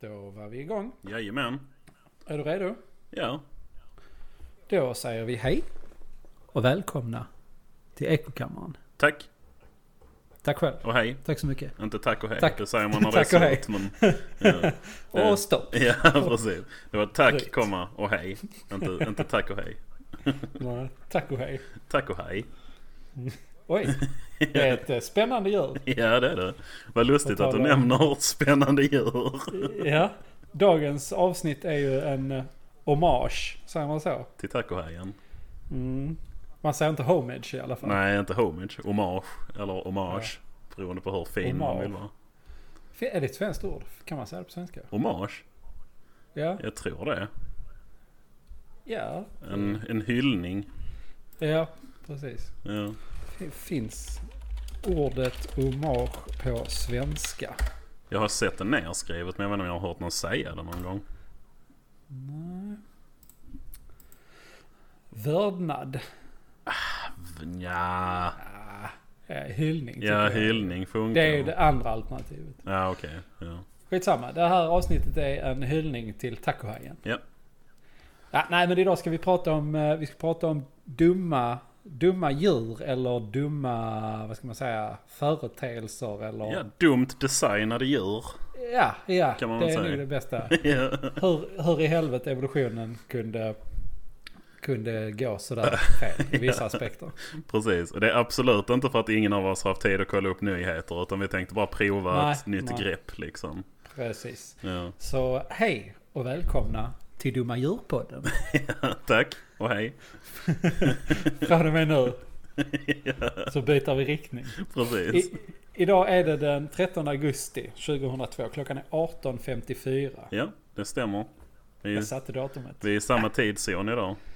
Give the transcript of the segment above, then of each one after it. Då var vi igång. Jajamän. Är du redo? Ja. Då säger vi hej och välkomna till Ekokammaren. Tack Tack själv. och hej. Tack så mycket. Inte tack och hej. Tack. Det säger man när det är Tack och hej. surt. Men, ja. Eh, Och stopp. ja, precis. Det var tack, Drygt. komma och hej. Inte, inte tack och hej. Nej, Tack och hej. Tack och hej. Oj, det är ett eh, spännande djur. Ja, det är det. Vad lustigt På att tal du om- nämner spännande djur. Ja. Dagens avsnitt är ju en eh, hommage, säger man så? Till tack och hejen. Mm. Man säger inte homage i alla fall. Nej, inte homage. Hommage. Eller hommage. Beroende på hur fin man vill vara. F- Är det ett svenskt ord? Kan man säga det på svenska? Hommage? Ja. Jag tror det. Ja, En, en hyllning. ja precis. Ja. F- Finns ordet hommage på svenska? Jag har sett det nerskrivet men jag vet inte om jag har hört någon säga det någon gång. Nej. Vördnad. Ja, Ja, eh, hyllning. tycker ja jag. hyllning funkar. Det är ju det andra alternativet. Ja, okej. Ja. Skitsamma, det här avsnittet är en hyllning till tacohajen. Ja. Ja, nej men idag ska vi prata om, eh, vi ska prata om dumma, dumma djur eller dumma, vad ska man säga, företeelser eller... ja, dumt designade djur. ja, ja, Kan man det väl är säga. nog det bästa. ja. Hur, hur i helvete evolutionen kunde, kunde gå sådär fel i vissa aspekter. Precis, och det är absolut inte för att ingen av oss har haft tid att kolla upp nyheter utan vi tänkte bara prova Nej, ett nytt nej. grepp liksom. Precis. Ja. Så hej och välkomna till Dumma Djur-podden. Tack och hej. Från och med nu så byter vi riktning. Precis. I, idag är det den 13 augusti 2002. Klockan är 18.54. Ja, det stämmer. Vi, Jag satte datumet. vi är i samma tidszon idag.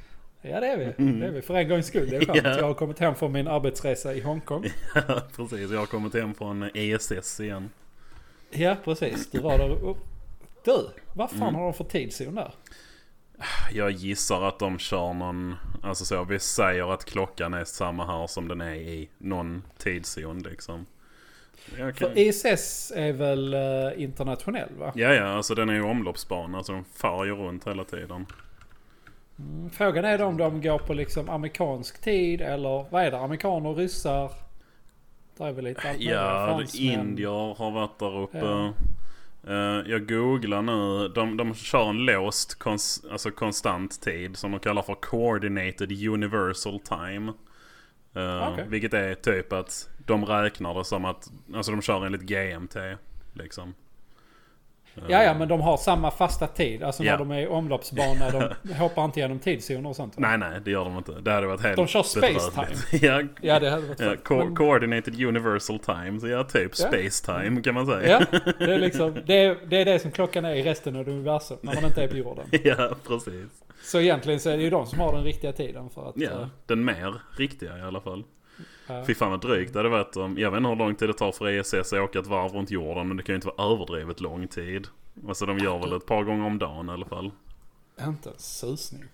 Ja det är vi. Det är vi för en gångs skull. Det är skönt. Ja. Jag har kommit hem från min arbetsresa i Hongkong. Precis, jag har kommit hem från ESS igen. Ja precis. Du var där och... Du, vad fan Mm. har de för tidszon där? Jag gissar att de kör någon, alltså så, vi säger att klockan är samma här som den är i någon tidszon liksom. Jag kan... För ISS är väl eh, internationell va? Ja, ja, alltså den är ju omloppsbana så den far ju runt hela tiden. Frågan är då om de går på liksom amerikansk tid eller vad är det? Amerikaner, ryssar? Det är väl lite allt möjligt. Ja, det- Fransmän. indier har varit där uppe. Ja. Eh, jag googlar nu. De, de kör en låst kons, alltså konstant tid som de kallar för coordinated universal time. Eh, Okej. Vilket är typ att de räknar det som att, alltså de kör enligt GMT. Liksom. Eh, Ja, ja, men de har samma fasta tid. Alltså när Ja. de är i omloppsbana. De hoppar inte genom tidszoner och sånt. Nej, nej, det gör de inte. Det hade varit helt De kör space bedrövligt. ja, Ja, det hade varit ja, fett. co- Men- Eh, coordinated universal time. Så ja, typ Ja. space time kan man säga. Ja, det är liksom det är, det är det som klockan är i resten av universum när man inte är på jorden. ja precis. Så egentligen så är det ju de som har den riktiga tiden för att... Ja, den mer riktiga i alla fall. eh, Fy fan vad drygt det hade varit om, jag vet inte hur lång tid det tar för ESS att åka ett varv runt jorden men det kan ju inte vara överdrivet lång tid. Alltså de gör väl ett par gånger om dagen i alla fall. eh, inte en susning.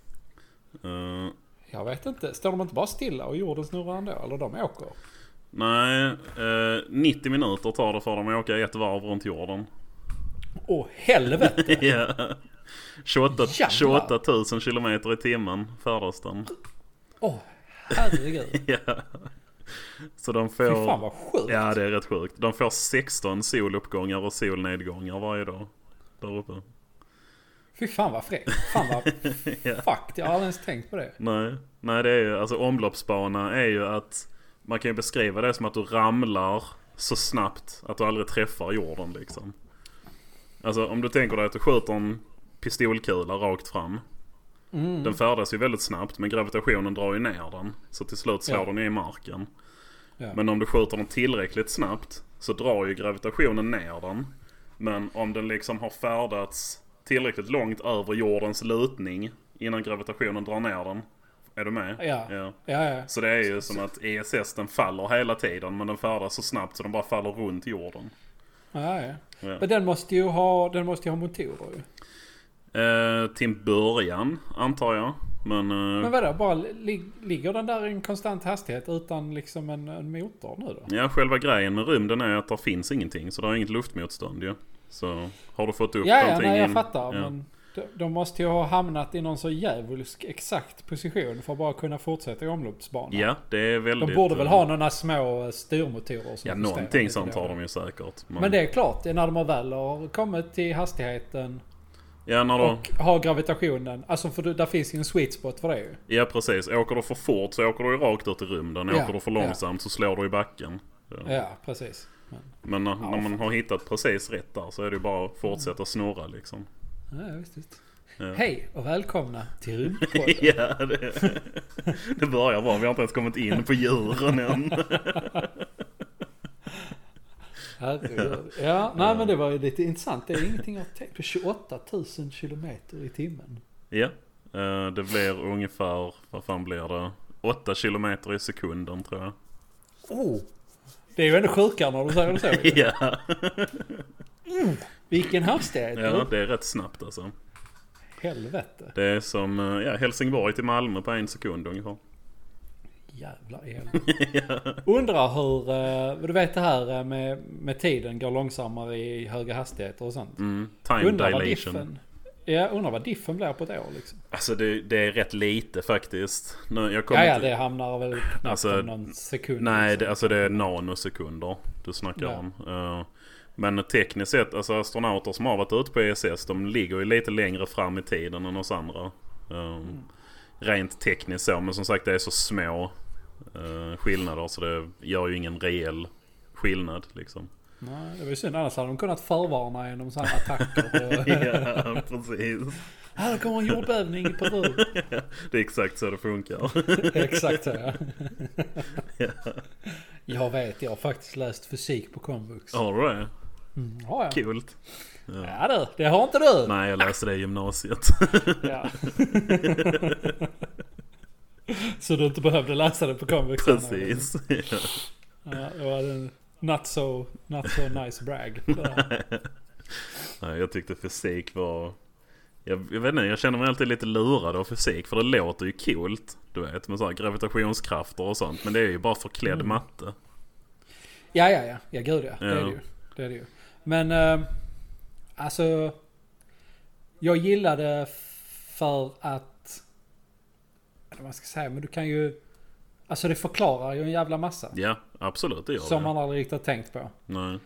Eh, Jag vet inte. Står de inte bara stilla och jorden snurrar ändå? Eller de åker? nej, eh, 90 minuter tar det för dem att åka ett varv runt jorden. Åh helvete! Ja. 28, Jävlar. 28 000 kilometer i timmen färdas den. Åh herregud. Ja. Så de Fy får... fan vad sjukt. Ja det är rätt sjukt. De får 16 soluppgångar och solnedgångar varje dag. Där uppe. Fy fan vad fräckt. Fan vad... Fuck, jag har aldrig ens tänkt på det. Nej, nej det är ju, alltså omloppsbana är ju att man kan ju beskriva det som att du ramlar så snabbt att du aldrig träffar jorden liksom. Alltså om du tänker dig att du skjuter en pistolkula rakt fram. Mm. Den färdas ju väldigt snabbt men gravitationen drar ju ner den. Så till slut slår Ja. den ju i marken. Ja. Men om du skjuter den tillräckligt snabbt så drar ju gravitationen ner den. Men om den liksom har färdats tillräckligt långt över jordens lutning innan gravitationen drar ner den. Är du med? Ja. Ja, ja. Så det är ju som att ESS den faller hela tiden men den färdas så snabbt så den bara faller runt jorden. Ja, ja. Ja. Mm. Men den måste ju ha, den måste ju ha motorer ju. Eh, till en början antar jag. Men, eh, Men vadå, bara lig- ligger den där i en konstant hastighet utan liksom en, en motor nu då? ja, själva grejen med rymden är att det finns ingenting. Så det har inget luftmotstånd ju. Så har du fått upp Ja, ja, någonting... nej, jag in- fattar. ja. Men de, de måste ju ha hamnat i någon så djävulsk exakt position för att bara kunna fortsätta i omloppsbanan. Ja, det är väldigt... De borde väl eh, ha några små eh, styrmotorer som Ja, justerar någonting lite sånt då. har de ju säkert. Men, Men det är klart, när de väl har kommit till hastigheten ja, när du, och har gravitationen. Alltså för du- där finns ju en sweet spot för det ju. ja, precis. Åker du för fort så åker du ju rakt ut i rymden. Ja, Åker du för ja. långsamt så slår du i backen. Ja. Ja, precis. Men, Men när, när man har hittat precis rätt där så är det ju bara att fortsätta snurra liksom. ja, visst, visst. Ja. Hej och välkomna till Rymdpodden. Ja, det, det börjar bra. Vi har inte ens kommit in på djuren än. Herregud. Ja, nej men det var ju lite intressant. Det är ingenting jag har tänkt på. 28 000 kilometer i timmen. Ja, eh, det blir ungefär, vad fan blir det? 8 kilometer i sekunden tror jag. Oh. Det är ju ändå sjukare när du säger det så. ju. Ja, Vilken hastighet! ja Ja. det är rätt snabbt alltså. Helvete. Det är som eh, ja, Helsingborg till Malmö på en sekund ungefär. Jävla el. Undrar hur, eh, du vet det här eh, med, med tiden går långsammare i höga hastigheter och sånt. Mm, time Undrar vad dilation. diffen... Ja, undrar vad diffen blir på ett år liksom. Alltså det, det är rätt lite faktiskt. Nu, jag kommer Ja, ja, inte- det hamnar väl knappt Alltså, om någon sekund. Nej, liksom. det, alltså det är nanosekunder du snackar Ja. om. Eh, men tekniskt sett, alltså astronauter som har varit ute på ISS, de ligger ju lite längre fram i tiden än oss andra. Eh, Mm. Rent tekniskt så, men som sagt det är så små eh, skillnader så det gör ju ingen reell skillnad liksom. Nej, det var ju synd. Annars hade de kunnat förvarna genom sådana attacker. Och, ja, precis. Här kommer en jordbävning i Peru. Det är exakt så det funkar. Exakt så ja. Jag vet, jag har faktiskt läst fysik på komvux. Har du det? Mm, har jag? Kul. Ja du, det har inte du. Nej, jag läste det i gymnasiet. Ja. så du inte behövde läsa det på komvux? Precis. Ja. Ja, det var en not so, not so nice brag. det där. Nej, jag tyckte fysik var... Jag, jag vet inte, jag känner mig alltid lite lurad av fysik för det låter ju coolt. Du vet, med så här gravitationskrafter och sånt. Men det är ju bara förklädd Mm. matte. Ja, ja, ja. Ja, gud ja. Det är Ja. det ju. Det är det ju. Men, eh, alltså. Jag gillade för att... Eller vad man ska säga, men du kan ju... Alltså det förklarar ju en jävla massa. Ja, absolut det gör som det. man aldrig riktigt har tänkt på. Nej.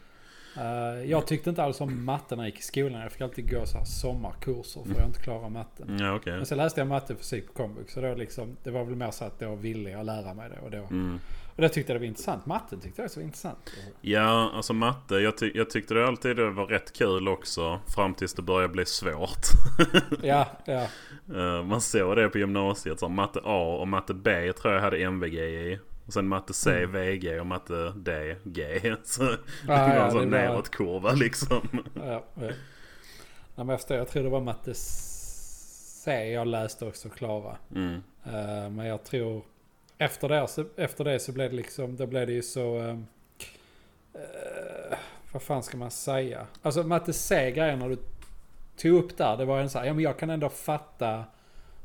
Eh, jag tyckte inte alls om matte när jag gick i skolan. Jag fick alltid gå så här sommarkurser för jag inte klarar matten. Ja, okej. Men sen läste jag matte och fysik på komvux. Så då liksom, det var väl mer så att då ville jag lära mig det. Och då, Mm. och då tyckte jag det var intressant. Matten tyckte jag också var intressant. Ja, alltså matte. Jag, ty- jag tyckte det alltid det var rätt kul också. Fram tills det började bli svårt. Ja, ja. Eh, man såg det på gymnasiet. Så här, matte A och matte B tror jag hade MVG i. Och sen matte C, Mm. VG och matte D, G. Så det var Ah, ja, en det sån var- nedåtkurva liksom. Ja, ja. Nej, men jag förstår. Jag tror det var matte C jag läste också Klara. Mm. Eh, men jag tror efter det, så, efter det så blev det liksom, då blev det ju så... eh, eh, vad fan ska man säga? Alltså matte C grejerna du tog upp där, det var en så här, ja men jag kan ändå fatta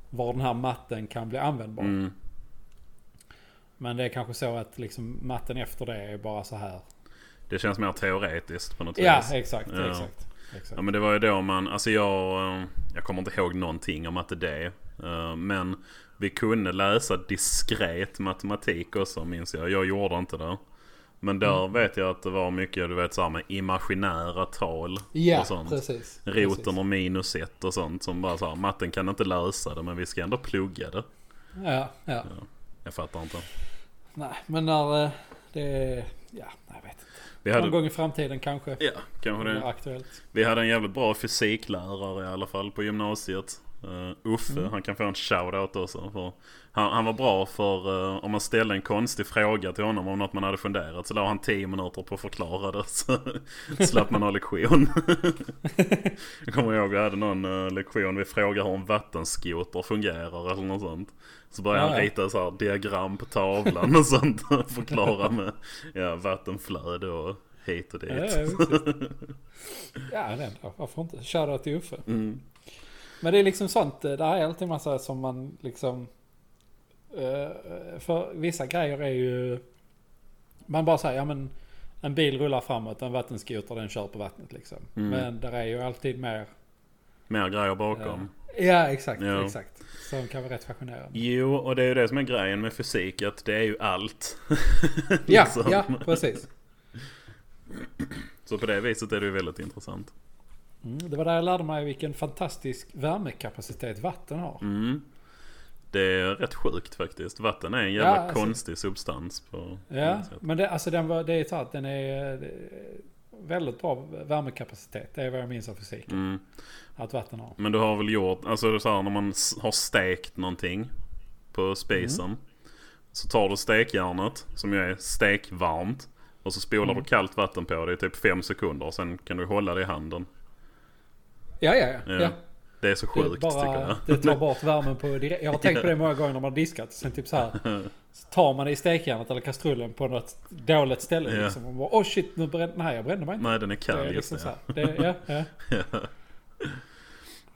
var den här matten kan bli användbar. Mm. Men det är kanske så att liksom matten efter det är bara så här. Det känns mer teoretiskt på något Ja, vis. exakt, Ja. exakt. exakt. Ja men det var ju då man, alltså jag, eh, jag kommer inte ihåg någonting om matte D. eh, Men vi kunde läsa diskret matematik också minns jag. Jag gjorde inte det. Men där Mm. vet jag att det var mycket du vet så här med imaginära tal Ja, och sånt. precis. precis. Roten och minus ett och sånt som bara så här, matten kan inte lösa det men vi ska ändå plugga det. Ja, ja. Jag fattar inte. Nej, men när eh, det... Ja, jag vet inte. Vi Någon hade, gång i framtiden kanske. ja, kanske Det det. är aktuellt. Vi hade en jävligt bra fysiklärare i alla fall på gymnasiet. Eh, Uffe, Mm. han kan få en shoutout också. För han, han var bra för eh, om man ställde en konstig fråga till honom om något man hade funderat så la han 10 minuter på att förklara det. Så slapp man ha lektion. jag kommer ihåg vi hade någon eh, lektion, vi frågade hur en vattenskoter fungerar eller något sånt. Så började Ja, han ja. rita så här diagram på tavlan och sånt. och förklara med ja, vattenflöde och hit och dit. Ja, ja, precis. ja, det är ändå. Varför inte? Shoutout till Uffe. Mm. Men det är liksom sånt. Det här är alltid massa som man liksom... eh, För vissa grejer är ju... Man bara säger ja men en bil rullar framåt, en vattenskoter den kör på vattnet liksom. Mm. Men där är ju alltid mer... Mer grejer bakom. Ja exakt, Ja. exakt. Som kan vara rätt fascinerande. Jo, och det är ju det som är grejen med fysik. Att det är ju allt. Ja, Liksom. ja precis. Så på det viset är det ju väldigt intressant. Mm, det var där jag lärde mig vilken fantastisk värmekapacitet vatten har. Mm. Det är rätt sjukt faktiskt. Vatten är en jävla Ja, alltså- konstig substans på Ja, något sätt. men det, alltså den var, det är så att den är eh, väldigt bra värmekapacitet. Det är vad jag minns av fysik. Mm. Att vatten har. Men du har väl gjort, alltså så här, när man s- har stekt någonting på spisen. Mm. Så tar du stekjärnet som ju är stekvarmt. Och så spolar Mm. du kallt vatten på det i typ 5 sekunder. Och sen kan du hålla det i handen. Ja, ja, ja. Ja, ja. Det är så Det är sjukt tycker bara, jag. det tar bort värmen på direkt. Jag har tänkt på det många gånger när man har diskat. Sen typ så här. Så tar man det i stekjärnet eller kastrullen på något dåligt ställe. Ja. Liksom. Och bara, oh shit, nu brände, nej jag brände mig inte. Nej den är kall det är just liksom nu. så här. Det, är- ja, ja.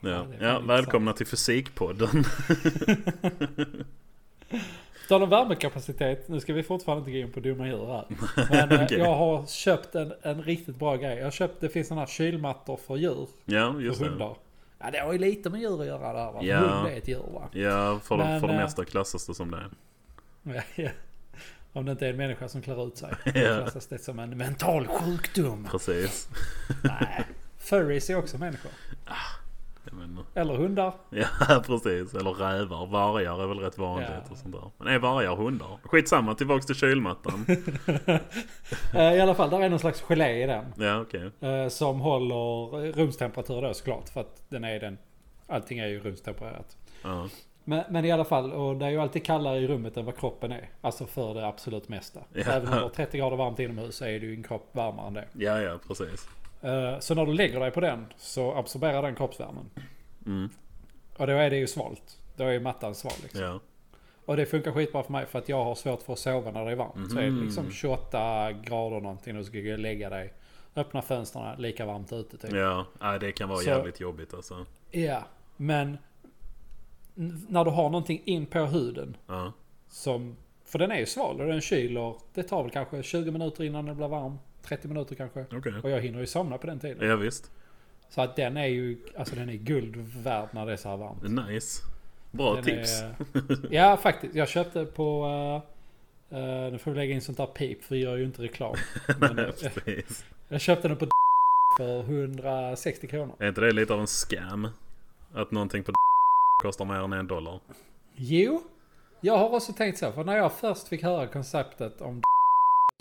Ja. Ja. det är fan Ja, välkomna till Fysikpodden. På Tal om värmekapacitet, nu ska vi fortfarande inte gå in på dumma djur här. Men eh, Okej. jag har köpt en, en riktigt bra grej. Jag köpte, det finns sådana här kylmattor för djur. Ja, just för det. hundar. Ja, det har ju lite med djur att göra där va. Ja. Hund är ett djur va. Ja, för, Men, för det eh, mesta klassas det som det. Ja, ja. Om det inte är en människa som klär ut sig. Då Ja. klassas det som en mental sjukdom. Precis. Nej. Furries är också människor. Jag menar. Eller hundar. Ja, precis. Eller rävar. Vargar är väl rätt vanligt Ja. och sånt där. Men är vargar hundar? Skitsamma, tillbaks till kylmattan. Eh, I alla fall, där är någon slags gelé i den. ja, okej. eh, Som håller rumstemperatur då såklart. För att den är den. Allting är ju rumstempererat. Ja. Men, men i alla fall, och det är ju alltid kallare i rummet än vad kroppen är. Alltså för det absolut mesta. Ja. Även om det är 30 grader varmt inomhus så är det ju en kropp varmare än det. ja, ja, precis. Eh, Så när du lägger dig på den så absorberar den kroppsvärmen. Mm. Och då är det ju svalt. Då är ju mattan sval. Liksom. Ja. Och det funkar skitbra för mig för att jag har svårt för att sova när det är varmt. Så är det Mhm. liksom 28 grader någonting och så ska du lägga dig. Öppna fönstren, lika varmt ute typ. Ja. ja, det kan vara Så- jävligt jobbigt alltså. Ja, men n- när du har någonting in på huden Ja, Som, för den är ju sval och den kyler. Det tar väl kanske 20 minuter innan den blir varm. 30 minuter kanske. okej. Och jag hinner ju somna på den tiden. Ja, visst. Så att den är ju, alltså den är guld värd när det är så här varmt. Nice. Bra den tips. Är, ja faktiskt, jag köpte på... eh, eh, nu får vi lägga in sånt där pip för vi gör ju inte reklam. Men, eh, precis. jag köpte den på för 160 kronor. Är inte det lite av en scam? Att någonting på kostar mer än en dollar. Jo, jag har också tänkt så. För när jag först fick höra konceptet om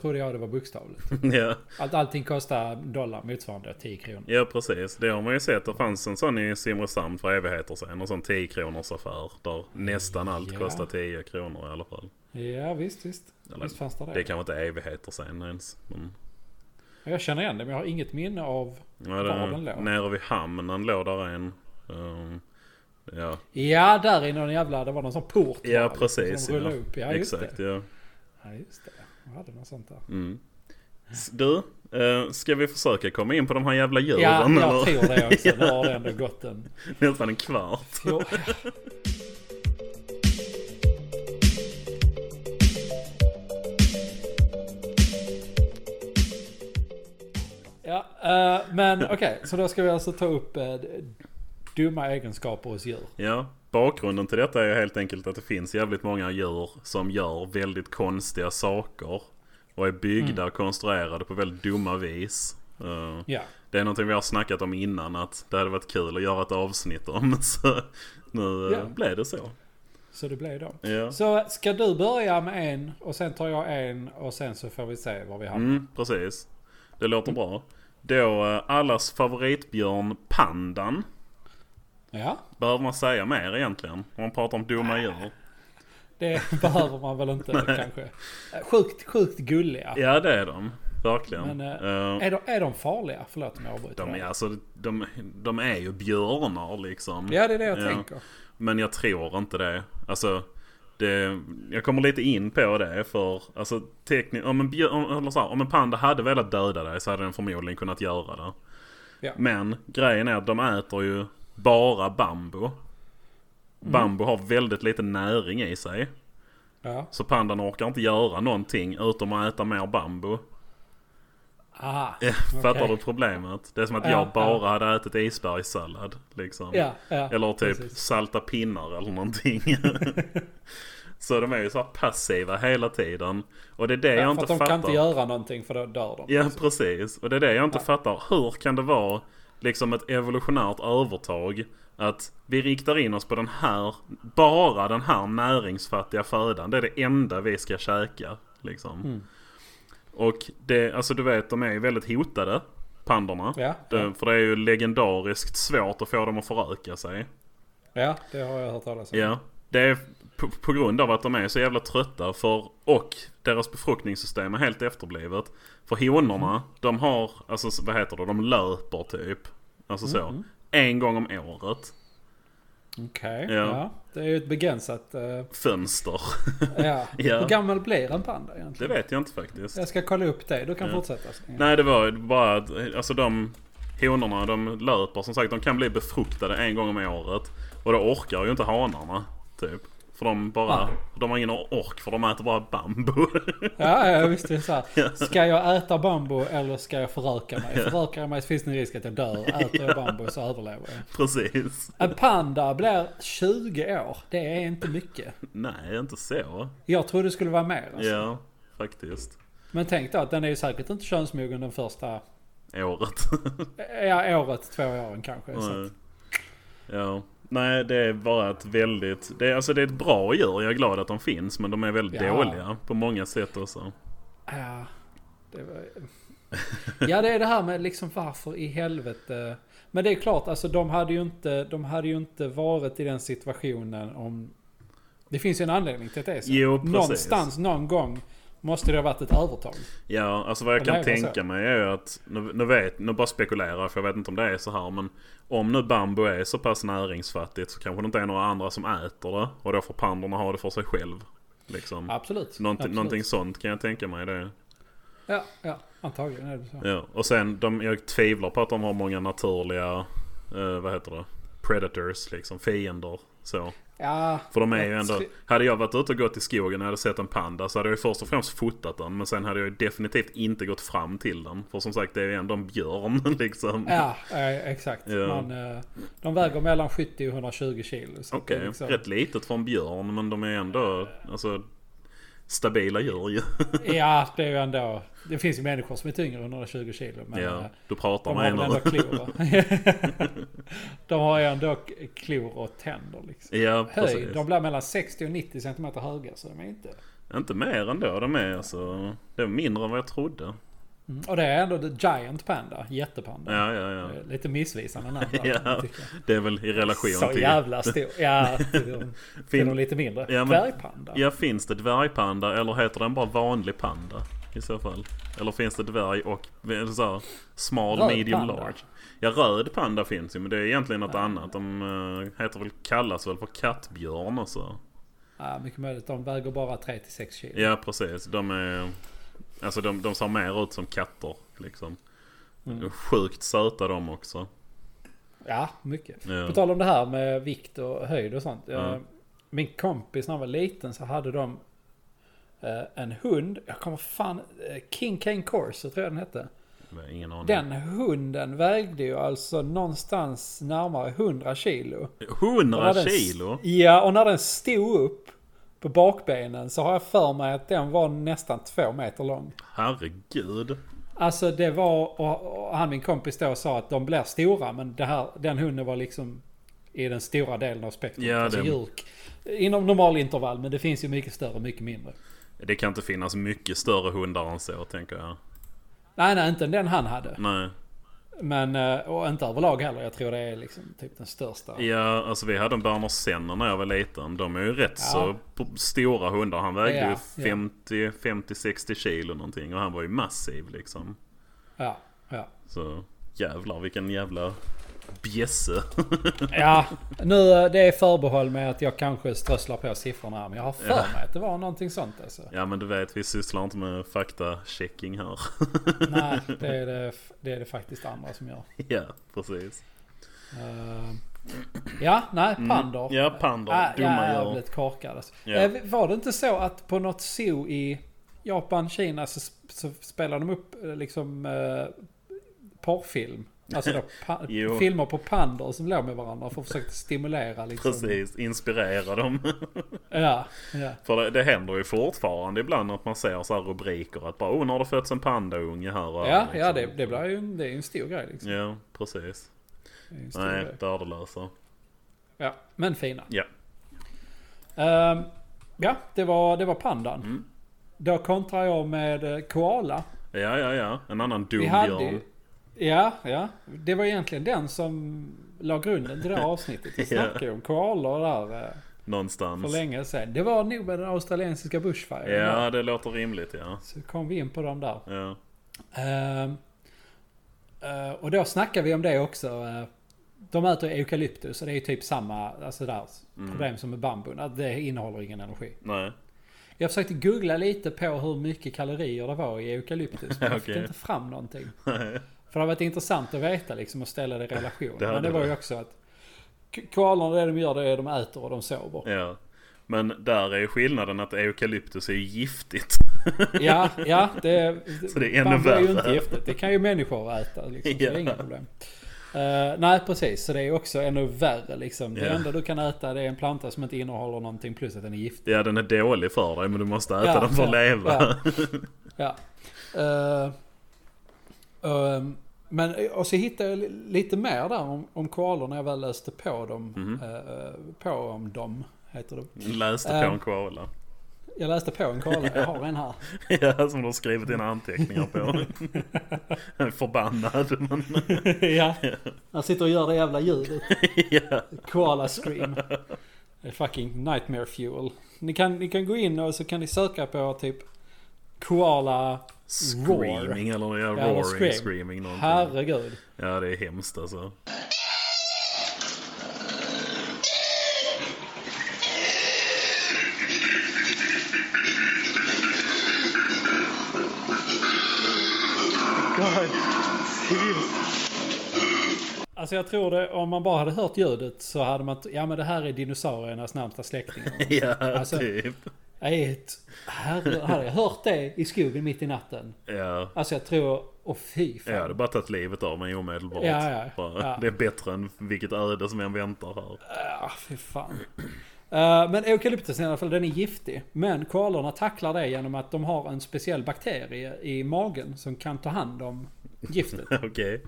trodde jag det var bokstavligt. ja. Att allting kostar dollar motsvarande 10 kronor. ja, precis. Det har man ju sett. Det fanns en sån i Simrishamn för evigheter sedan. En sån 10 kronors affär. Där nästan allt Ja. kostar 10 kronor i alla fall. Ja visst, visst. Eller- visst fanns det det. Det kanske inte är evigheter sen ens. Men, Jag känner igen det men jag har inget minne av... ja, Var den det, låg? nere vid hamnen låg där en. Ehm, ja, Ja där är någon jävla... Det var någon sån port. Ja, bara, liksom, precis, Som rullade ja. upp. Ja just exakt. det. Ja. Ja just det. Jag hade något sånt där. Mm. S- Du, eh, ska vi försöka komma in på de här jävla djuren? Ja, eller? jag tror det också. Nu har det ändå gått en... Nästan en kvart. Jo. Ja, eh, men okej, så då ska vi alltså ta upp eh, dumma egenskaper hos djur. Ja, bakgrunden till detta är helt enkelt att det finns jävligt många djur som gör väldigt konstiga saker. Och är byggda Mm. och konstruerade på väldigt dumma vis. Eh, Ja, Det är någonting vi har snackat om innan att det hade varit kul att göra ett avsnitt om. Så nu eh, Ja. blev det så. så det blev dem. Ja. Så ska du börja med en och sen tar jag en och sen så får vi se var vi hamnar. Mm, precis. Det låter bra. Då eh, allas favoritbjörn pandan. Ja, Behöver man säga mer egentligen? Om man pratar om dumma djur. det behöver man väl inte kanske. Eh, Sjukt, sjukt gulliga. Ja det är de. Verkligen. Men, eh, Eh, Är, de, är de farliga? Förlåt om jag avbryter. de, är, dig. alltså, de, de är ju björnar liksom. Ja, det är det jag Ja. tänker. Men jag tror inte det. Alltså, det, jag kommer lite in på det för alltså, tekni- om, en björ- om, eller så här, om en panda hade velat döda dig så hade den förmodligen kunnat göra det. Ja. Men grejen är att de äter ju bara Mm. bambu. Bambu har väldigt lite näring i sig. Ja. Så pandan orkar inte göra någonting utom att äta mer bambu. Ah. Fattar Okej. du problemet? Det är som att Ja, jag bara ja. hade ätit isbergssallad. Liksom. Ja, ja. Eller typ precis. salta pinnar eller någonting. så de är ju så här passiva hela tiden. Och det är det jag Ja, för inte att de fattar. kan inte göra någonting för då dör de. Ja precis. Och det är det jag inte fattar. Hur kan det vara liksom ett evolutionärt övertag att vi riktar in oss på den här, bara den här näringsfattiga födan. Det är det enda vi ska käka. Liksom. Mm. Och det, alltså du vet de är ju väldigt hotade, pandorna. Ja, Det, för det är ju legendariskt svårt att få dem att föröka sig. ja, det har jag hört talas om. Ja, det är på, på grund av att de är så jävla trötta för och deras befruktningssystem är helt efterblivet. För honorna, de har, alltså s- vad heter det, de löper typ. Alltså så. En gång om året. Okej, Ja. ja. Det är ju ett begränsat... eh, Fönster. ja. Ja. Hur gammal blir en panda Det egentligen? vet jag inte faktiskt. Jag ska kolla upp det, du kan Ja. fortsätta. Ja. Nej det var ju bara att, alltså de honorna de löper som sagt. De kan bli befruktade en gång om året. Och då orkar ju inte hanarna typ. För de bara, Ah. de har ingen ork för de äter bara bambu. Ja, ja, visst det är så här. Ska jag äta bambu eller ska jag föröka mig? Förökar jag mig så finns det en risk att jag dör. Äter jag bambu så överlever jag. Precis. En panda blir 20 år. Det är inte mycket. Nej, inte så. Jag trodde det skulle vara mer. Alltså. Ja, faktiskt. Men tänk då att den är ju säkert inte könsmogen den första... Året. Ja, året, två åren kanske. Så att, ja. Nej, det är bara ett väldigt... Det är, alltså det är ett bra djur. Jag är glad att de finns. Men de är väldigt Ja. dåliga på många sätt också. ja, det var... ja, det är det här med liksom varför i helvete. Men det är klart, alltså de hade ju inte, de hade ju inte varit i den situationen om... Det finns ju en anledning till att det är så. Jo, precis. Någonstans, någon gång måste det ha varit ett övertag. Ja, alltså vad jag Men kan det är väl tänka så. mig är ju att... Nu, nu, vet, nu bara spekulerar jag för jag vet inte om det är så här. Men om nu bambu är så pass näringsfattigt så kanske det inte är några andra som äter det. Och då får pandorna ha det för sig själv. Liksom. Absolut. Någonting, Absolut. någonting sånt kan jag tänka mig. Det är- Ja, ja, antagligen är det så. Ja, och sen de, jag tvivlar på att de har många naturliga, eh, vad heter det, predators liksom, fiender. Så. Ja, För de är ju Jag ändå, tvi- hade jag varit ute och gått i skogen och hade sett en panda så hade jag ju först och främst fotat den. Men sen hade jag ju definitivt inte gått fram till den. För som sagt det är ju ändå en björn liksom. ja eh, exakt. Ja. Man, eh, de väger mellan 70 och 120 kilo. så att det Okej, är liksom- rätt litet för en björn men de är ändå, alltså, stabila djur ju. Ja, det är ju ändå... Det finns ju människor som är tyngre än 120 kilo. Men ja, eh, du pratar de med har en väl av- ändå klor. va? de har ju ändå k- klor och tänder liksom. Ja, Höjd, precis. de blir mellan 60 och 90 cm höga. Så de är inte... Inte mer ändå, de är alltså, det är mindre än vad jag trodde. Mm. Och det är ändå the giant panda. Jättepanda. Ja, ja, ja. Eh, Lite missvisande namn. där, Ja, kan jag tycka. Det är väl i relation Så till... jävla stor. Ja, till de, till de Fin, lite mindre. Ja, men- Dvärgpanda. ja, finns det dvärgpanda eller heter den bara vanlig panda? I så fall. Eller finns det dvärg och eller så här, small, Röd medium, panda. large? Ja, röd panda finns ju men det är egentligen något annat. De eh, heter väl, kallas väl för kattbjörn och så. Ja, mycket möjligt. De väger bara 3-6 kilo. Ja, precis. De är... Alltså de, de ser mer ut som katter liksom. Mm. Sjukt söta de också. Ja, mycket. Ja. På tal om det här med vikt och höjd och sånt. Jag- Ja. Min kompis när han var liten så hade de eh, en hund. Jag kommer fan... eh, King Cane Corso tror jag den hette. Jag har Ingen aning. Den hunden vägde ju alltså någonstans närmare 100 kilo. 100 Och när den- kilo? Ja, och när den stod upp på bakbenen så har jag för mig att den var nästan två meter lång. Herregud. Alltså det var, och, och han min kompis då sa att de blir stora men det här, den hunden var liksom i den stora delen av spektrat. Ja, alltså det- djur, inom normal intervall men det finns ju mycket större och mycket mindre. Det kan inte finnas mycket större hundar än så tänker jag. Nej, nej, inte den han hade. Nej. Men, eh, och inte överlag heller. Jag tror det är liksom typ den största. Ja, alltså vi hade en Berner Senner när jag var liten. De är ju rätt Ja. så p- stora hundar. Han vägde Ja, ju ja. 50, 50-60 kilo någonting. Och han var ju massiv liksom. Ja, ja. Så jävlar vilken jävla bjässe. ja nu eh, det är förbehåll med att jag kanske strösslar på siffrorna här. Men jag har för mig att det var någonting sånt alltså. Ja men du vet, vi sysslar inte med faktachecking här. Nej, det är det, det är det faktiskt andra som gör. ja, precis. Eh, Ja, nej, pandor. Mm. Ja, pandor. Ah, Dumma djur. jävligt korkade. alltså. Ja. Eh, Var det inte så att på något zoo i Japan, Kina så, sp- så spelar de upp eh, liksom eh, porrfilm? Alltså då, pa- Jo. filmer på pandor som låg med varandra för att försöka stimulera liksom. Precis, inspirera dem. Ja, ja. För det, det händer ju fortfarande ibland att man ser så här rubriker att bara oh, nu har det fötts en pandaunge här och ja, här", ja det, liksom. det blir ju en, det är ju en stor grej liksom. Ja, precis. Det är ju en stor Nej, grej. värdelösa. Ja, men fina. Ja. Ehm, ja, det var, det var pandan. Mm. Då kontrar jag med eh, koala. Ja, ja, ja. En annan dum Vi hade ju, björn. Ja, ja. Det var egentligen den som la grunden till det här avsnittet. Vi Ja. snackade ju om koalor där eh, för Någonstans. länge sedan. Det var nog med den australiensiska bushfiren. Ja, där. det låter rimligt ja. Så kom vi in på dem där. ja. Ehm, eh, och då snackade vi om det också. eh, De äter eukalyptus och det är ju typ samma alltså där, Mm. problem som med bambun. Att det innehåller ingen energi. Nej. Jag försökte googla lite på hur mycket kalorier det var i eukalyptus. Men jag fick Okej. inte fram någonting. För det har varit intressant att veta liksom och ställa det i relation. Det hade men det var det. ju också att k- koalorna det de gör det är att de äter och de sover. Ja. Men där är ju skillnaden att eukalyptus är ju giftigt. Ja, ja. Det, Så det är ännu bambu ju värre. inte giftigt. Det kan ju människor äta. Liksom, så det Ja. är inga problem. Eh, nej precis, så det är också ännu värre liksom. Det Ja. enda du kan äta det är en planta som inte innehåller någonting plus att den är giftig. Ja, den är dålig för dig men du måste äta Ja, den för att ja, leva. ja. Ja. Eh, ehm, men och så hittade jag li- lite mer där om, om koalor när jag väl läste på dem. eh, på om dem, heter det. Läste på Ehm. en koala. Jag läste på en koala, jag har en här. Ja, som du har skrivit dina anteckningar på. Jag är Förbannad men... ja. Han sitter och gör det jävla ljudet. Ja. Koala scream. Det är fucking nightmare fuel. Ni kan, ni kan gå in och så kan ni söka på typ koala... Screaming eller ja, eller roaring, scream. screaming någonting. Herregud. Ja, det är hemskt alltså. Alltså jag tror det, om man bara hade hört ljudet så hade man... t- Ja men det här är dinosauriernas närmsta släktingar. Ja, Alltså- typ. Jag är ett... Herre, hade jag hört det i skogen mitt i natten? Ja. Alltså jag tror... Åh fy Ja, fan. det hade bara tagit livet av mig omedelbart. Ja, ja, Bara, ja. Det är bättre än vilket öde som än väntar här. Ah, fy fan. Eh, men eukalyptus i alla fall, den är giftig. Men koalorna tacklar det genom att de har en speciell bakterie i magen som kan ta hand om giftet. Okej.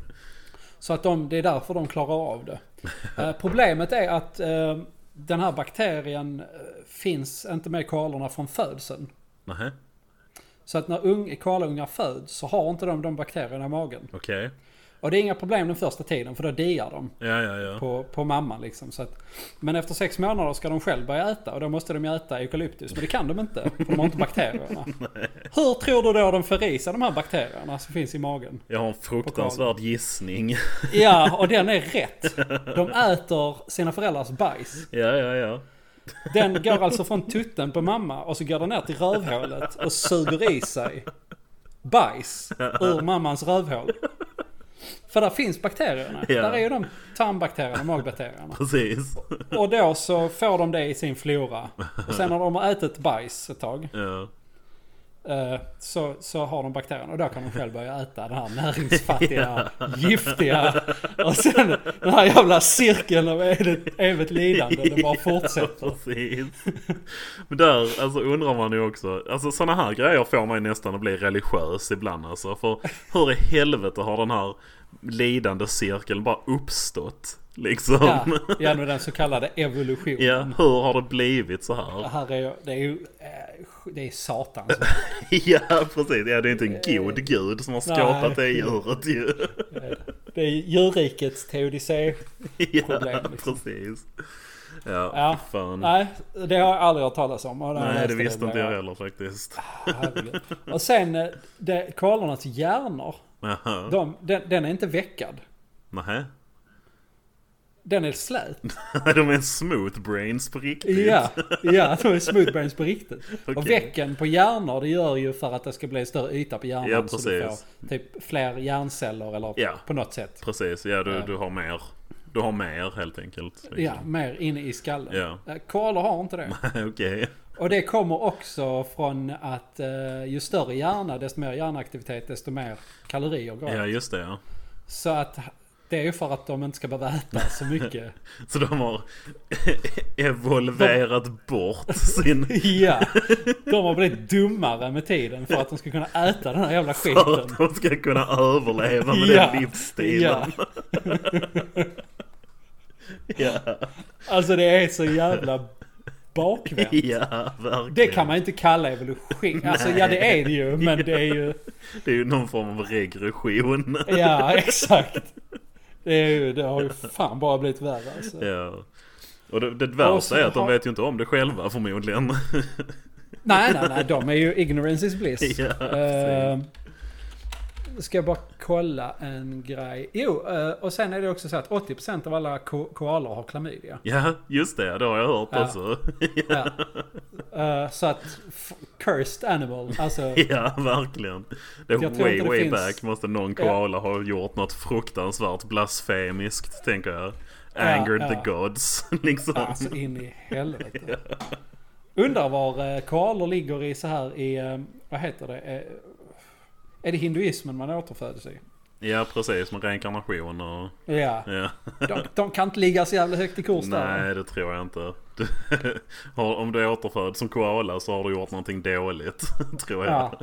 Så att de, det är därför de klarar av det. Eh, problemet är att eh, den här bakterien eh, finns inte med koalorna från födseln. Nähä, Så att när ung, koalaungar föds så har inte de de bakterierna i magen. okej. Och det är inga problem den första tiden för då diar de. Ja, ja, ja. på, på mamman liksom. Så att, men efter sex månader ska de själv börja äta och då måste de ju äta eukalyptus. Men det kan de inte, för de har inte bakterierna. Hur tror du då de får i sig de här bakterierna som finns i magen? Jag har en fruktansvärd gissning. Ja, och den är rätt. De äter sina föräldrars bajs. Ja, ja, ja. Den går alltså från tutten på mamma och så går den ner till rövhålet och suger i sig bajs ur mammans rövhål. För där finns bakterierna. Ja. Där är ju de tarmbakterierna, magbakterierna. Precis. Och då så får de det i sin flora. Och sen när de har ätit bajs ett tag Ja. eh, så, så har de bakterierna. Och då kan de själv börja äta den här näringsfattiga, giftiga. Och sen den här jävla cirkeln av evigt, evigt lidande. Det bara fortsätter. Ja, precis. Men där alltså, undrar man ju också. Alltså sådana här grejer får man ju nästan att bli religiös ibland alltså. För hur i helvete har den här lidande cirkeln bara uppstått? Liksom. Ja, genom den så kallade evolutionen. Ja, hur har det blivit så här? Det här är, det är ju... eh, Det är satans Ja, precis. Ja, det är inte Eh, en god gud som har skapat det djuret ju. Det är djurrikets teodicé. Ja, Problem, liksom. precis. Ja, Ja. fan. Nej, Nej, det har jag aldrig hört talas om. Och när jag läste det visste blev inte jag heller faktiskt. Ah. Herregud. Och sen eh, det, koalornas hjärnor. Jaha. De, den, den är inte veckad. Nähä. Den är slät. De är smooth brains på riktigt. Ja, ja de är smoothbrains på riktigt. Och Okej. vecken på hjärnor det gör ju för att det ska bli en större yta på hjärnan. Ja, Så du precis. får typ fler hjärnceller eller Ja. på något sätt. Precis, ja du, du har mer. Du har mer helt enkelt. liksom. Ja, mer inne i skallen. Ja. Eh, Koalor har inte det. Okej. Och det kommer också från att eh, ju större hjärna, desto mer hjärnaktivitet, desto mer kalorier går Ja, åt. just det ja. Så att det är ju för att de inte ska behöva äta så mycket. Så de har evolverat bort sin... ja, de har blivit dummare med tiden för att de ska kunna äta den här jävla För att skiten. de ska kunna överleva med Ja. den Ja, livsstilen. Ja. alltså det är så jävla bakvänt. Ja, verkligen. Det kan man inte kalla evolution. Alltså ja det är det ju men det är ju... Det är ju någon form av regression. Ja exakt. Det, är ju, det har ju fan bara blivit värre alltså. Ja. Och det, det Och så värsta är att de har- vet ju inte om det själva förmodligen. Nej nej nej de är ju ignorance is bliss. Ja, Eh, ska jag bara kolla en grej. Jo eh, och sen är det också så att 80% av alla ko- koalor har klamydia. Ja, just det. Det har jag hört Ja. också. Ja. Eh, så att f- cursed animal. Alltså Ja, verkligen. Det är Jag tror way, inte det way finns- back måste någon koala ha gjort något fruktansvärt blasfemiskt, tänker jag. Angered ja. the gods, liksom. Alltså in i helvete. Undrar var eh, koalor ligger i så här i, eh, vad heter det? Eh, Är det hinduismen man återföds i? Ja, precis. Med reinkarnation och... Ja, Ja. de, de kan inte ligga så jävla högt i kurs där. Nej, det tror jag inte. Du, har- om du är återfödd som koala så har du gjort någonting dåligt, tror jag. Ja,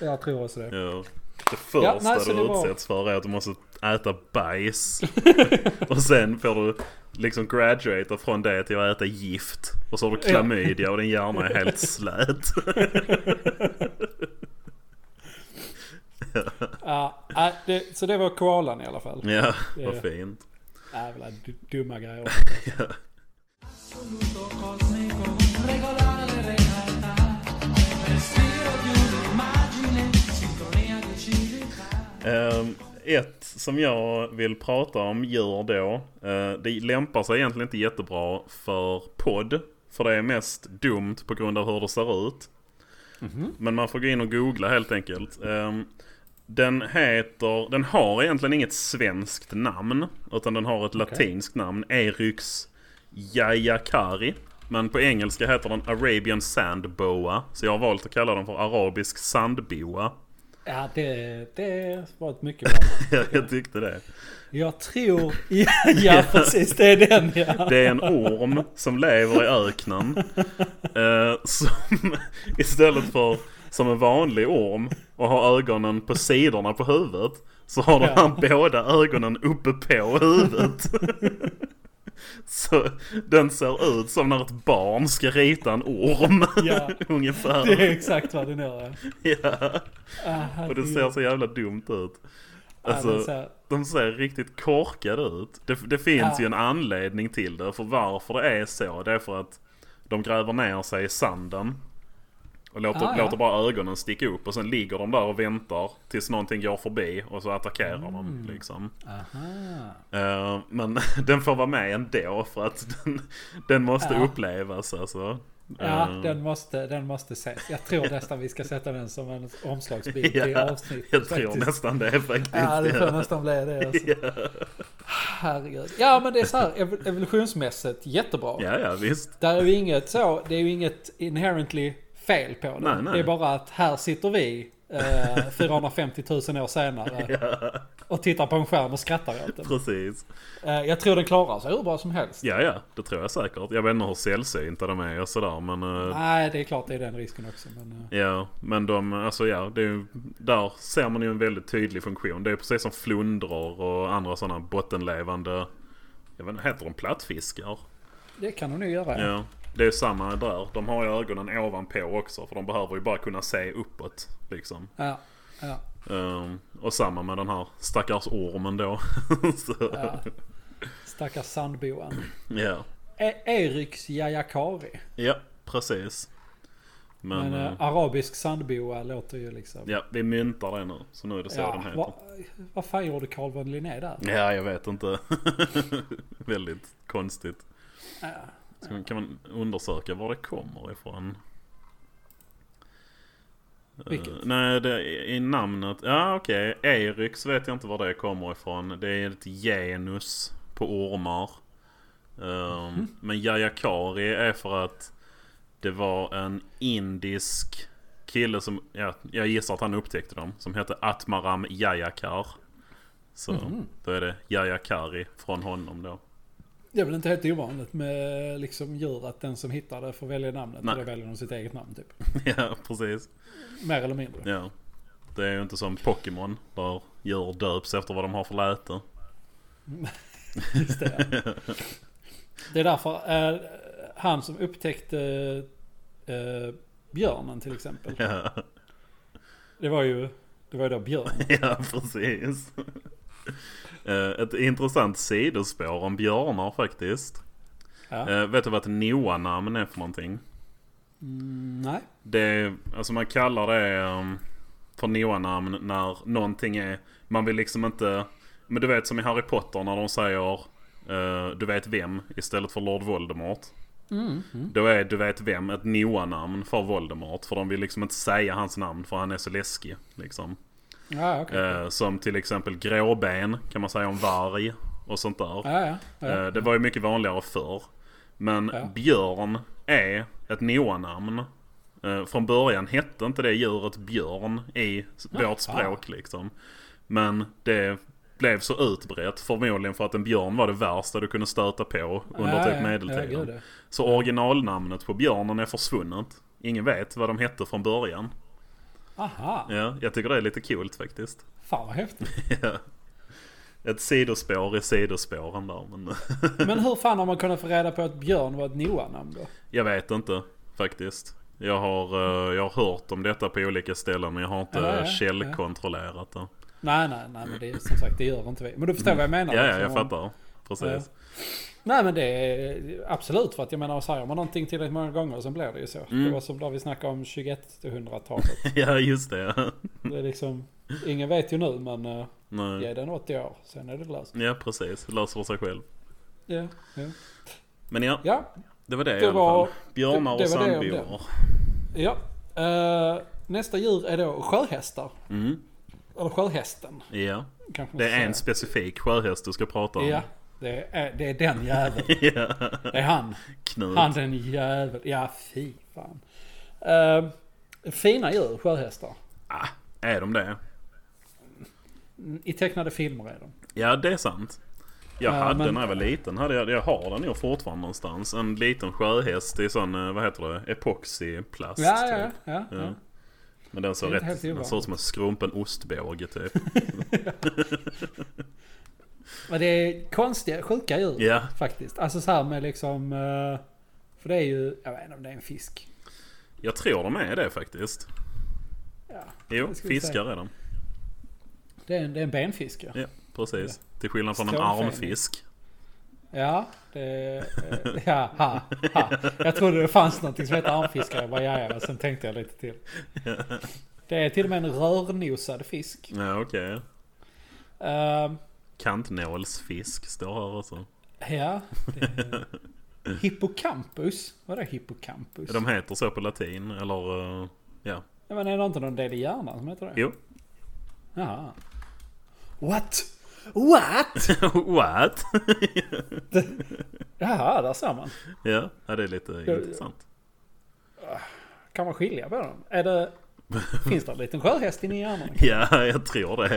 jag tror också det. Ja. Det första Ja, nej, så du det var- utsätts för är att du måste äta bajs. och sen får du liksom graduata från det till att äta gift. Och så har du klamydia och din hjärna är helt slät. Ja, äh, det så det var koalan i alla fall. ja, Ja. vad fint. Jävla d- dumma grejer. Ehm, ett som jag vill prata om gör då, eh, det lämpar sig egentligen inte jättebra för podd. För det är mest dumt på grund av hur det ser ut. Men man får gå in och googla helt enkelt. Ehm, den heter, den har egentligen inget svenskt namn. Utan den har ett latinskt namn, Eryx Jayakari. Men på engelska heter den Arabian Sandboa. Så jag har valt att kalla den för Arabisk Sandboa. Ja, det, det var ett mycket bra namn. jag tyckte det. Jag tror... Ja, ja precis. Det är den ja. Det är en orm som lever i öknen. Eh, som istället för som en vanlig orm och har ögonen på sidorna på huvudet. Så har den här båda ögonen uppe på huvudet. Så den ser ut som när ett barn ska rita en orm. Ja. Ungefär. Det är exakt vad den gör. ja. Ja. Ah, Och det ser så jävla dumt ut. ja, Alltså, den ser- de ser riktigt korkade ut. Det, det finns Ja. ju en anledning till det. För varför det är så, det är för att de gräver ner sig i sanden. Och låter, Ah, ja. låter bara ögonen sticka upp. Och sen ligger de där och väntar tills någonting går förbi. Och så attackerar Mm. de liksom. Aha. Eh, men den får vara med ändå för att den, den måste upplevas alltså. Ja, Eh, den, måste, den måste ses. Jag tror nästan vi ska sätta den som en omslagsbild till ja, avsnittet. jag tror faktiskt. nästan det faktiskt. Ja, det får ja. nästan bli det. Alltså. Herregud. Ja, men det är så här ev- evolutionsmässigt jättebra. ja, ja visst. Där är ju inget så, det är ju inget inherently fel på det. Nej, nej. Det är bara att här sitter vi eh, 450 000 år senare och tittar på en skärm och skrattar åt den. Precis. Eh, jag tror den klarar sig hur bra som helst. Ja, ja, det tror jag säkert. Jag vet inte hur sällsynta de är och sådär, men... eh, Nej, det är klart det är den risken också. Men, eh, Ja, men de, alltså ja, det är ju, där ser man ju en väldigt tydlig funktion. Det är precis som flundror och andra sådana bottenlevande, jag vet inte, heter de plattfiskar? det kan de nog göra. Ja, det är ju samma där. De har ju ögonen ovanpå också, för de behöver ju bara kunna se uppåt, liksom. Ja, ja. Ehm, och samma med den här stackars ormen då. Så, ja. Ja. Stackars sandboan. E- Eriks Jajakari. ja, precis. Men, Men eh, eh, arabisk sandboa låter ju liksom... ja, vi myntar det nu. Så nu är det så den Ja, heter. vad vad fan gjorde Carl von Linné där? Ja, jag vet inte. Väldigt konstigt. Ska man- Kan man undersöka var det kommer ifrån? Vilket? Eh, nej, det, i i namnet. Ja, okej. Eryx vet jag inte var det kommer ifrån. Det är ett genus på ormar. Ehm, Men Yayakari är för att det var en indisk kille som, ja, jag gissar att han upptäckte dem, som hette Atmaram Yayakar. Så då är det Yayakari från honom då. Det är väl inte helt ovanligt med liksom djur att den som hittar det får välja namnet. Nej. Och då väljer de sitt eget namn typ. ja, precis. Mer eller mindre. Ja. Det är ju inte som Pokémon där djur döps efter vad de har för läte. Just det, ja. det är därför eh, han som upptäckte eh, björnen till exempel. Ja, Det var ju det var ju då björn. ja precis. Eh, Ett intressant sidospår om björnar faktiskt. Ja. Eh, Vet du vad ett Noa-namn är för någonting? Mm, nej. Det är, alltså man kallar det ehm, för Noa-namn när någonting är, man vill liksom inte, men du vet som i Harry Potter när de säger eh, du vet vem istället för Lord Voldemort. Mm, Då är du vet vem ett Noa-namn för Voldemort. För de vill liksom inte säga hans namn för han är så läskig. Liksom. Ja, okej. Eh, som till exempel gråben kan man säga om varg och sånt där. Ja, ja, ja. Eh, det var ju mycket vanligare förr. Men Ja. björn är ett Noa-namn. Eh, från början hette inte det djuret björn i s- vårt språk liksom. Men det blev så utbrett förmodligen för att en björn var det värsta du kunde stöta på under Ja, typ ja. medeltiden. Ja, gud, ja. Så originalnamnet på björnen är försvunnet. Ingen vet vad de hette från början. Aha, Ja, jag tycker det är lite coolt faktiskt. fan vad häftigt. Ja. Ett sidospår i sidospåren där. Men Men hur fan har man kunnat få reda på att björn var ett Noa-namn då? jag vet inte faktiskt. Jag har, eh, jag har hört om detta på olika ställen men jag har inte Ja, ja, ja. källkontrollerat det. Nej, nej, nej, men det är som sagt, det gör inte vi. Men du förstår vad jag menar? Ja, ja, liksom, jag om- fattar. Precis. Nej men det är absolut för att jag menar så här, gör man någonting tillräckligt många gånger så blir det ju så. Det var som då vi snackade om 2100-talet. Ja, just det. Det är liksom, ingen vet ju nu men uh, Nej. ge den 80 år, sen är det löst. Ja, precis. Det löser sig själv. Ja, ja. Men ja, ja, det var det, i Det var- alla fall. Björnar det- det och var det om sandbjörnar. ja. Eh, nästa djur är då sjöhästar. Mm. Eller sjöhästen. Ja. Kanske man Det ska är en säga. specifik sjöhäst du ska prata om. Ja, det är, det är den jäveln. Ja. Det är han. Knut. Han den jäveln. Ja, fy fan. Eh, fina djur, sjöhästar. Ah, är de det? Mm, I tecknade filmer är de. Ja, det är sant. Jag Ja, hade men- när jag var liten, hade jag, jag har den nog fortfarande någonstans. En liten sjöhäst i sån, eh, vad heter det, epoxyplast. Ja, ja, ja. typ. ja, Ja. ja. Men den såg Det är inte rätt, helt den ovanligt. såg ut som en skrumpen ostbåge typ. Men det är konstiga, sjuka djur Ja, faktiskt. Alltså så här med liksom... eh, För det är ju, jag vet inte om det är en fisk. jag tror de är det faktiskt. Ja, Jo, det ska vi fiskar är de. det är en, det är en benfisk ja. Ja, precis. Till skillnad från en Strålfäning. armfisk. Ja, det... eh, Ja, ha, ha. Jag trodde det fanns någonting som hette armfiskare. Jag bara, ja, ja, men sen tänkte jag lite till. Det är till och med en rörnosad fisk. Ja, okej. Eh, Kantnålsfisk står här alltså. också. ja, det är... Hippocampus? Vadå hippocampus? De heter så på latin, eller eh, ja. Ja, men är det inte någon del i hjärnan som heter det? Jo. Jaha. What? What? What? Jaha, där ser man. Ja, ja, det är lite intressant. Kan man skilja på dem? Är det... Finns det en liten sjöhäst inne i hjärnan? Ja, jag tror det.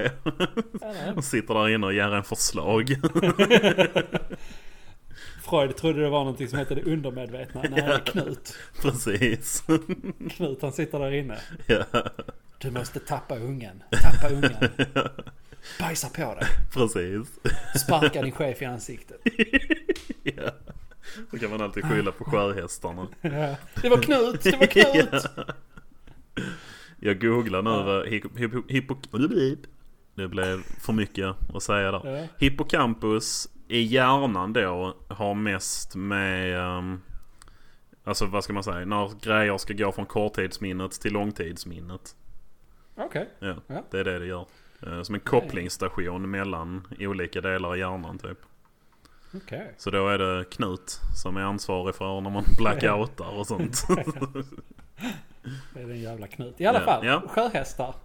Eller? De sitter där inne och ger en förslag. Freud trodde det var någonting som hette det undermedvetna. Nej, det är Knut. Precis. Knut han sitter där inne. Ja, Du måste tappa ungen. Tappa ungen. Bajsa på dig. precis. Sparka din chef i ansiktet. Ja. Då kan man alltid skylla på sjöhästarna. Ja. Det var Knut! Det var Knut! Jag googlar nu vad hip- hip- hippo- Det blev för mycket att säga där. Ja. Hippocampus i hjärnan då har mest med... ehm, alltså vad ska man säga? När grejer ska gå från korttidsminnet till långtidsminnet. Okej. Ja, Ja. det är det det gör. Eh, Som en kopplingsstation mellan olika delar i hjärnan typ. Okej. Så då är det Knut som är ansvarig för när man blackoutar och sånt. Det är den jävla Knut. I alla Ja, fall, ja. sjöhästar.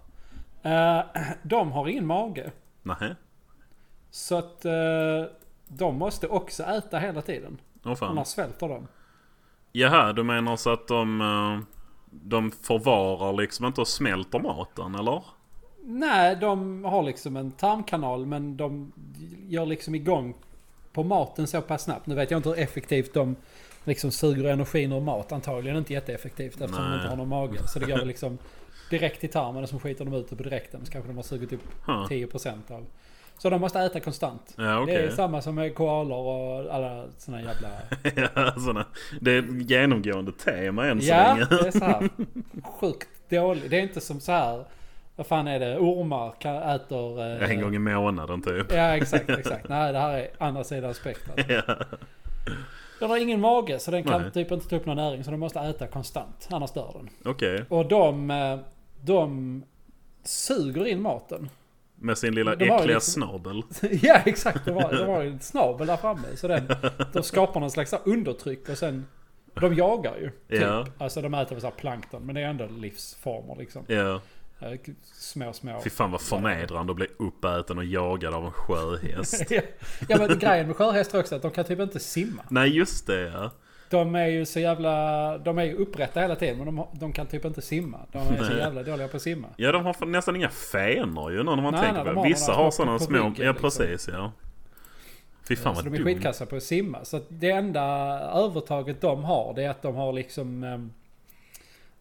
Eh, de har ingen mage. Nej. Så att eh, De måste också äta hela tiden. Åh fan. Annars svälter de. Jaha, du menar så att de, eh, de förvarar liksom inte och smälter maten eller? Nej, de har liksom en tarmkanal men de gör liksom igång på maten så pass snabbt. Nu vet jag inte hur effektivt de liksom suger energin ur mat. Antagligen inte jätteeffektivt eftersom de Nej. inte har någon mage. Så det går väl liksom direkt i tarmen och så skiter de ut det på direkten. Så kanske de har sugit upp Huh. 10% av. Så de måste äta konstant. Ja Typ. Det är okej. samma som med koalor och alla såna jävla... ja, såna. Det är ett genomgående tema än så Ja, länge. det är så här sjukt dåligt. Det är inte som så här... Vad fan är det? Ormar kan, äter... eh, En gång i månaden typ. Ja, exakt, exakt. Nej, det här är andra sidan spektrat. Ja. Den har ingen mage så den kan Nej. typ inte ta upp någon näring så den måste äta konstant. Annars dör den. Okej, Och de... eh, De suger in maten. med sin lilla De har ju äckliga liksom- snabel. ja, exakt. Det var, det var en snabel där framme. Så den, de skapar någon slags så här undertryck och sen... De jagar ju. Typ. Ja. Alltså de äter väl så här plankton. Men det är ändå livsformer liksom. Ja. Eh, Små, små... Fy fan vad förnedrande att bli uppäten och jagad av en sjöhäst. ja, men grejen med sjöhästar också är att de kan typ inte simma. Nej just det ja. De är ju så jävla... De är ju upprätta hela tiden men de, har- de kan typ inte simma. De är så Nej. jävla dåliga på att simma. Ja de har fan nästan inga fenor ju nu när man Nej, tänker nej, de på har det. Vissa några har små sådana på små. ryggen, Ja liksom. precis ja. Fy fan så vad de är dumt. skitkassa på att simma. Så att det enda övertaget de har det är att de har liksom ehm,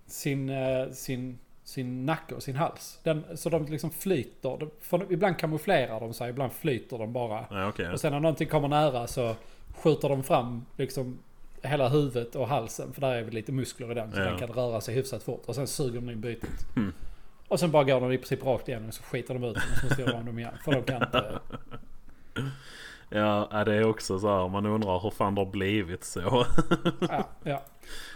sin, eh, sin, sin nacke och sin hals. Den, så de liksom flyter. De, för ibland kamouflerar de sig, ibland flyter de bara. Ja, okej. Och sen när någonting kommer nära så skjuter de fram liksom hela huvudet och halsen. För där är väl lite muskler i den så Ja. den kan röra sig hyfsat fort. Och sen suger de in bytet. Mm. Och sen bara går de i princip rakt igenom och så skiter de ut dem och så måste jag göra om dem igen. För de kan inte... Ja, ja, det är också så här. Man undrar hur fan det har blivit så. Ja, ja.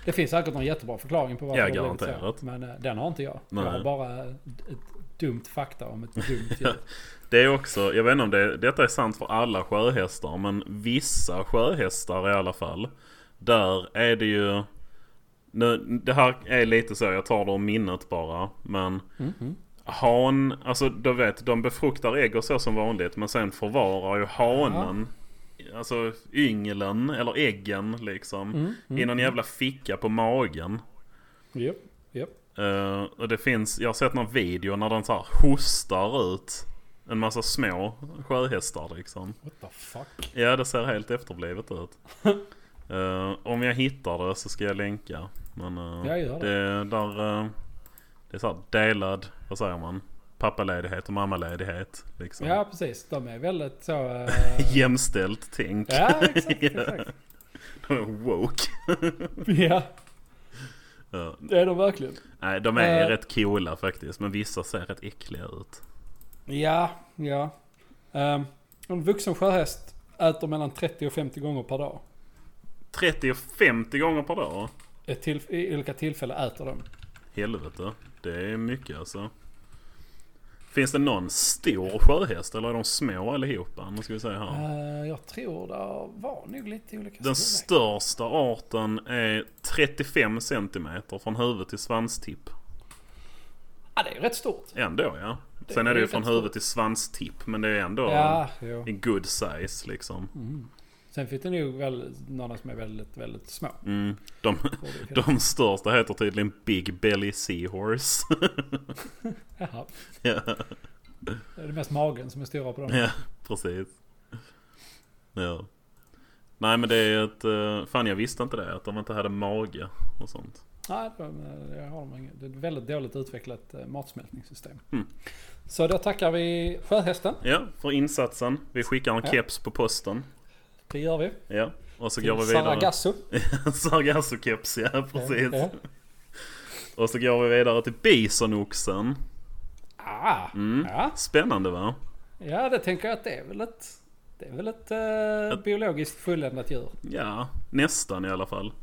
Det finns säkert någon jättebra förklaring på varför Ja, det har blivit garanterat. så. Men eh, den har inte jag. Nej. Jag har bara ett dumt fakta om ett dumt djur. Det är också, jag vet inte om det, detta är sant för alla sjöhästar, men vissa sjöhästar i alla fall. Där är det ju... Nu, det här är lite så, jag tar det om minnet bara. Men Mhm. han, alltså du vet, de befruktar ägg och så som vanligt. Men sen förvarar ju hanen, alltså ynglen eller äggen liksom. Mm, I någon jävla ficka på magen. Japp, japp. Eh, och det finns, jag har sett någon video när den så här hostar ut en massa små sjöhästar liksom. What the fuck? Ja det ser helt efterblivet ut. Eh, om jag hittar det så ska jag länka. Men eh, Ja, gör det. det, där, eh, det är så här delad, vad säger man? Pappaledighet och mammaledighet. Liksom. Ja, precis. De är väldigt så... eh, Jämställt tänk. ja, exakt, exakt. De är woke. Ja, Ja. det är de verkligen. nej de är Eh. rätt coola faktiskt. Men vissa ser rätt äckliga ut. Ja, ja. Ehm, en vuxen sjöhäst äter mellan 30 och 50 gånger per dag. 30 och 50 gånger per dag. Ett till, I olika tillfällen äter de. Helvete. Det är mycket alltså. Finns det någon stor sjöhäst eller är de små allihopa? Nu ska vi se här. Eh, jag tror det var nog lite olika Den storlek. största arten är 35 centimeter från huvud till svanstipp. Ja, det är ju rätt stort. Ändå ja. Det Sen är det är ju från rätt stort. huvud till svanstipp men det är ändå Ja, jo. en good size liksom. Sen finns det nog väl några som är väldigt, väldigt små. Mm. De, de största heter tydligen Big Belly Seahorse. Jaha. ja. Det är mest magen som är stora på dem. Ja, precis. Ja. Nej men det är ett... eh, Fan jag visste inte det. Att de inte hade mage och sånt. Nej, de, eh, det har de inget. Det är ett väldigt dåligt utvecklat eh, matsmältningssystem. Mm. Så då tackar vi sjöhästen. Ja, för insatsen. Vi skickar en Ja. keps på posten. Det gör vi. Ja. Och så Till går vi vidare. Saragasso. Sargassokeps, ja precis. Ja. Och så går vi vidare till bisonoxen. Ah, Mm. ja. Spännande va? ja, det tänker jag att det är väl ett, det är väl ett eh, biologiskt fulländat djur. Ja, nästan i alla fall.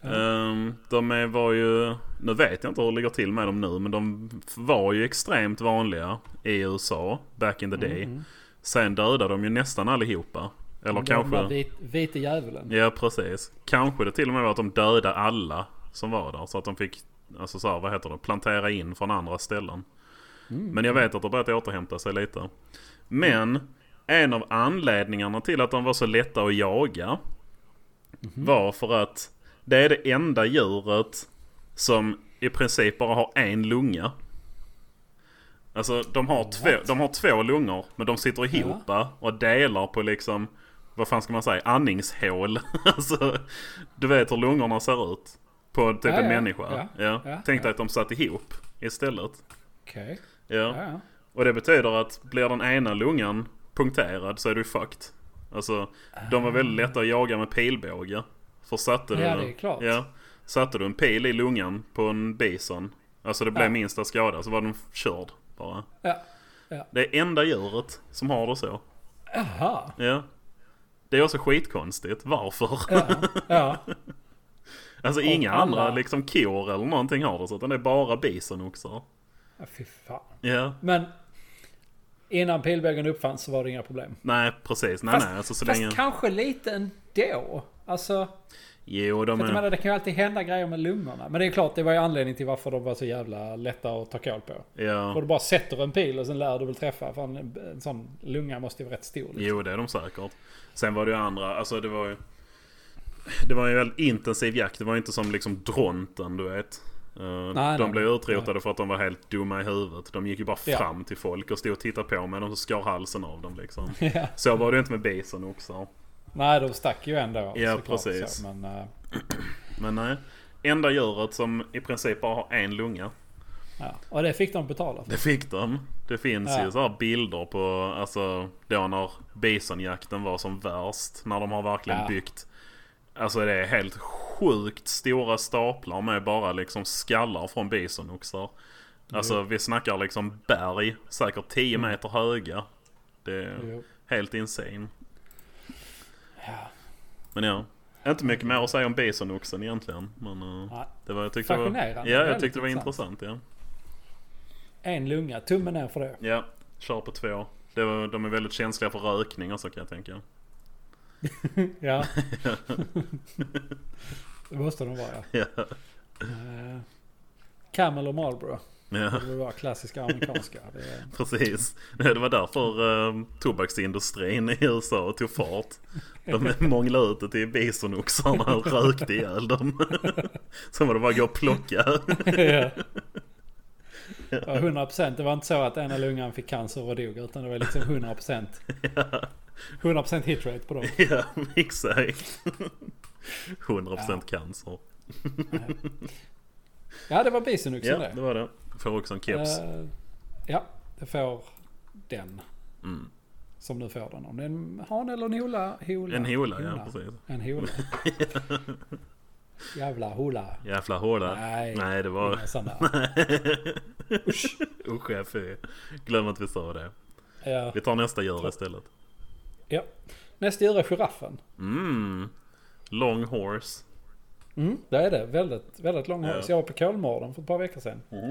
Ja. Ehm, de är, var ju, nu vet jag inte hur det ligger till med dem nu, men de var ju extremt vanliga i USA back in the day. Sen dödade de ju nästan allihopa. Eller Den där kanske... Vit, vite djävulen. Ja, precis. Kanske det till och med var att de dödade alla som var där. Så att de fick, alltså så här, vad heter det, plantera in från andra ställen. Men jag vet att det har börjat återhämta sig lite. Men en av anledningarna till att de var så lätta att jaga var för att det är det enda djuret som i princip bara har en lunga. Alltså de har, två, de har två lungor men de sitter ihop och delar på liksom, vad fan ska man säga, andningshål. alltså, du vet hur lungorna ser ut. På typ Ja, en ja. människa. Ja, ja, Tänk dig ja. att de satt ihop istället. Okej. Ja. Ja, ja. Och det betyder att blir den ena lungan punkterad så är du fucked. Alltså, de var väldigt lätta att jaga med pilbåge. För satte du, Ja, det är klart. Ja, satte du en pil i lungan på en bison, alltså det blev Ja. minsta skada, så var den körd bara. Ja. Det är enda djuret som har det så. Aha. Ja. Det är också skitkonstigt. Varför? Ja. ja. Alltså inga alla- andra liksom kor eller någonting har det så, utan det är bara bison också. ja. Fy fan. Ja, Men innan pilbågen uppfanns så var det inga problem. nej precis. Nej Fast- nej, alltså så Fast länge... kanske lite ändå. Alltså, Jo, de för att jag är... menar, det kan ju alltid hända grejer med lungorna. Men det är klart, det var ju anledningen till varför de var så jävla lätta att ta koll på. Och Ja. du bara sätter en pil och sen lär du väl träffa. För en, en sån lunga måste ju vara rätt stor. Liksom. Jo, det är de säkert. Sen var det ju andra, alltså det var ju... Det var ju en väldigt intensiv jakt. Det var ju inte som liksom dronten, du vet. Eh, nej, de nej. blev utrotade för att de var helt dumma i huvudet. De gick ju bara Ja. fram till folk och stod och tittade på med dem och skar halsen av dem liksom. Ja. Så var det ju inte med bison också. Nej, de stack ju ändå. Ja, såklart precis. Så, men, eh, Men nej. Enda djuret som i princip bara har en lunga. ja. Och det fick de betala för. Det fick de. Det finns Ja. ju så här bilder på, alltså då när bisonjakten var som värst. När de har verkligen Ja. byggt. Alltså det är helt sjukt stora staplar med bara liksom skallar från bisonoxar. Alltså vi snackar liksom berg, säkert 10 meter höga. Det är Mm. Jo. helt insane. Ja. Men ja, inte mycket mer att säga om bisonoxen egentligen. Men eh, Nej. det var, jag tyckte det var, ja, Fascinerande. jag Väldigt tyckte det var intressant. intressant. Ja. En lunga, tummen ner för det. Ja, kör på två. Det var, de är väldigt känsliga för rökning och så kan jag tänka. Ja. det måste de vara. Ja. Eh, Camel och Marlboro. Ja, Det var klassiska amerikanska. Det är- precis. Det var därför eh, tobaksindustrin i USA tog fart. De månglade ut det till bisonoxarna och rökte ihjäl dem. Sen var det bara att gå och plocka. ja. Ja, 100%. Det var inte så att ena lungan fick cancer och dog. Utan det var liksom 100%. 100% hitrate på dem. Ja, exakt. 100% cancer. Ja, det var bison också Ja, det. det var det. Får också en keps. Eh, ja, det får den. Mm. Som nu får den. Om det är en han eller en hola. hola. En hola, ja precis. En hola. Jävla hola. Jävla håla. Nej, Nej, det var... inga sådana. Usch, jag fy. Glöm att vi sa det. Ja. Vi tar nästa djur istället. Ja. Nästa djur är giraffen. Mm. Long horse. Mm, det är det. Väldigt, väldigt lång Ja. hals. Jag var på Kolmården för ett par veckor sedan. Mm.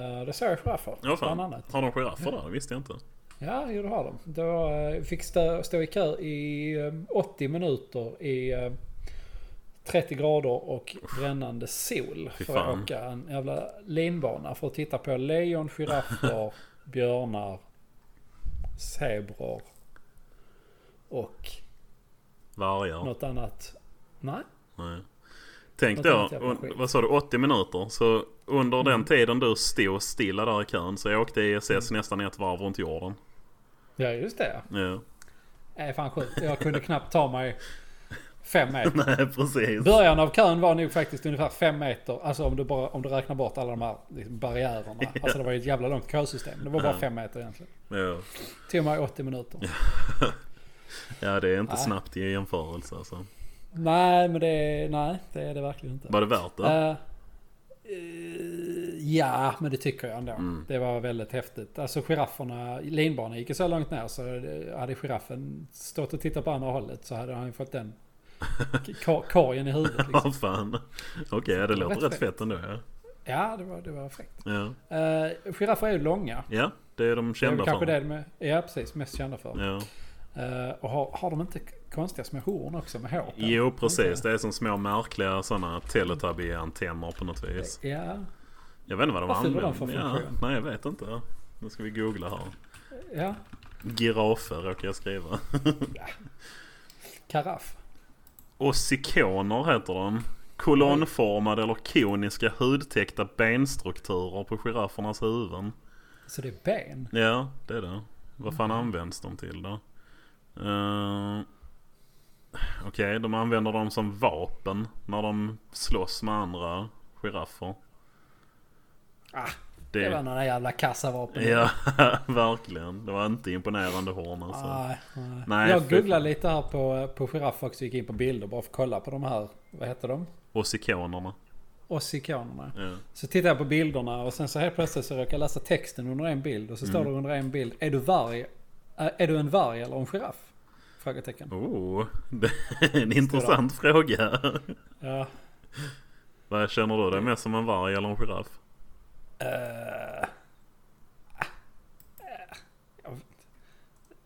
Uh, det såg jag giraffer. Ja, fan. Bland annat. Har de giraffer där? Det visste jag inte. Ja, jo, det har de. Då eh, fick stå, stå i kö i eh, 80 minuter i eh, 30 grader och brännande sol. Fy För att fan. åka en jävla linbana för att titta på lejon, giraffer, björnar, zebror och Vargar. något annat. Nej, Nej. Tänk Något då, annat jävla un- skit. vad sa du, 80 minuter? Så under den tiden du stod stilla där i kön så åkte ISS nästan ett varv runt jorden. ja just det. Ja. Nej, fan sjukt. Jag kunde knappt ta mig fem meter. Nej, precis. Början av kön var nog faktiskt ungefär fem meter. Alltså om du, bara, om du räknar bort alla de här liksom, barriärerna. Alltså det var ju ett jävla långt kösystem. Det var bara Ja. fem meter egentligen. Ja. Tog mig 80 minuter. ja, det är inte Nej. snabbt i jämförelse alltså. Nej, men det, är- nej, det är det verkligen inte. Var det värt det? Eh, eh, ja, men det tycker jag ändå. Mm. Det var väldigt häftigt. Alltså girafferna, linbanan gick ju så långt ner så eh, hade giraffen stått och tittat på andra hållet så hade han ju fått den kor- korgen i huvudet. Liksom. Ja, fan. Okej, ja, det låter rätt fett ändå. Ja. Ja, det var, det var fräckt. Ja. Uh, giraffer är ju långa. ja, det är de Det är kända väl kanske för. det de är ja, precis, mest kända för. Ja. Eh, och har, har de inte konstiga små horn också med hår? på? Jo, precis. Inte? Det är som små märkliga sådana Teletubby-antenner på något vis. Ja, Jag vet inte vad de Vad fyller de använder. för funktion? Ja, nej, jag vet inte. Nu ska vi googla här. ja. Giraffer råkar jag skriva. Karaff. Ossikoner heter de. Kolonnformade eller koniska hudtäckta benstrukturer på giraffernas huvuden. Så det är ben. Ja, det är det. Vad fan Mm. används de till då? Eh, Okej, de använder dem som vapen när de slåss med andra giraffer. Ah, det, Det var några jävla kassavapen. Ja, verkligen. Det var inte imponerande horn alltså. Nej, nej. Nej, jag fy googlade fan. lite här på, på giraff också. Gick in på bilder bara för att kolla på de här. Vad heter de? Ossikonerna. Ossikonerna. Ja. Så tittar jag på bilderna och sen så helt plötsligt så råkar jag läsa texten under en bild. Och så Mm. står det under en bild. Är du varg? Äh, Är du en varg eller en giraff? Frågetecken. Oh, det är en intressant fråga. Ja. Vad känner du Mm. dig mest som en varg eller en giraff? Eh, eh,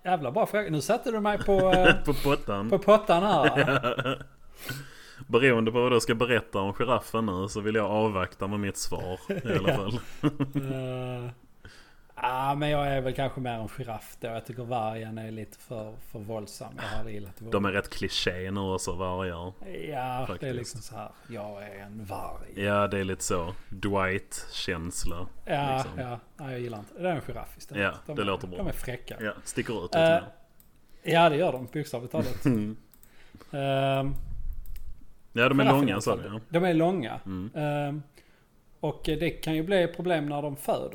Jävla bra fråga. Nu satte du mig på, eh, På pottan. på pottan här. Beroende på vad du ska berätta om giraffen nu så vill jag avvakta med mitt svar i alla fall. Eh, ah, men jag är väl kanske mer en giraff då. Jag tycker vargen är lite för, för våldsam. Jag har aldrig gillat våld. De är rätt kliché nu också, vargar. Ja, det är faktiskt. liksom så här. Jag är en varg. Ja, det är lite så. Dwight-känsla. Ja, liksom. ja. Nej, jag gillar inte. Det är en giraff istället. Ja, de det är, låter bra. De är fräcka. Ja, sticker ut lite Eh, mer. Mm. ja, det gör de. Bokstavligt talat. Ehm, Ja, de är Falafel långa i sa alla fall. du De är långa. Mm. Ehm, och det kan ju bli problem när de föder.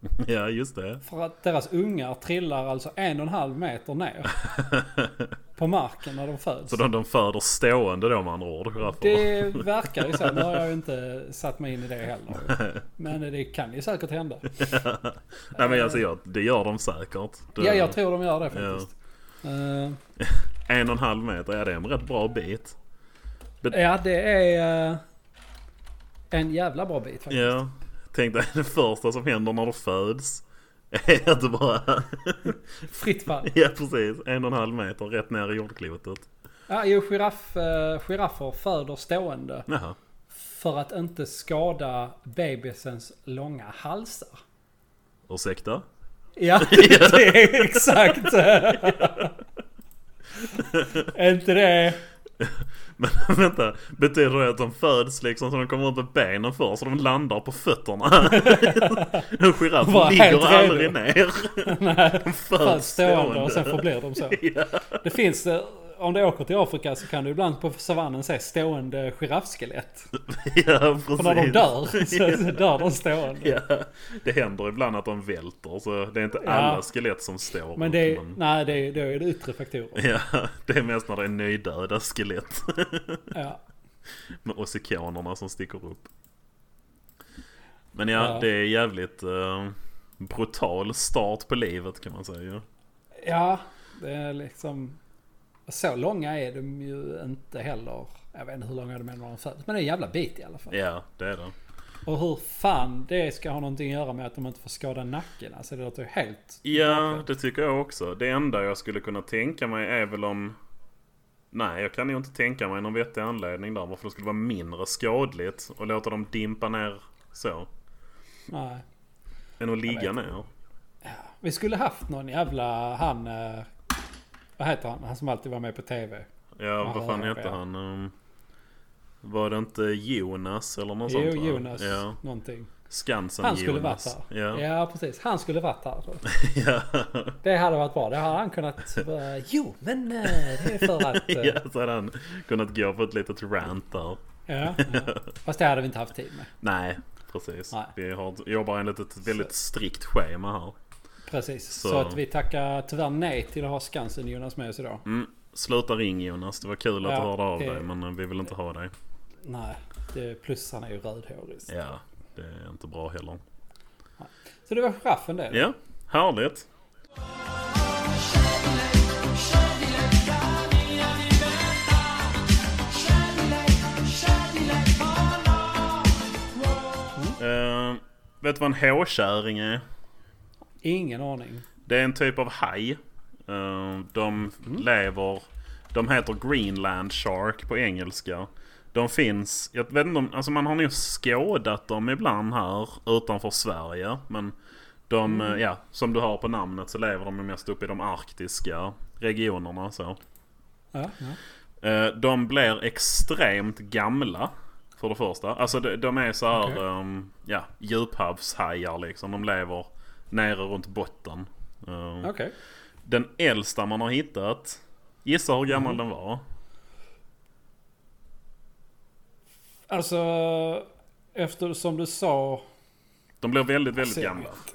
ja. ja, just det. För att deras ungar trillar alltså en och en halv meter ner. på marken när de föds. Så de, de föder stående då med andra ord, giraffer. Det verkar ju så. Nu har jag ju inte satt mig in i det heller. Men det kan ju säkert hända. Nej men alltså, jag, det gör de säkert. Det- Ja, jag tror de gör det faktiskt. Ehm, En och en halv meter, ja det är en rätt bra bit. ja, det är eh, en jävla bra bit faktiskt. Ja. Tänk dig det första som händer när du föds. Är att du bara... Fritt fall. ja precis, en och en halv meter rätt ner i jordklotet. Ja, jo, giraff, eh, giraffer föder stående. Jaha. För att inte skada bebisens långa halsar. Ursäkta? Ja, det är exakt. är inte det? Men vänta, betyder det att de föds liksom så de kommer ut med benen först så de landar på fötterna? en Bara giraff helt ligger redo. aldrig ner. de Föds föds stående och sen stående. förblir de så. Det finns, eh, om du åker till Afrika så kan du ibland på savannen se stående giraffskelett. Ja För när de precis. dör så, så dör de stående. Ja, det händer ibland att de välter så det är inte Ja. alla skelett som står Men upp, det är, nej, det är, då är det yttre faktorer. Ja, det är mest när det är nöjdöda skelett Ja. med ossikonerna som sticker upp. Men ja, Ja. det är jävligt eh, brutal start på livet kan man säga. Ja, det är liksom... Så långa är de ju inte heller. Jag vet inte hur långa de är när de föds. Men det är en jävla bit i alla fall. Ja, det är det. Och hur fan det ska ha någonting att göra med att de inte får skada nacken. Alltså det låter ju helt... Ja, det tycker jag också. Det enda jag skulle kunna tänka mig är väl om... Nej, jag kan ju inte tänka mig någon vettig anledning där varför det skulle vara mindre skadligt och låta dem dimpa ner så. Nej. Än att ligga ner. Vi skulle haft någon jävla han... eh, Vad heter han? Han som alltid var med på TV. Ja, Jaha, vad fan ja. hette han? Ehm, Var det inte Jonas eller något sånt? Jo, va? Jonas Ja. någonting. Skansen Han skulle varit Jonas. här. Ja. Ja. Ja, precis. Han skulle varit här. Det hade varit bra. Det hade han kunnat... eh, Jo, men eh, det är för att... eh, ja, så hade han kunnat gå på ett litet rant där. Ja, ja. Fast det hade vi inte haft tid med. Nej, precis. Nej. Vi har, jobbar enligt ett väldigt strikt schema här. Precis, så. Så att vi tackar tyvärr nej till att ha Skansen Jonas med oss idag. Mm. Sluta ring Jonas, det var kul att Ja, du hörde av det- dig men eh, vi vill inte ha dig. Nej, det, plus han är ju rödhårig. Ja, det är inte bra heller. Så det var giraffen det. Ja, härligt. Eh, vet du vad en håkärring är? Ingen aning. Det är en typ av haj. Eh, de lever... De heter Greenland Shark på engelska. De finns... Jag vet inte om... Alltså man har nog skådat dem ibland här utanför Sverige. Men De, eh, ja, som du har på namnet så lever de ju mest uppe i de arktiska regionerna. Så. Ja, ja. Eh, de blir extremt gamla. För det första. Alltså de, de är så här Okej. ehm, ja, djuphavshajar liksom. De lever nere runt botten. Eh, Okej. Den äldsta man har hittat. Gissa hur Mm. gammal den var. Alltså, eftersom du sa... De blir väldigt, väldigt Alltså, jag gamla. vet-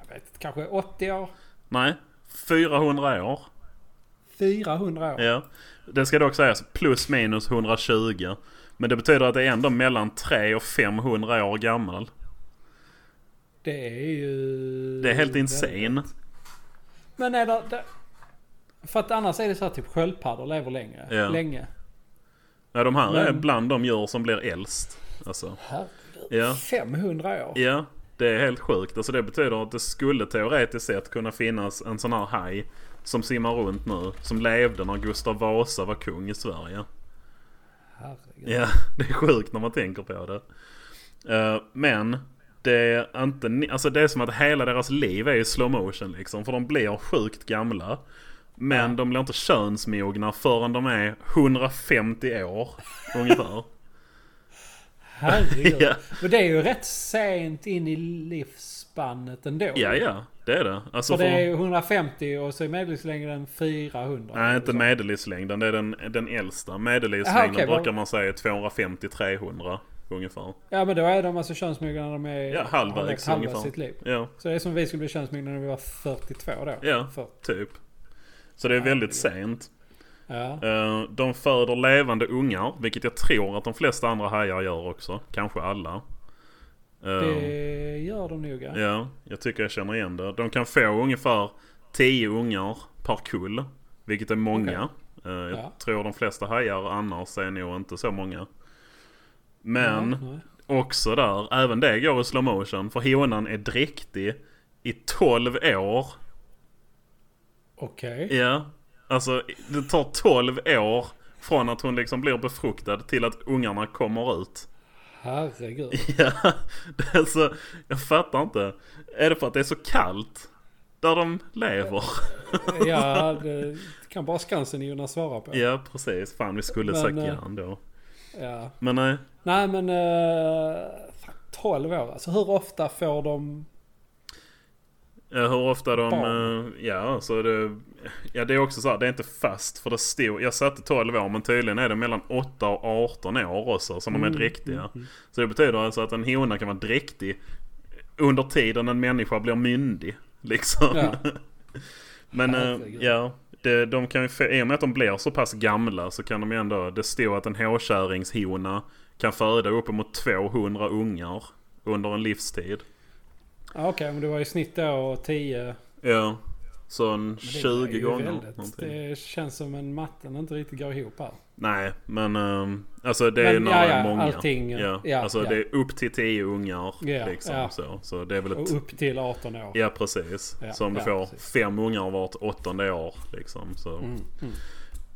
Jag vet inte, kanske 80 år? Nej, 400 år. 400 år? Ja. Det ska dock sägas plus minus 120. Men det betyder att det är ändå mellan 300 och 500 år gammal. Det är ju... Det är helt insane. Men är det, det... För att annars är det så här typ sköldpaddor lever längre. Ja. Länge. Ja, de här är Men- bland de djur som blir äldst. Alltså. Herregud. Ja. 500 år? Ja, det är helt sjukt. Alltså det betyder att det skulle teoretiskt sett kunna finnas en sån här haj som simmar runt nu. Som levde när Gustav Vasa var kung i Sverige. Herregud. Ja, det är sjukt när man tänker på det. Eh, men det är inte... ni- Alltså det är som att hela deras liv är i slow motion liksom. För de blir sjukt gamla. Men de blir inte könsmogna förrän de är 150 år ungefär. Herregud. Ja. Men det är ju rätt sent in i livsspannet ändå. Ja, ja. Det är det. Alltså För det är ju 150 och så är medellivslängden 400. Nej, inte Så. medellivslängden. Det är den, den äldsta. Medellivslängden Aha, okej, vad- brukar man säga 250-300 ungefär. Ja men då är de alltså könsmogna när de är... Ja, har levt halvvägs halva ungefär. sitt liv. Ja, Så det är som vi skulle bli könsmogna när vi var 42 då. Ja. För, typ. Så det är väldigt sent. ja. Eh, De föder levande ungar, vilket jag tror att de flesta andra hajar gör också. Kanske alla. Eh, Det gör de nog ja. Ja, jag tycker jag känner igen det. De kan få ungefär 10 ungar per kull. Vilket är många. Eh, Jag Ja. tror de flesta hajar annars är nog inte så många. Men... Ja, nej. Också där, även det går i slow motion för honan är dräktig i 12 år. Okej. Ja, alltså det tar 12 år från att hon liksom blir befruktad till att ungarna kommer ut. Herregud. Ja, det är så, jag fattar inte. Är det för att det är så kallt där de lever? Ja, det kan bara Skansen Jonas svara på. Ja, precis. Fan, vi skulle Men, sagt eh, ja ändå. Ja. Men nej, Nej men... eh, fan, 12 år alltså. Hur ofta får de... Ja, Eh, hur ofta de... Barn. eh, Ja, så det... Ja, det är också så här, det är inte fast för det stod... Jag satte 12 år men tydligen är det mellan 8 och 18 år också som Mm, de är dräktiga. Så det betyder alltså att en hona kan vara dräktig under tiden en människa blir myndig. Liksom. Ja. men eh, Herregud. ja, det, de kan ju... få- I och med att de blir så pass gamla så kan de ju ändå... Det står att en hårkärringshona kan föda uppemot 200 ungar under en livstid. Ja, Okej, men det var i snitt då 10... Ja. Så en Men det 20 är ju gånger. väldigt- någonting. Det känns som en matten inte riktigt går ihop här. Nej, men ehm, alltså det är Men, ju när det ja, är ja, många. allting, ja. ja, alltså ja. det är upp till 10 ungar. Ja, liksom, ja. Så. så det är väl ett... Och upp till 18 år. Ja precis. Ja, så om du ja, får precis. fem ungar vart åttonde år. Liksom, så. Mm, mm.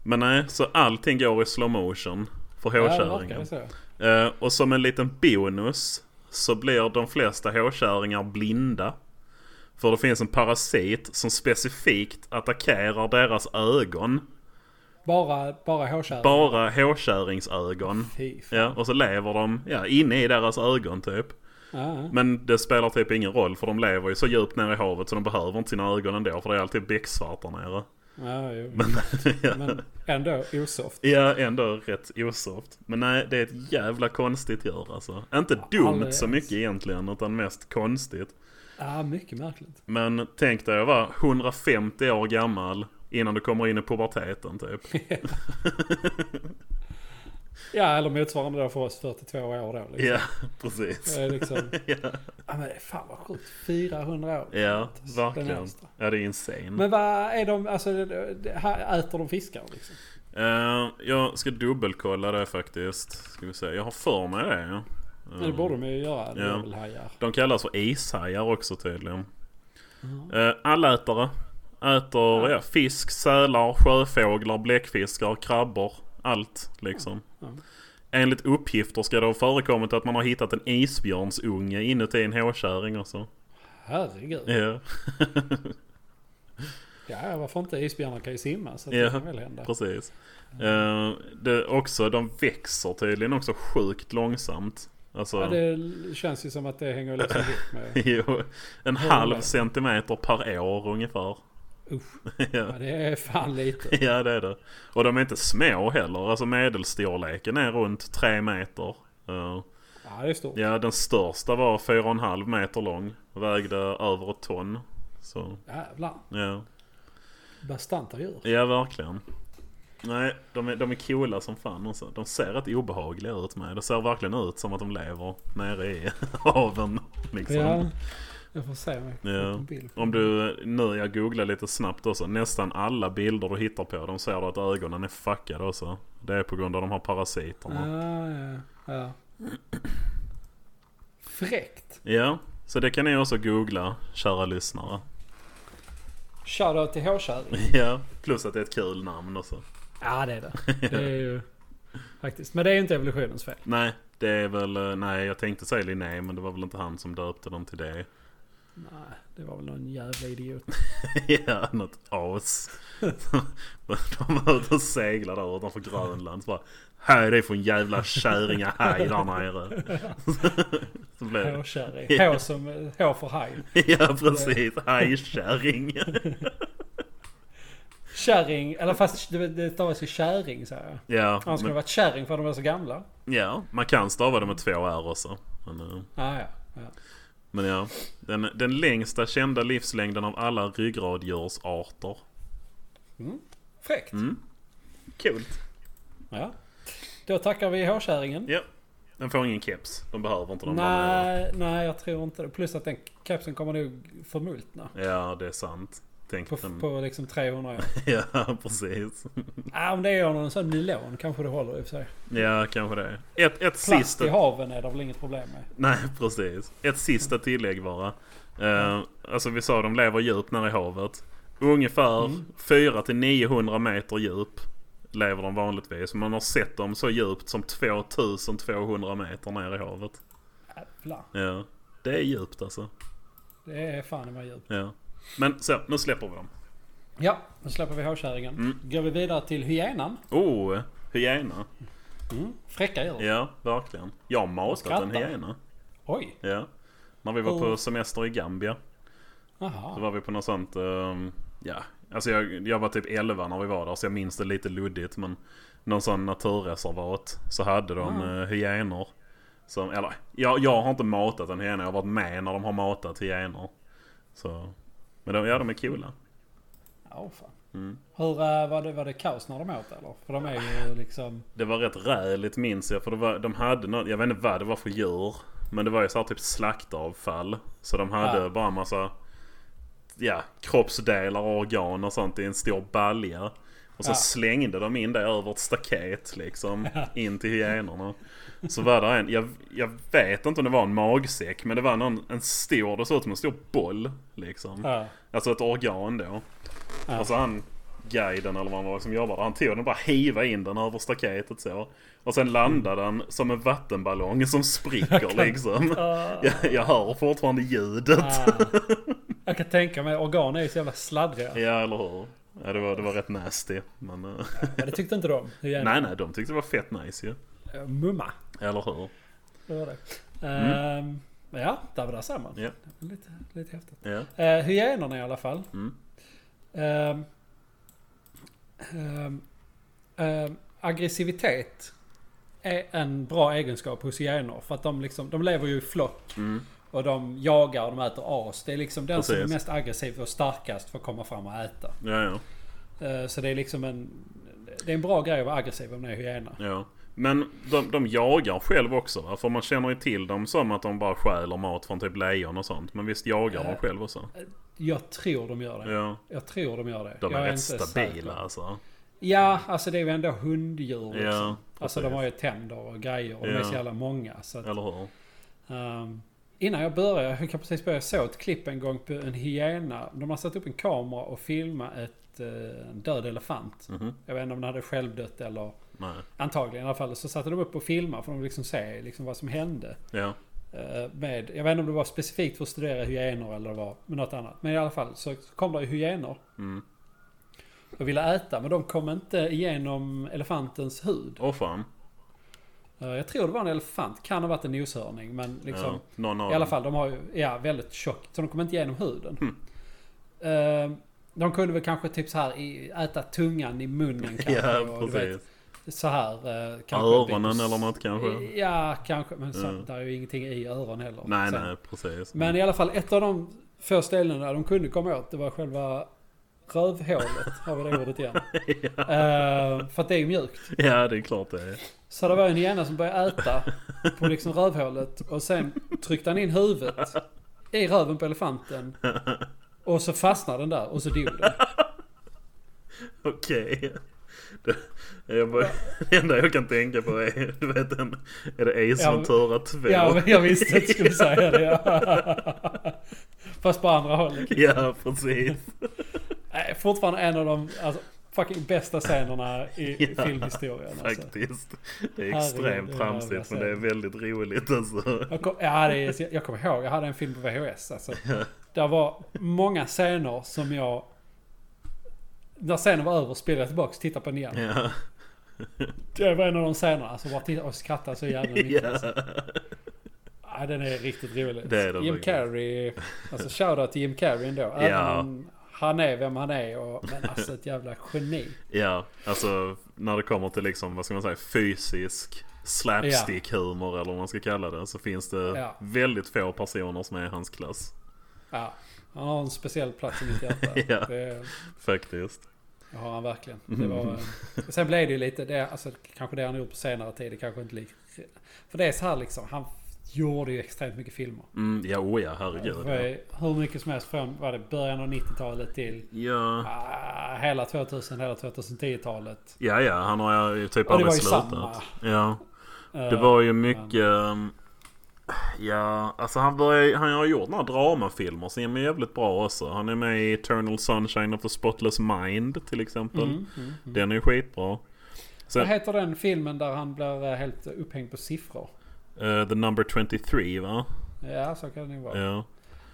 Men nej, så allting går i slow motion för Ja, det verkar hårkärringen. det så. Eh, och som en liten bonus så blir de flesta hårkärringar blinda. För det finns en parasit som specifikt attackerar deras ögon. Bara, bara hårkärring. Bara hårkärringsögon. Fy fan. Ja, och så lever de ja, inne i deras ögon typ. Ja. Men det spelar typ ingen roll för de lever ju så djupt nere i havet så de behöver inte sina ögon ändå för det är alltid becksvart där nere. Ja, jo. Men, ja. Men ändå osoft. ja, ändå rätt osoft. Men nej, det är ett jävla konstigt djur alltså. Inte dumt aldrig så ens. mycket egentligen utan mest konstigt. Ja, mycket märkligt. Men tänk dig att vara 150 år gammal innan du kommer in i puberteten typ. Ja, eller motsvarande då för oss 42 år då. Liksom. Ja, precis. Det är liksom... Ja, men det är fan vad sjukt. 400 år. Ja, Den verkligen. Mm. äldsta. Ja, det är insane. Men vad är de, alltså det- det- här äter de fiskar liksom? Eh, jag ska dubbelkolla det faktiskt. Ska vi se. Jag har för mig det. Eh, Det borde de ju göra, Ja. djävulhajar. De kallas för ishajar också tydligen. Eh, allätare. Äter ja, fisk, sälar, sjöfåglar, bläckfiskar, krabbor. Allt liksom. Ja. Enligt uppgifter ska det ha förekommit att man har hittat en isbjörnsunge inuti en håkärring och så. Herregud. Ja, Ja, varför inte? Isbjörnar kan ju simma så Ja. det kan väl hända. precis. Eh, det också, de växer tydligen också sjukt långsamt. Alltså, Ja, det känns ju som att det hänger liksom ihop med... jo, en Håller halv med. centimeter per år ungefär. Usch, ja. ja, det är fan lite. Ja det är det. Och de är inte små heller. Alltså medelstorleken är runt 3 meter. Eh, Ja, det är stort. ja den största var 4,5 meter lång. Vägde över ett ton. Så Jävlar. ja. Bastanta djur. Ja verkligen. Nej de är, de är coola som fan alltså. De ser rätt obehagliga ut med. Det ser verkligen ut som att de lever nere i haven. Liksom. Ja, jag får se om jag kan Ja. få en bild. på Om det. du, nu jag googlar lite snabbt också. Nästan alla bilder du hittar på dem ser du att ögonen är fuckade också. Det är på grund av de här parasiterna. Ja, ja, ja. Fräckt. Ja, så det kan ni också googla, kära lyssnare. Shoutout till hårkärring. Ja, plus att det är ett kul namn också. Ja, det är det. Det är ju faktiskt. Men det är ju inte evolutionens fel. Nej, det är väl... eh, Nej, jag tänkte säga Linné, men det var väl inte han som döpte dem till det. Nej, det var väl någon jävla idiot. ja, något as. De var ute och seglade där utanför Grönland. Så bara, här det är från jävla kärringahaj där nere. så blev det. Hårkärring. Hår som hår för haj. Ja, precis. Hajkärring. Kärring, eller fast det, det stavas ju käring säger jag. ja, Annars skulle det men, varit kärring för att de är så gamla. ja, man kan stava det med två r också. Men, eh, Ah, ja, ja. Men ja, den, den längsta kända livslängden av alla ryggraddjursarter. Fräckt. Mm. Coolt. Ja. Då tackar vi hårkärringen. Ja. Den får ingen keps. De behöver inte de där Nej, nej, jag tror inte det. Plus att den kepsen kommer nog förmultna. nere. Ja, Mm. det är sant. Tänk På, den. på liksom 300 år. Ja, precis. ah, om det är någon sån nylon kanske det håller i och för sig. Ja, kanske det. Ett, ett Plast sista... i haven är det väl inget problem med. Nej, precis. Ett sista tillägg bara. Eh, alltså vi sa de lever djupt nere i havet. Ungefär Mm. 400-900 meter djup lever de vanligtvis. Man har sett dem så djupt som 2200 meter nere i havet. Jävlar. Ja, det är djupt alltså. Äh, Det är fan i mig djupt. Ja. Men så, nu släpper vi dem. Ja, nu släpper vi hårkärringen. Mm. Går vi vidare till hyenan. Oh, hyena. Fräcka djur. Ja, verkligen. Jag har matat en skrattar. hyena. Oj. Ja. När vi var Oh. på semester i Gambia. Så Aha. var vi på något sånt, ehm, ja. Alltså jag, jag var typ 11 när vi var där så jag minns det lite luddigt. Men någon sån naturreservat så hade de eh, hyenor. Som, eller, jag, jag har inte matat en hyena, jag har varit med när de har matat hyenor. Så, men de, ja, de är coola. Ja, fan. Mm. Hur äh, var, det, var det kaos när de åt eller? För de är ju liksom... Det var rätt räligt minns jag för det var, de hade något, jag vet inte vad det var för djur. Men det var ju så här typ slaktavfall. Så de hade Ja. bara massa ja, kroppsdelar och organ och sånt i en stor balja. Och så Ja. slängde de in det över ett staket liksom. In till hyenorna. Så var det en, jag, jag vet inte om det var en magsäck men det var någon, en stor, det såg ut som en stor boll liksom. Ja. Alltså ett organ då. Alltså han guiden eller vad han var som jobbade. Han tog den och bara hivade in den över staketet så. Och sen landade den som en vattenballong som spricker liksom. Äh, Jag, jag hör fortfarande ljudet. Ah. Jag kan tänka mig, organ är ju så jävla sladdriga. Ja eller hur. Ja, det, var, det var rätt nasty. Men, eh, Ja, det tyckte inte de. Hyenan. nej nej, de tyckte det var fett nice ju. Eh, Mumma. Eller hur? Det var det. Ehm, ja, där var det samman. Mm. Ja. Det var lite, lite häftigt. Ja. Uh, hyenorna i alla fall. Mm. Ehm, ehm, ehm, aggressivitet är en bra egenskap hos hyenor. För att de, liksom, de lever ju i flock. Och de jagar och de äter as. Det är liksom den som är Mm. Precis. mest aggressiv och starkast för att komma fram och äta. Ja, ja, Eh, så det är liksom en... Det är en bra grej att vara aggressiv om man är hyena. ja. Men de, de jagar själv också va? För man känner ju till dem som att de bara stjäler mat från typ lejon och sånt. Men visst jagar de Ja. själv också? Jag tror de gör det. Ja. Jag tror de gör det. De är, jag rätt inte stabila säker. alltså. Ja, alltså det är ju ändå hunddjur. Liksom. Ja, alltså de precis. har ju tänder och grejer. Och de Ja. är så jävla många. Så att, Eller hur? ehm, innan jag började, jag kan precis börja. Jag såg ett klipp en gång på en hyena. De har satt upp en kamera och filmat ett, eh, en död elefant. Mhm. Jag vet inte om den hade självdött eller Nej. antagligen i alla fall. Så satte de upp och filmade för de vill liksom se liksom, vad som hände. Ja. Eh, eh, Med, jag vet inte om det var specifikt för att studera hyenor eller vad, men något annat. Men i alla fall så kom det ju hyenor Mm. och ville äta. Men de kom inte igenom elefantens hud. Åh fan. Eh, Jag tror det var en elefant. Kan ha varit en noshörning. Men liksom. Ja, någon av I alla dem. fall, de har ju, ja, väldigt tjock. Så de kommer inte igenom huden. Mm. Eh, de kunde väl kanske typ så här i, äta tungan i munnen kanske. Ja, och du vet, precis. så här. eh, kanske Öronen byts- eller något kanske. Ja, kanske. Men så, Mm. där är ju ingenting i öron heller. Nej, Sen. nej, precis. Men i alla fall, ett av de få ställena de kunde komma åt, det var själva rövhålet. har vi det ordet igen. Eh, för att det är ju mjukt. Ja, det är klart det är. Så det var en hyena som började äta på liksom rövhålet och sen tryckte han in huvudet i röven på elefanten. Och så fastnade den där och så dog den. Okej. Det, jag bara, det enda jag kan tänka på är, du vet en, är det Ace Ja, Ventura 2? Ja, men jag visste att du skulle säga det. Ja. Fast på andra hållet. Ja, precis. Nej, Fortfarande en av de alltså, fucking bästa scenerna i Ja, filmhistorien. Alltså. Faktiskt. Det är Herregud, extremt det är tramsigt men det är jävla väldigt roligt alltså. Jag, kom, ja, det är, jag kommer ihåg, jag hade en film på VHS. Alltså. Det var många scener som jag... När scenen var över spelade jag tillbaka och tittade på den igen. Ja. Det var en av de scenerna. Alltså bara titta och skratta så jävla mycket. ja. Alltså. Ja, den är riktigt rolig. Det är den Jim faktiskt. Carrey. Alltså shoutout till Jim Carrey ändå. Även Ja. om han är vem han är. Och, men alltså ett jävla geni. ja, alltså när det kommer till liksom, vad ska man säga, fysisk slapstick-humor eller vad man ska kalla det. Så finns det Ja. väldigt få personer som är i hans klass. Ja, han har en speciell plats i mitt hjärta. Ja. Det Faktiskt. det har han verkligen. Det var, eh, sen blev det ju lite, det, alltså, kanske det han gjort på senare tid. Det kanske inte lika... För det är så här liksom. Han gjorde ju extremt mycket filmer. Mm, ja, oh ja, Det herregud. var ju hur mycket som helst från var det, början av 90-talet till Ja. Ah, hela 2000, hela 2010-talet. Ja, ja, han har ju typ Ja, det aldrig var ju slutat. samma. Ja, Eh, det var ju mycket... ehm, Ja, alltså han, började, han har gjort några dramafilmer som är jävligt bra också. Han är med i Eternal Sunshine of the Spotless Mind till exempel. Mm, mm, mm. Den är ju skitbra. Vad Sen, heter den filmen där han blir eh, helt upphängd på siffror? eh, The Number 23 va? Ja, så kan det ju vara. Ja.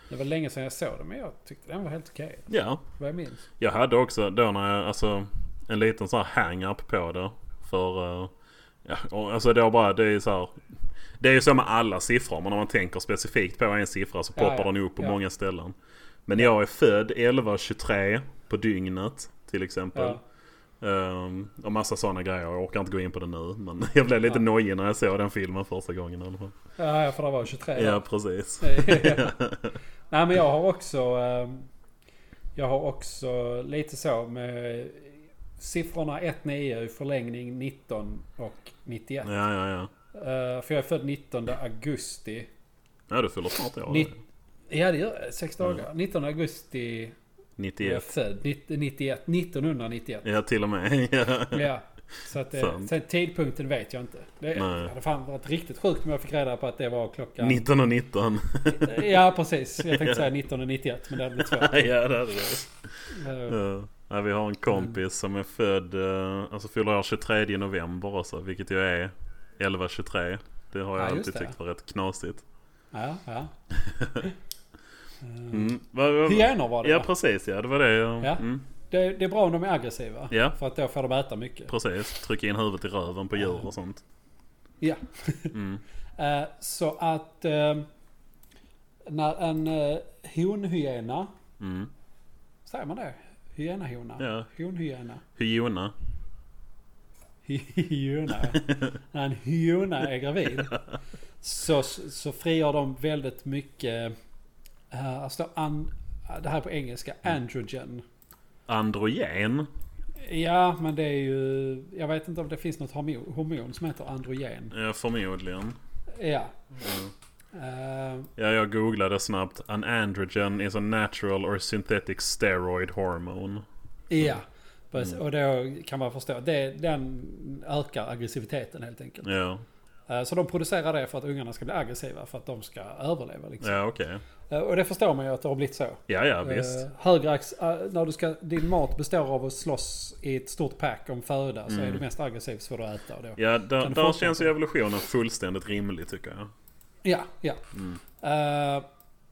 Det var länge sedan jag såg den, men jag tyckte den var helt okej. ja, Vad jag minns. Jag hade också då när jag, alltså en liten sån här hang-up på det. För, eh, ja, och, alltså då bara, det är ju så här. Det är ju så med alla siffror, men om man tänker specifikt på en siffra så Ja, poppar ja, den upp på ja. många ställen. Men jag är född 11.23 på dygnet till exempel. Ja. Ehm, och massa sådana grejer. Jag orkar inte gå in på det nu, men jag blev lite Ja. nojig när jag såg den filmen första gången i alla fall. Ja, ja, för det var 23 Ja, år. precis. Ja. Nej, men jag har också... eh, Jag har också lite så med siffrorna 1, 9 i förlängning 19 och 91. Ja, ja, ja. Eh, För jag är född 19 augusti. Ja, du fyller snart år. Nitt- Ja, det gör jag. Sex Mm. dagar. 19 augusti är jag 91. född. Nitt- 91, 1991. Ja, till och med. Ja. Ja. Så att det, Sant. sen tidpunkten vet jag inte. Det Nej. hade fan varit riktigt sjukt om jag fick reda på att det var klockan... 19 och 19. Ja, precis. Jag tänkte säga 1991, men det hade blivit svårt. ja, det är det. Eh, Ja. Ja, vi har en kompis som är född, eh, alltså fyller år 23 november också, vilket ju är 11-23. Det har jag Ja, just alltid det. tyckt var rätt knasigt. Ja, ja. Mm. Va, va, va? Hyenor var det Ja, ja. precis ja. Det var det. jag- Ja. Mm, det, det är bra om de är aggressiva. Ja. För att då får de äta mycket. precis. Trycka in huvudet i röven på djur och sånt. Ja. Mm. Eh, Så att... eh, När en eh, honhyena... Mm. Säger man det? Hyena-hona? Ja. Honhyena? Hyona. Hyena. När en hyena är gravid så, så frigör de väldigt mycket... eh, Alltså an, det här är på engelska, Mm. androgen. Androgen. Ja, men det är ju... Jag vet inte om det finns något hormo- hormon som heter androgen. Ja, förmodligen. Ja. Eh, Ja, jag googlade snabbt. An androgen is a natural or synthetic steroid hormone. ja. Precis. Mm. Och då kan man förstå. Det, den ökar aggressiviteten helt enkelt. Ja, Eh, Så de producerar det för att ungarna ska bli aggressiva. För att de ska överleva liksom. ja okej. Eh, Och det förstår man ju att det har blivit så. Ja, ja visst. Eh, högre ax, eh, när du ska, din mat består av att slåss i ett stort pack om föda så är du mest aggressiv så får du äta. Och då. Mm. Ja, där, du där fortsätta? känns ju evolutionen fullständigt rimlig tycker jag. Ja, ja. Mm. Eh,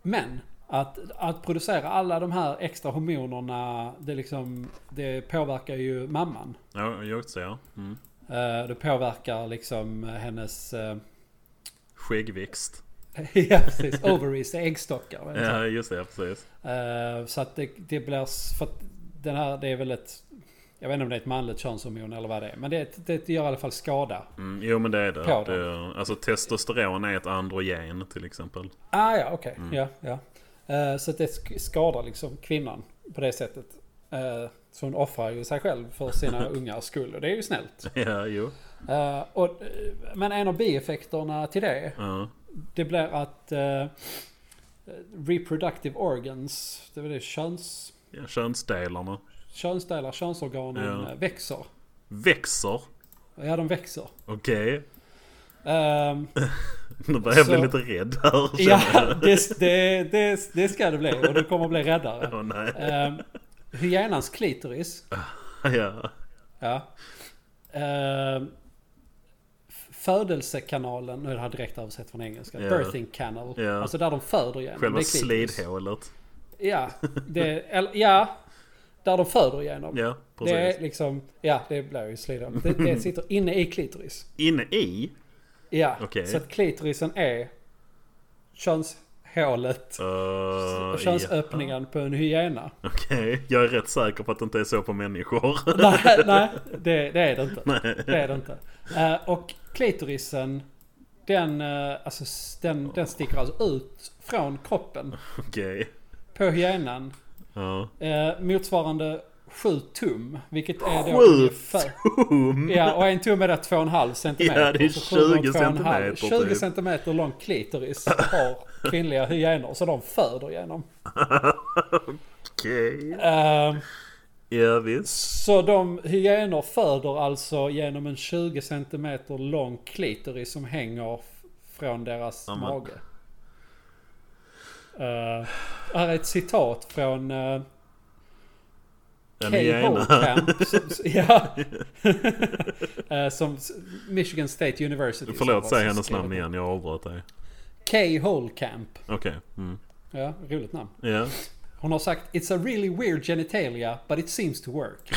men att, att producera alla de här extra hormonerna, det, liksom, det påverkar ju mamman. Ja, jag också ja. Mm. Eh, det påverkar liksom hennes... eh, Skäggväxt. ja, precis. Ovaries, äggstockar. vad är det? Ja, just det. ja, Precis. Eh, så att det, det blir... s- För att den här, det är väl ett... Jag vet inte om det är ett manligt könshormon eller vad det är. Men det, det gör i alla fall skada. Mm, jo, men det är det. På det är, alltså testosteron är ett androgen till exempel. Ah ja, okej. Mm. Ja, ja. Eh, så att det sk- skadar liksom kvinnan på det sättet. Eh, så hon offrar ju sig själv för sina ungars skull. Och det är ju snällt. ja, jo. Eh, och, eh, men en av bieffekterna till det, Ja. det blir att eh, reproductive organs, det vill säga köns, Ja, könsdelarna könsdelar, könsorganen Ja. eh, växer. växer. Ja, de växer. Okej. Ehm, Nu börjar jag bli Så- lite rädd här. ja, det, det, det, det ska det bli och du kommer bli räddare. Åh, nej. Um, hyänans klitoris Ja. Ja. Ehm, f- födelsekanalen, nu är det här direkt översatt från engelska. Ja. Birthing canal. Ja. Alltså där de föder genom. Själva det är klitoris. slidhålet. Ja, det, eller, ja, där de föder genom. Ja, precis. det är liksom, ja det blir ju slidhål. Det, det sitter inne i klitoris. Inne i? Ja, Okej. så att klitorisen är könshålet. Uh, Könsöppningen på en hyena. ja. Okej, jag är rätt säker på att det inte är så på människor. nej, nej det, det är det inte. Nej. Det är det inte. Eh, och klitorisen, den, eh, alltså, s- den, den sticker alltså ut från kroppen Okej. på hyenan. Ja. Eh, motsvarande 7 tum, vilket är då Sju ungefär... Boom! Ja, och en tum är då 2,5 centimeter. Ja, det är Så sju gånger 20 två och en halv- centimeter, 20 typ. centimeter lång klitoris har kvinnliga hyenor, så de föder genom. Okej. Eh, Ja, visst. Så de hyenor föder alltså genom en 20 cm lång klitoris som hänger f- från deras Ja, men- mage. Eh, här är ett citat från uh, En Kay hyena. Holcamp. som, s- ja, Eh, som s- Michigan State University. som Förlåt, var- säg som hennes skrev namn det. igen. Jag avbröt dig. Kay Holcamp. Okej. Mm. Ja, roligt namn. Ja. Hon har sagt It's a really weird genitalia but it seems to work.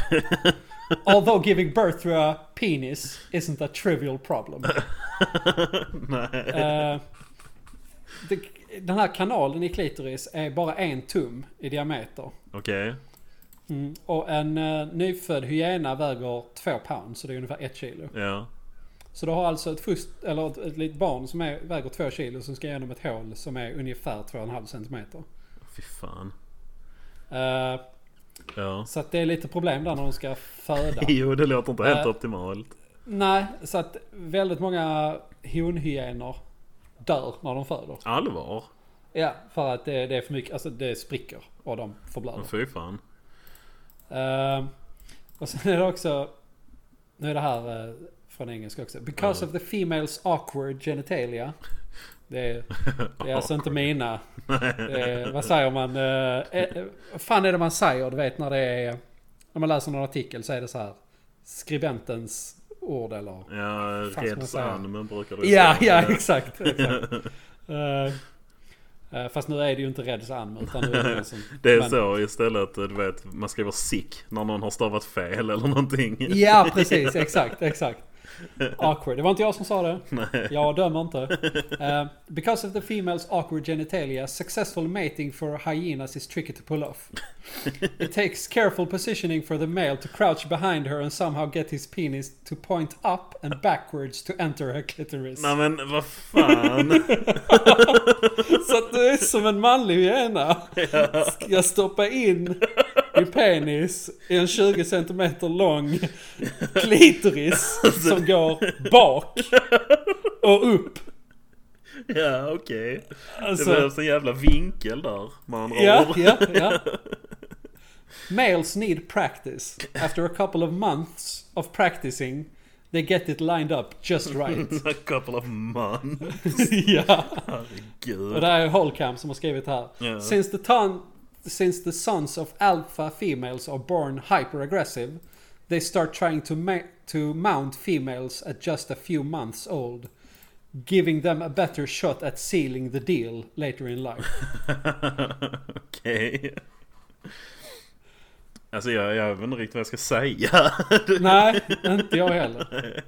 Although giving birth to a penis isn't a trivial problem. Nej. Eh, det- den här kanalen i klitoris är bara en tum i diameter. Okej. Mm. Och en eh, nyfödd hyena väger två pound så det är ungefär ett kilo. Ja. Så du har alltså ett, fust, eller ett, ett litet barn som är, väger två kilo som ska genom ett hål som är ungefär 2,5 centimeter. Fy fan. Eh, Ja. så att det är lite problem där när de ska föda. Jo, det låter inte helt Eh. optimalt. Nej, så att väldigt många honhyenor dör när de föder. Allvar? Ja, för att det, det är för mycket, alltså det spricker och de förblöder. Men fy fan. Ehm, och sen är det också, nu är det här eh, från engelska också. Because of the females awkward genitalia. Det är, det är alltså inte mina. Det är, vad säger man? eh, eh, Vad fan är det man säger? Du vet när det är, när man läser någon artikel så är det så här. Skribentens ord eller Ja, ska man Reds säga? Anmen brukar du Ja, säga. ja exakt. exakt. Eh, eh, fast nu är det ju inte Reds Alm utan nu är det någon som... Det är men- så istället, du vet, man skriver sick när någon har stavat fel eller någonting. Ja precis, exakt, exakt. Awkward. Det var inte jag som sa det. Jag dömer inte. Eh, because of the females awkward genitalia, successful mating for hyenas is tricky to pull off. It takes careful positioning for the male to crouch behind her and somehow get his penis to point up and backwards to enter her clitoris. Nej men vad fan. Så att du är som en manlig hyena. Ska jag stoppa in i penis i en 20 cm lång klitoris som går bak och upp. ja okej. Det Alltså, behövs en jävla vinkel där med andra ja, ord. ja, ja. Males need practice. After a couple of months of practicing they get it lined up just right. A couple of man. ja. Och Herregud. det här är Holcam som har skrivit här. Ja. Since, the ton, since the sons of alpha females are born hyperaggressive they start trying to, ma- to mount females at just a few months old. Giving them a better shot at sealing the deal later in life. Okej. Alltså jag, jag vet inte riktigt vad jag ska säga. Nej, inte jag heller.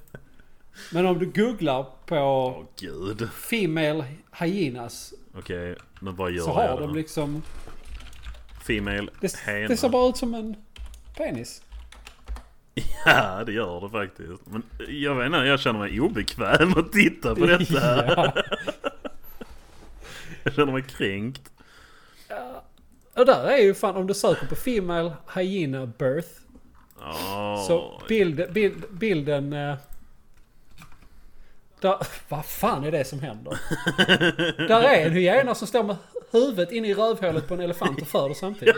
Men om du googlar Åh på gud. Female Hyenas Okej, nu bara gör så jag har det. de liksom... Female Det, hena. det ser bara ut som en penis. Ja, det gör det faktiskt. Men jag vet inte, jag känner mig obekväm att titta på detta. Ja. Jag känner mig kränkt. Och där är ju fan om du söker på Female Hyena Birth Oh, Så bild, bild, bilden... eh, Där, vad fan är det som händer? där är en hyena som står med huvudet inne i rövhålet på en elefant och föder samtidigt.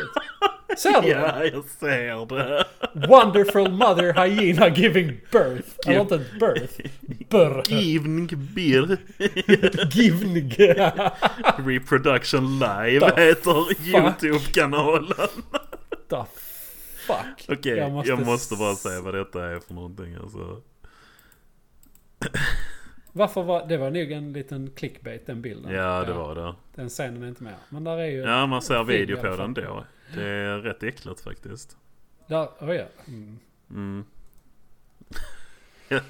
Ser du det? Ja, jag ser det. Wonderful mother hyena giving birth. Eller Give- inte birth. Birth. Givning beer Givning. reproduction live The heter YouTube-kanalen. The fuck. Okej, Jag jag, måste måste bara s- säga vad detta är för någonting alltså. Varför var... Det var nog en liten clickbait den bilden. Ja, det var det. Den scenen är inte med. Men där är ju... Ja, man ser Fin video i på alla den fall. då. Det är rätt äckligt faktiskt. Där, oh ja. mm. Mm.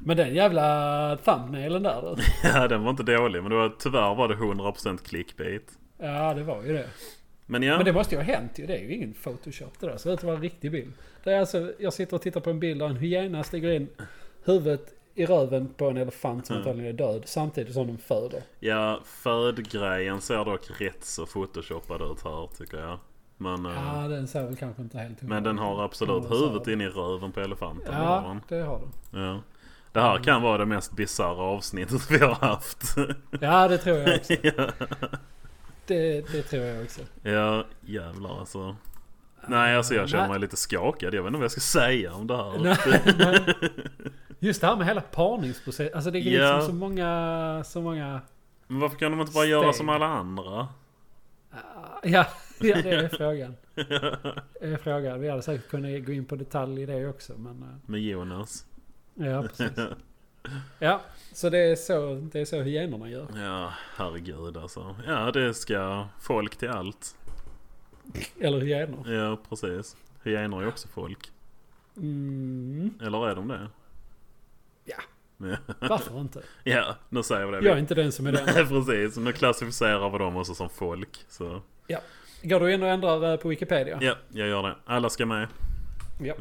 Men den jävla thumbnailen där. du. Ja, den var inte dålig, men det var, tyvärr var det 100% clickbait. Ja, det var ju det. Men ja, Men det måste ju ha hänt ju. Det är ju ingen photoshop det där. Så det ser ut att vara en riktig bild. Det är alltså, jag sitter och tittar på en bild där en hyena stiger in huvudet i röven på en elefant som Mm. antagligen är död samtidigt som den föder. ja födgrejen ser dock rätt så photoshoppad ut här tycker jag. Men, eh, Ja, den ser väl kanske inte helt men den har absolut Mm, så- huvudet in i röven på elefanten. det har Ja, den. det har den. Ja. Det här kan vara det mest bisarra avsnittet vi har haft. Ja, det tror jag också. det, det tror jag också. ja, jävlar alltså. Nej, alltså jag känner Nej. mig lite skakad. Jag vet inte vad jag ska säga om det här. Nej, men just det här med hela parningsprocessen. Alltså det är Ja. liksom så många... Så många Men varför kan de inte bara göra Steg. som alla andra? ah, Ja, ja det är frågan. Det är frågan. Vi hade säkert kunnat gå in på detalj i det också. Men, eh, Med Jonas. ja, precis. Ja, så det är så, det är så hyenorna gör. Ja, herregud alltså. Ja, det ska folk till allt. Eller hyenor. Ja, precis. Hyenor är också folk. Mm, Eller är de det? Ja. Ja, varför inte? ja nu säger vi det. Jag är inte den som är den. Nej, precis. Nu klassificerar vi dem också som folk. Så Går du in och ändrar eh, på Wikipedia? ja, jag gör det. Alla ska med. Ja.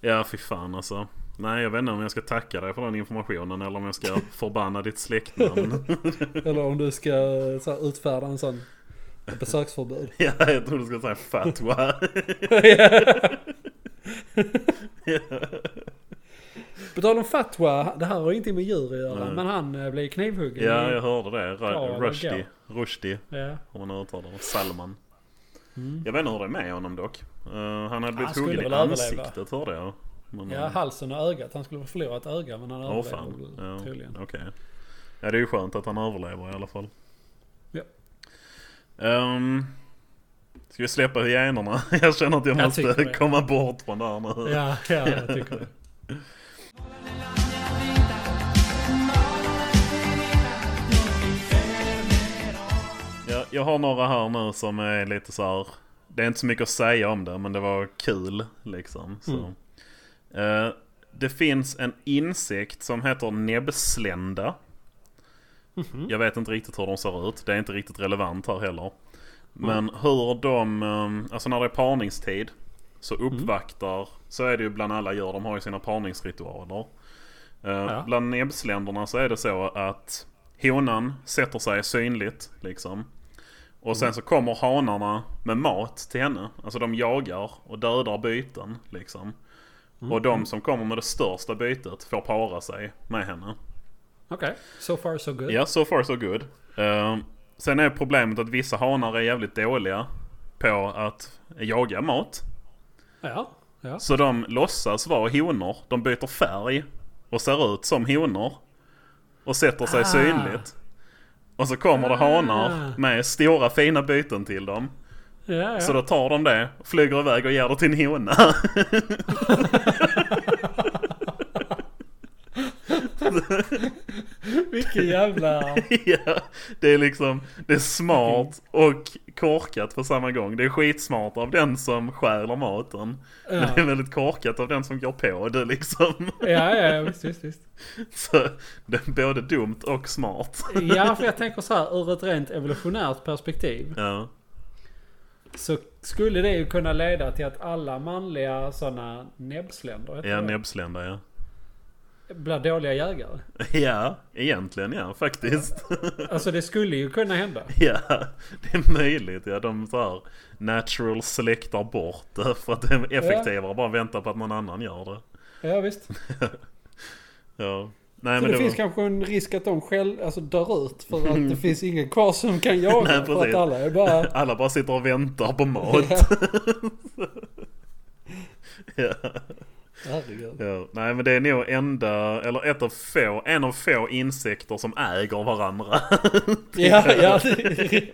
Ja, fy fan alltså. Nej, jag vet inte om jag ska tacka dig för den informationen eller om jag ska förbanna ditt släktnamn. Eller om du ska eh, så här, utfärda en sån ett besöksförbud. ja, jag trodde du skulle säga fatwa. På tal om fatwa, det här har ingenting med djur att göra. Nej. Men han eh, blev knivhuggen. ja, Mm. jag hörde det. Ja, Ru- det Rushdie. går. Rushdie. Ja. Om man uttalar det. Salman. Mm. Jag vet inte hur det är med honom dock. Eh, han hade blivit skulle huggen i väl överleva. ansiktet hörde jag. Men, Ja, eh, halsen och ögat. Han skulle förlora ett öga men han Åh överlevde fan. Ja, väl troligen. Okej. Ja det är ju skönt att han överlever i alla fall. Ja. Ehm, ska vi släppa hyenorna? Jag känner att jag, Jag tycker måste det. komma bort från det här nu. Ja, ja, jag tycker det. Ja, jag har några här nu som är lite så här. Det är inte så mycket att säga om det men det var kul liksom. Så. Mm. Eh, det finns en insekt som heter näbbslända. Jag vet inte riktigt hur de ser ut. Det är inte riktigt relevant här heller. Men hur de, eh, alltså när det är parningstid så uppvaktar, så är det ju bland alla djur, de har ju sina parningsritualer. Eh, Bland näbbsländerna så är det så att honan sätter sig synligt liksom. Och sen så kommer hanarna med mat till henne. Alltså de jagar och dödar byten liksom. Och de som kommer med det största bytet får para sig med henne. Okej, so far so good. Ja, so far so good. Eh, sen är problemet att vissa hanar är jävligt dåliga på att jaga mat. Ja, ja. Så de låtsas vara honor. De byter färg och ser ut som honor. Och sätter sig Ah. synligt. Och så kommer det hanar Ah. med stora fina byten till dem. ja, ja. Så då tar de det, flyger iväg och ger det till en hona. Vilken jävla... ja, det är liksom, det är smart och korkat på samma gång. Det är skitsmart av den som stjäler maten. Men det är Ja, väldigt korkat av den som går på det liksom. ja, ja visst, visst, visst. Så det är både dumt och smart. Ja, för jag tänker så här ur ett rent evolutionärt perspektiv. Ja, Så skulle det ju kunna leda till att alla manliga sådana näbbsländer heter ja det, näbbsländer ja. blir dåliga jägare. Ja, egentligen ja, faktiskt. Alltså det skulle ju kunna hända. Ja, det är möjligt. Ja, de så här natural selectar bort det för att det är effektivare. Bara vänta på att någon annan gör det. Ja visst. Ja. Nej, Så men det, det finns var... kanske en risk att de själv alltså, dör ut för att det finns ingen kvar som kan jaga. Nej, för precis. att alla är bara... Alla bara sitter och väntar på mat. Ja. Herregud. Ja. Nej men det är nog enda, eller ett av få, en av få insekter som äger varandra. Ja, ja. det-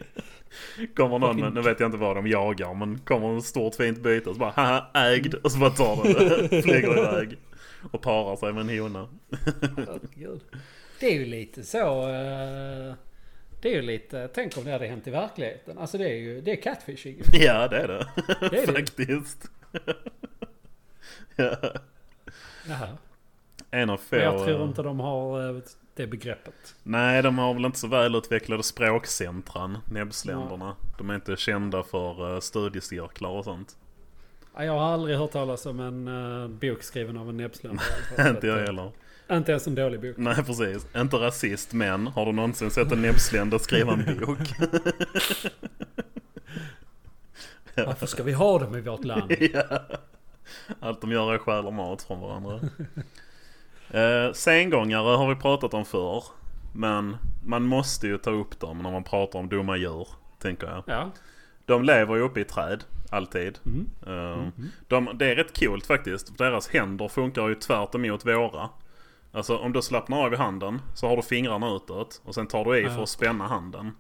Kommer någon, med, nu vet jag inte vad de jagar, men kommer ett stort fint byte och så bara haha ägd och så bara tar den det. Flyger iväg. Och parar sig med en hona. Herregud. Det är ju lite så... eh, Det är ju lite... Tänk om det hade hänt i verkligheten. Alltså det är ju... Det är catfishing. Ja det är det. Det är det. Faktiskt. ja. Jaha. En av få. Men jag tror eh, inte de har eh, det begreppet. Nej, de har väl inte så välutvecklade språkcentran, näbbsländerna. De är inte kända för eh, studiecirklar och sånt. Ja, Jag har aldrig hört talas om en eh, bok skriven av en näbbsländare. inte jag heller. Inte ens en dålig bok. Nej, precis. Inte rasist, men har du någonsin sett en näbbsländer skriva en bok? Varför ska vi ha dem i vårt land? ja. Allt de gör är stjäla mat från varandra. Eh, sengångare har vi pratat om förr. Men man måste ju ta upp dem när man pratar om dumma djur, tänker jag. Ja. De lever ju uppe i träd, alltid. Mm. Eh, De, det är rätt coolt faktiskt. Deras händer funkar ju tvärt emot våra. Alltså om du slappnar av i handen så har du fingrarna utåt och sen tar du i Ja. för att spänna handen.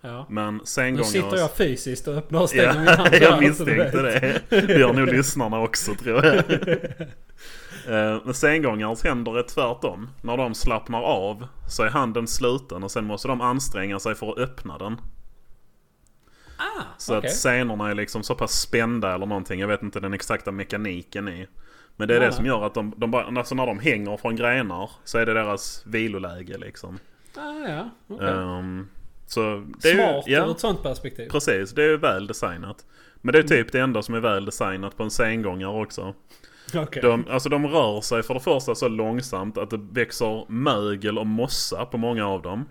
ja. Men Nu sengångare... sitter jag fysiskt och öppnar och stänger min hand. där, Ja, så jag du misstänkte vet. det. Det gör nog lyssnarna också tror jag. Eh, Men sengångares händer är tvärtom. När de slappnar av så är handen sluten och sen måste de anstränga sig för att öppna den. Ah, Så okej. att senorna är liksom så pass spända eller någonting. Jag vet inte den exakta mekaniken i. Men det är det Nej. som gör att de, de bara, alltså när de hänger från grenar så är det deras viloläge liksom. Ah, ja. okej. Ehm, så det är Smart ju, ja, ur ett sånt perspektiv. Precis, det är ju väl designat. Men det är typ det enda som är väl designat på en sengångare också. Okej. De, alltså de rör sig för det första så långsamt att det växer mögel och mossa på många av dem.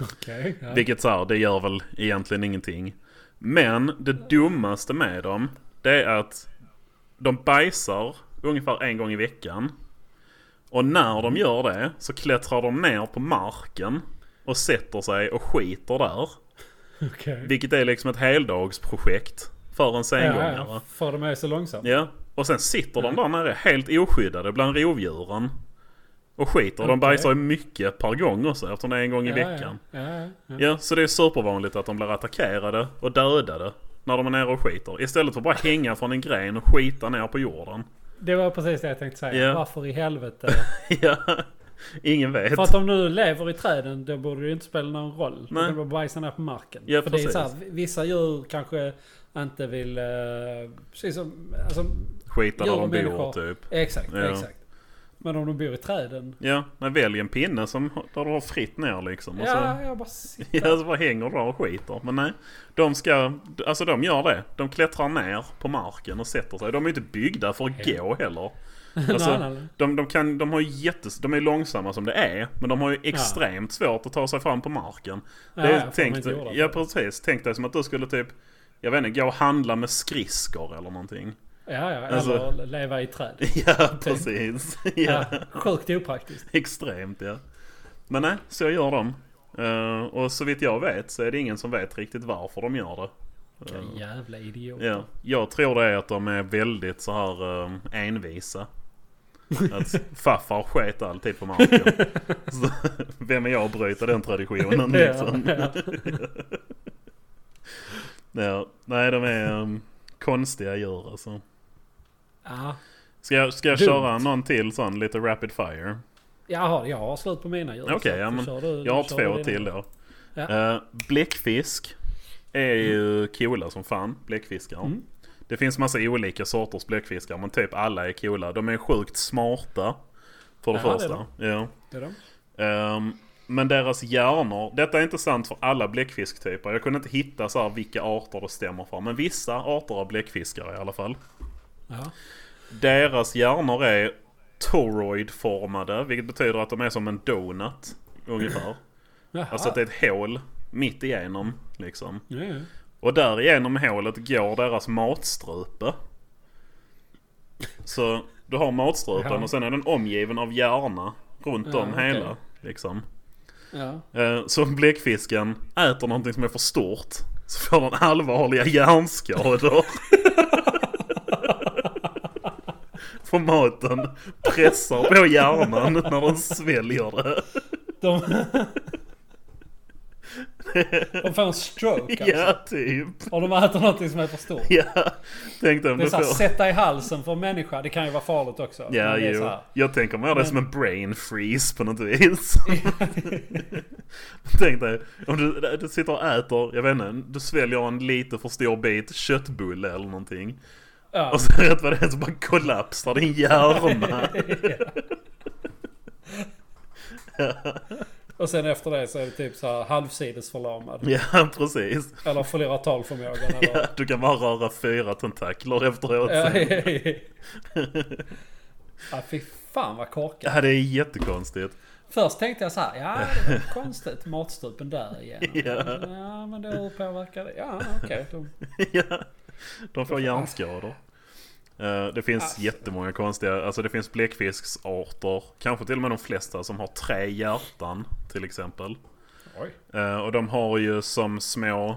Okej, ja. Vilket så här, det gör väl egentligen ingenting. Men det dummaste med dem, det är att de bajsar ungefär en gång i veckan. Och när de gör det så klättrar de ner på marken och sätter sig och skiter där. okej. Vilket är liksom ett heldagsprojekt för en Ja, sengångare. ja, Mm. för de är så långsamma. Ja, och sen sitter de där nere helt oskyddade bland rovdjuren. Och skiter. De Okej. bajsar ju mycket per gång också eftersom det är en gång i Ja, veckan. Ja, ja, ja. Ja. så det är supervanligt att de blir attackerade och dödade när de är nere och skiter. Istället för att bara hänga från en gren och skita ner på jorden. Det var precis det jag tänkte säga. Ja. Varför i helvete? ja, ingen vet. För att de nu lever i träden, då borde det ju inte spela någon roll. Nej. Nej. De bajsar ner på marken. Ja, För det är precis. så här, vissa djur kanske inte vill... Eh, precis som... Alltså, Skita Djur där de och bor människor. typ. exakt, Ja. exakt. Men om de bor i träden. Ja, men välj en pinne som, där du har fritt ner liksom. Och så... Ja, jag bara sitter. Ja, så bara Alltså, hänger där och skiter. Men nej, de ska, alltså de gör det. De klättrar ner på marken och sätter sig. De är ju inte byggda för att gå heller. Nej, Alltså, nej, nej. de, de, kan, de, har ju jättes, de är långsamma som det är, men de har ju extremt svårt att ta sig fram på marken. Det Ja, är, ja, för de är tänk, inte gjorda dig- för ja, det. precis. Tänk dig som att du skulle typ, jag vet inte, gå och handla med skridskor eller någonting. Ja, ja. alltså- Eller leva i träd. Ja, precis. Ja. Ja. Sjukt opraktiskt. Extremt ja. Men nej, så gör de. Eh, och så vitt jag vet så är det ingen som vet riktigt varför de gör det. Vilka jävla idioter. Ja, jag tror det är att de är väldigt så här um, envisa. Att farfar sket alltid på marken. Så, vem är jag att bryta den traditionen liksom? Ja, Ja, nej, de är um, konstiga djur alltså. ja. Ska jag, ska jag Dumt. köra någon till sån lite rapid fire? Jaha, jag har slut på mina djur. Okej, så ja, att men kör du- Jag har kör du två dina. till då. Ja. Mm. Eh, bläckfisk är ju coola som fan, bläckfiskar. Det finns massa olika sorters bläckfiskar men typ alla är coola. De är sjukt smarta. För det Ja, det är första. Ja. Det är de. Ehm, men deras hjärnor, detta är inte sant för alla bläckfisktyper. Jag kunde inte hitta så här vilka arter det stämmer för. Men vissa arter av bläckfiskar i alla fall. Ja. Deras hjärnor är toroidformade, vilket betyder att de är som en donut. Ungefär. Jaha. Alltså att det är ett hål mitt igenom liksom. Ja, ja. Och där igenom hålet går deras matstrupe. Så du har matstrupen Ja. och sen är den omgiven av hjärna runt Ja, om okej. hela. Liksom. ja. Eh, Så om bläckfisken äter någonting som är för stort så får den allvarliga hjärnskador. för maten pressar på hjärnan när den sväljer det. De... de får en stroke alltså. Ja, typ. Och de äter någonting som är för stort. Ja, tänkte om Det är du såhär, får... sätta i halsen för en människa, det kan ju vara farligt också. Ja, Men det är jo. såhär, Jag tänker mer det Men- som en brain freeze på något vis. Tänk dig, om du, du sitter och äter, jag vet inte, du sväljer en lite för stor bit köttbulle eller någonting. ja. Och så rätt vad det är så bara kollapsar din hjärna. Och sen efter det så är det typ såhär halvsidesförlamad. Ja, precis. Eller förlorar talförmågan Ja, eller... du kan bara röra fyra tentakler efteråt. Ja, sen. ja, fy fan vad korkat. Ja, det är jättekonstigt. Först tänkte jag så här, ja det var konstigt, matstrupen där igen. Ja. Ja men då hur påverkar det? Ja okej. de- Ja, de får hjärnskador. Eh, Det finns jättemånga konstiga, alltså det finns bläckfisksarter, kanske till och med de flesta som har tre hjärtan till exempel. Oj. Eh, Och de har ju som små,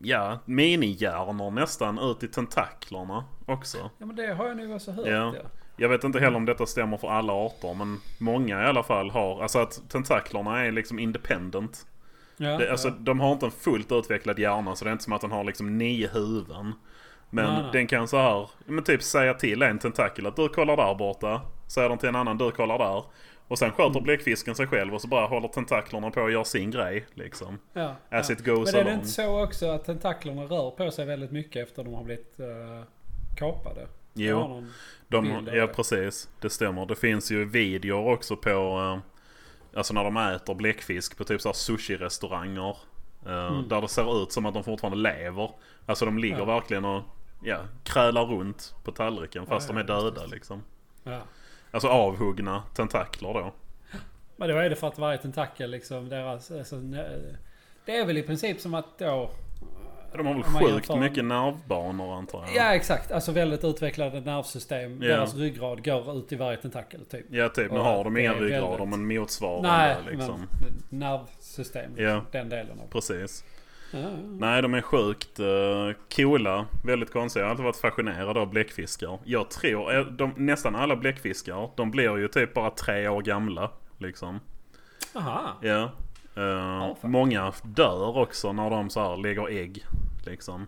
ja, minihjärnor nästan ut i tentaklerna också. Ja men det har jag nog också hört Ja. ja. Jag vet inte heller om detta stämmer för alla arter men många i alla fall har, alltså att tentaklerna är liksom independent. Ja, Det, alltså, ja. De har inte en fullt utvecklad hjärna så det är inte som att den har liksom nio huvuden. Men Nej, nej. den kan så här, men typ säga till en tentakel att du kollar där borta. Säger den till en annan, du kollar där. Och sen sköter Mm. bläckfisken sig själv och så bara håller tentaklerna på och gör sin grej liksom. Ja, As ja. it goes Men är det along. inte så också att tentaklerna rör på sig väldigt mycket efter de har blivit eh, kapade? Jag har Jo, någon- de, bild av ja det. precis. Det stämmer. Det finns ju videor också på, eh, alltså när de äter bläckfisk på typ så här sushi-restauranger. eh, Där det ser ut som att de fortfarande lever. Alltså de ligger Mm. Ja. verkligen och ja, krälar runt på tallriken fast Ja, de ja, är döda liksom. Ja. Alltså avhuggna tentakler då. Men då är det för att varje tentakel liksom deras... Alltså, ne- det är väl i princip som att då... De har väl Om man sjukt jämför- mycket nervbanor antar jag. Ja exakt, alltså väldigt utvecklade nervsystem. Ja. Deras ryggrad går ut i varje tentakel typ. Ja typ, nu Och har att de det inga är ryggrader väldigt- men motsvarande Nej, liksom. men nervsystem. Ja. Liksom, den delen av Precis. Ja, ja. Nej, de är sjukt uh, coola. Väldigt konstiga. Jag har alltid varit fascinerad av bläckfiskar. Jag tror, eh, de, nästan alla bläckfiskar, de blir ju typ bara tre år gamla. Liksom. Aha. Ja. Eh, fan. många dör också när de så här lägger ägg. Liksom.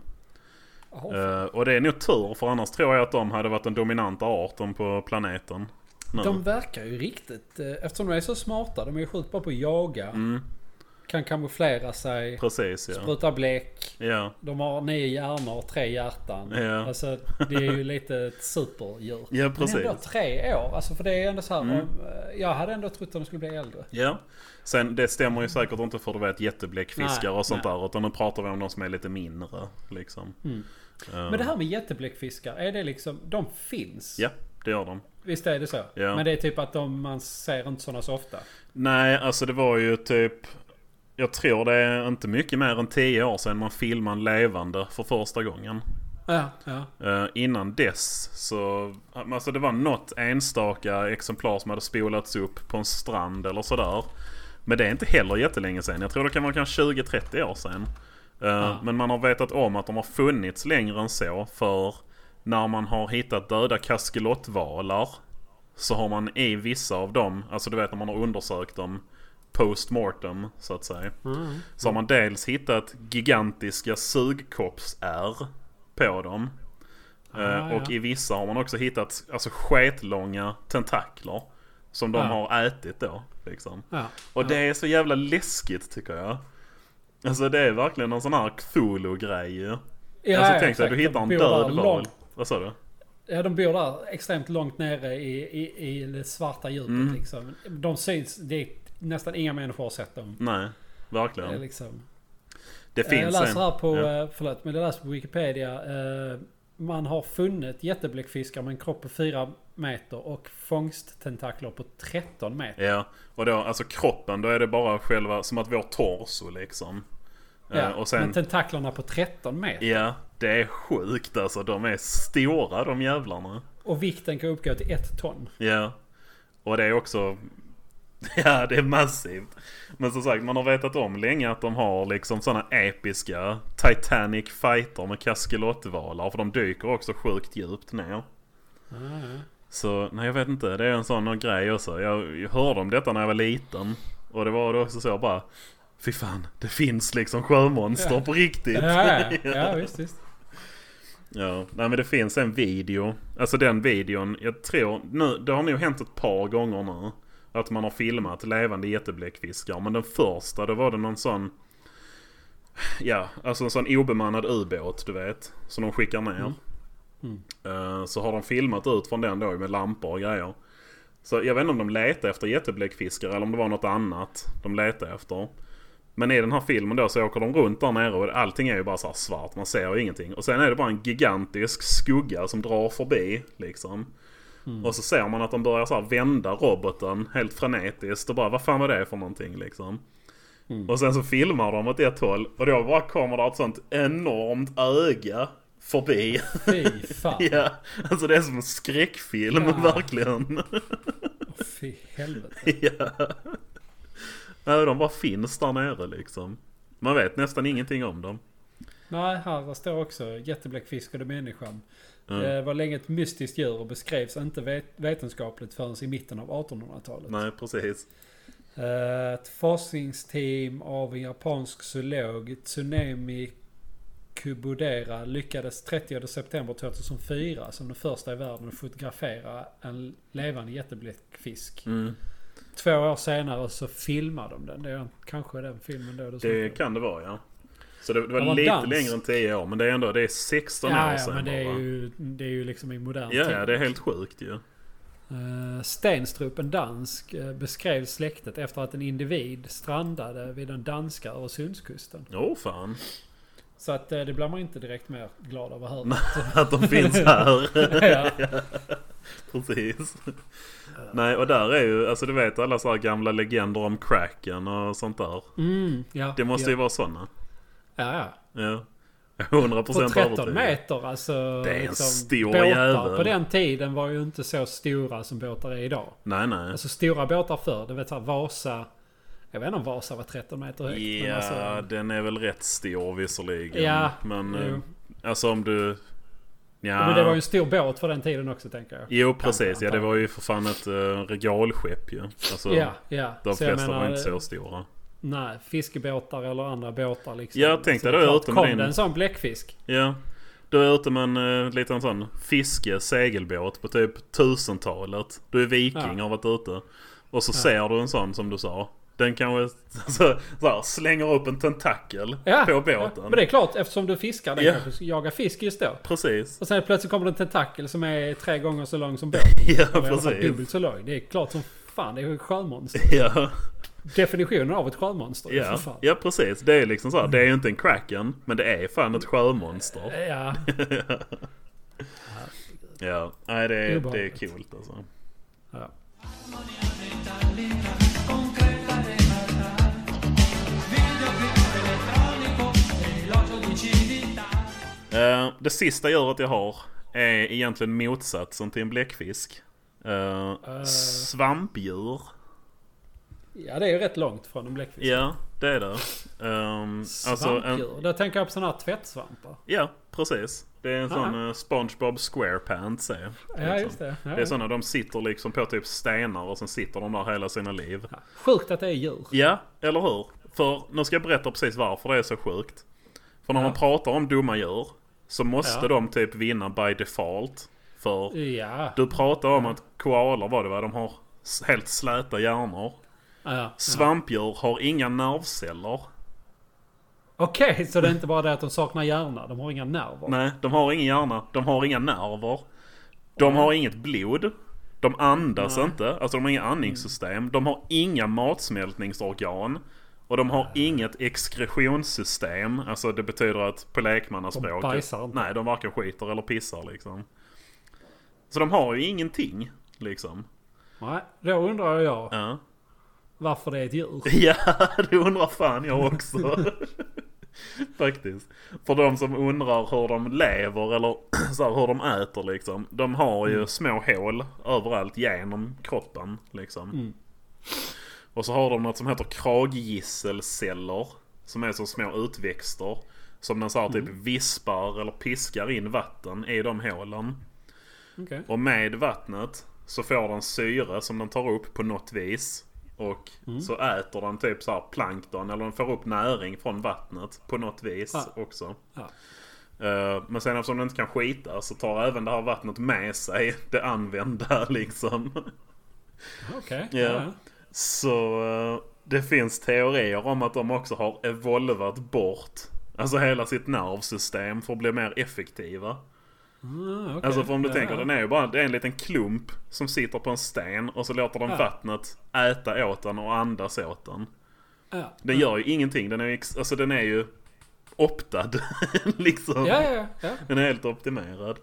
Aha. Eh, och det är nog tur, för annars tror jag att de hade varit den dominanta arten på planeten. Nu. De verkar ju riktigt... eh, Eftersom de är så smarta, de är ju sjukt bra på att jaga. Mm, Kan kamouflera sig, precis ja. spruta bläck. Ja, De har nio hjärnor och tre hjärtan. Ja. Alltså det är ju lite ett superdjur. ja Men precis. Mm. ändå tre år. Alltså för det är ändå så här. om, eh, Jag hade ändå trott att de skulle bli äldre. Ja. Sen det stämmer ju säkert inte för du vet jättebläckfiskar Nej, och sånt nej. där. Utan nu pratar vi om de som är lite mindre. Liksom. Mm. Eh, Men det här med jättebläckfiskar, är det liksom... De finns? Ja, det gör de. Visst är det så? Ja. Men det är typ att de, man ser inte sådana så ofta. Nej, alltså det var ju typ... Jag tror det är inte mycket mer än 10 år sedan man filmade en levande för första gången. Ja, ja. Eh, innan dess så... Alltså det var något enstaka exemplar som hade spolats upp på en strand eller sådär. Men det är inte heller jättelänge sedan. Jag tror det kan vara kanske 20-30 år sedan. Eh, Ah. Men man har vetat om att de har funnits längre än så. För när man har hittat döda kaskelottvalar så har man i vissa av dem, alltså du vet när man har undersökt dem post-mortem så att säga. Mm. Så har man dels hittat gigantiska sugkoppsär på dem. Eh, Ah, och ja. i vissa har man också hittat alltså sketlånga tentakler. Som Ah. de har ätit då. Liksom. Ja. Och det är så jävla läskigt tycker jag. Alltså det är verkligen en sån här Cthulhu-grej ju. Ja, alltså ja, tänk dig, exakt. du hittar en De bor där död val. långt- Vad sa du? Ja, de bor där extremt långt nere i, i, i det svarta djupet Mm. liksom. De syns, det är nästan inga människor har sett dem. Nej, verkligen. Ja. Liksom. Det Eh, finns jag läser en. här på, ja. ja. förlåt, men jag läser på Wikipedia. Eh, man har funnit jättebläckfiskar med en kropp på 4 meter och fångsttentakler på 13 meter. ja, och då alltså kroppen, då är det bara själva, som att vi har torso liksom. Eh, Ja, och sen, Men tentaklerna på 13 meter. ja, det är sjukt alltså. De är stora de jävlarna. Och vikten kan uppgå till 1 ton. Ja. Och det är också... Ja, det är massivt. Men som sagt, man har vetat om länge att de har liksom sådana episka Titanic fighter med kaskelottvalar. För de dyker också sjukt djupt ner. Så nej, jag vet inte. Det är en sån någon grej också. Jag, jag hörde om detta när jag var liten. Och det var då också så bara... Fy fan, det finns liksom sjömonster på riktigt. Ja, ja, ja visst, visst. Ja, nej men det finns en video. Alltså den videon, jag tror, nu, det har nog hänt ett par gånger nu. Att man har filmat levande jättebläckfiskar. Men den första, då var det någon sån... Ja, alltså en sån obemannad ubåt, du vet. Som de skickar ner. Eh, så har de filmat ut från den då med lampor och grejer. Så jag vet inte om de letar efter jättebläckfiskar eller om det var något annat de letar efter. Men i den här filmen då så åker de runt där nere och allting är ju bara så här svart. Man ser ju ingenting. Och sen är det bara en gigantisk skugga som drar förbi liksom. Och så ser man att de börjar så här vända roboten helt frenetiskt och bara vad fan var det för någonting liksom. Och sen så filmar de åt ett håll och då bara kommer det ett sånt enormt öga förbi. Fy fan. ja, alltså det är som en skräckfilm verkligen. Fy helvete. ja. Nej, De bara finns där nere liksom. Man vet nästan ingenting om dem. Nej, här står också jättebläckfiskade människan. Eh, var länge ett mystiskt djur och beskrevs inte vet- vetenskapligt förrän i mitten av 1800-talet. Nej, precis. Eh, ett forskningsteam av en japansk zoolog, Tsunemi Kubodera, lyckades 30 september 2004 som den första i världen att fotografera en levande jättebläckfisk. Mm. Två år senare så filmade de den. Det är kanske den filmen då. du snackar Det om. kan det vara ja. Så det, det var Det var lite dans. längre än 10 år men det är ändå det är 16 ja, år ja, sedan men det är, bara. ju, det är ju liksom i modern Ja, tid. ja, det är helt sjukt ju. Eh, Stenstrup, en dansk, eh, beskrev släktet efter att en individ strandade vid den danska Öresundskusten. Åh oh, fan. Så att eh, det blir man inte direkt mer glad av att höra. Att de finns här. Ja. Precis. Nej, och där är ju, alltså du vet alla så här gamla legender om cracken och sånt där. Mm, ja, Det måste ja. ju vara sådana. Ja, ja. Ja. 100 På procent 13 meter alltså. Det är en stor båtar jävel. på den tiden var ju inte så stora som båtar är idag. Nej, nej. Alltså stora båtar förr, du vet såhär Vasa. Jag vet inte om Vasa var 13 meter högt. men Ja, alltså, den är väl rätt stor visserligen. Ja, men jo. eh, alltså om du... Ja. men det var ju en stor båt för den tiden också tänker jag. Jo precis, Kanske, ja det var ju för fan ett äh, regalskepp ju. Alltså, Ja, ja. De Så jag flesta var menar, eh, inte så stora. Nej, fiskebåtar eller andra båtar liksom. Jag tänkte Så det är då klart, ute med Kom din- det en sån bläckfisk? Ja. Du är ute med en eh, liten sån fiske-segelbåt på typ 1000-talet. Du är viking Ja. har varit ute. Och så ser du en sån som du sa. Den kanske så, så här, slänger upp en tentakel på båten. Men det är klart, eftersom du fiskar. Den Ja. kanske jagar fisk just då. Precis. Och sen plötsligt kommer det en tentakel som är tre gånger så lång som båten. Ja, Eller i alla fall precis. dubbelt så lång. Det är klart som fan, det är ju ett sjömonster. Ja. Definitionen av ett sjömonster. för Ja, fan. ja precis. Det är liksom så här, det är ju inte en kraken, men det är fan ett sjömonster. Ja, Ja, nej det är, det är Obehagligt. coolt alltså. ja. Eh, det sista djuret jag har är egentligen motsatsen till en bläckfisk. Eh, Svampdjur. ja, det är ju rätt långt från en bläckfisk. Ja, det är det. Ehm, alltså en, Svampdjur. Då tänker jag på sådana här tvättsvampar. ja, precis. Det är en sån eh, SpongeBob SquarePants är. Ah. liksom. Ja, just det. Ja. Det är såna, de sitter liksom på typ stenar och sen sitter de där hela sina liv. Sjukt att det är djur. Ja, eller hur? För nu ska jag berätta precis varför det är så sjukt. För när man pratar om dumma djur så måste Ja. de typ vinna by default. För Ja. du pratar om att koalor var det va? De har s- helt släta hjärnor. Ja, ja. Svampdjur har inga nervceller. Okej, så det är inte bara det att de saknar hjärna. De har inga nerver. Nej, de har ingen hjärna. De har inga nerver. De har inget blod. De andas inte. Alltså de har inga andningssystem. De har inga matsmältningsorgan. Och de har inget exkretionssystem. Alltså det betyder att på lekmannaspråk. De bajsar inte. Nej, de varken skiter eller pissar liksom. Så de har ju ingenting. Liksom. Nej, då undrar jag Ja. varför det är ett djur. Ja, det undrar fan jag också. Faktiskt. För de som undrar hur de lever eller så här, hur de äter liksom. De har ju små hål överallt genom kroppen liksom. Och så har de något som heter kraggisselceller. Som är som små utväxter. Som den så här, typ vispar eller piskar in vatten i de hålen. Okej. Och med vattnet så får den syre som den tar upp på något vis. Och Mm. så äter den typ så här plankton eller den får upp näring från vattnet på något vis Ah. också. Ja. Eh, Men sen eftersom den inte kan skita så tar även det här vattnet med sig det använda liksom. Okej. Ja. Ja. Så eh, det finns teorier om att de också har evolvat bort Alltså hela sitt nervsystem för att bli mer effektiva. Ah, okej. Alltså för om du Ja, tänker, ja. den är ju bara det är en liten klump som sitter på en sten och så låter den Ja. vattnet äta åt den och andas åt den. Ja. Den gör ju ingenting, den är ju, ex- alltså den är ju optad. liksom. Ja, ja, ja. Den är helt optimerad.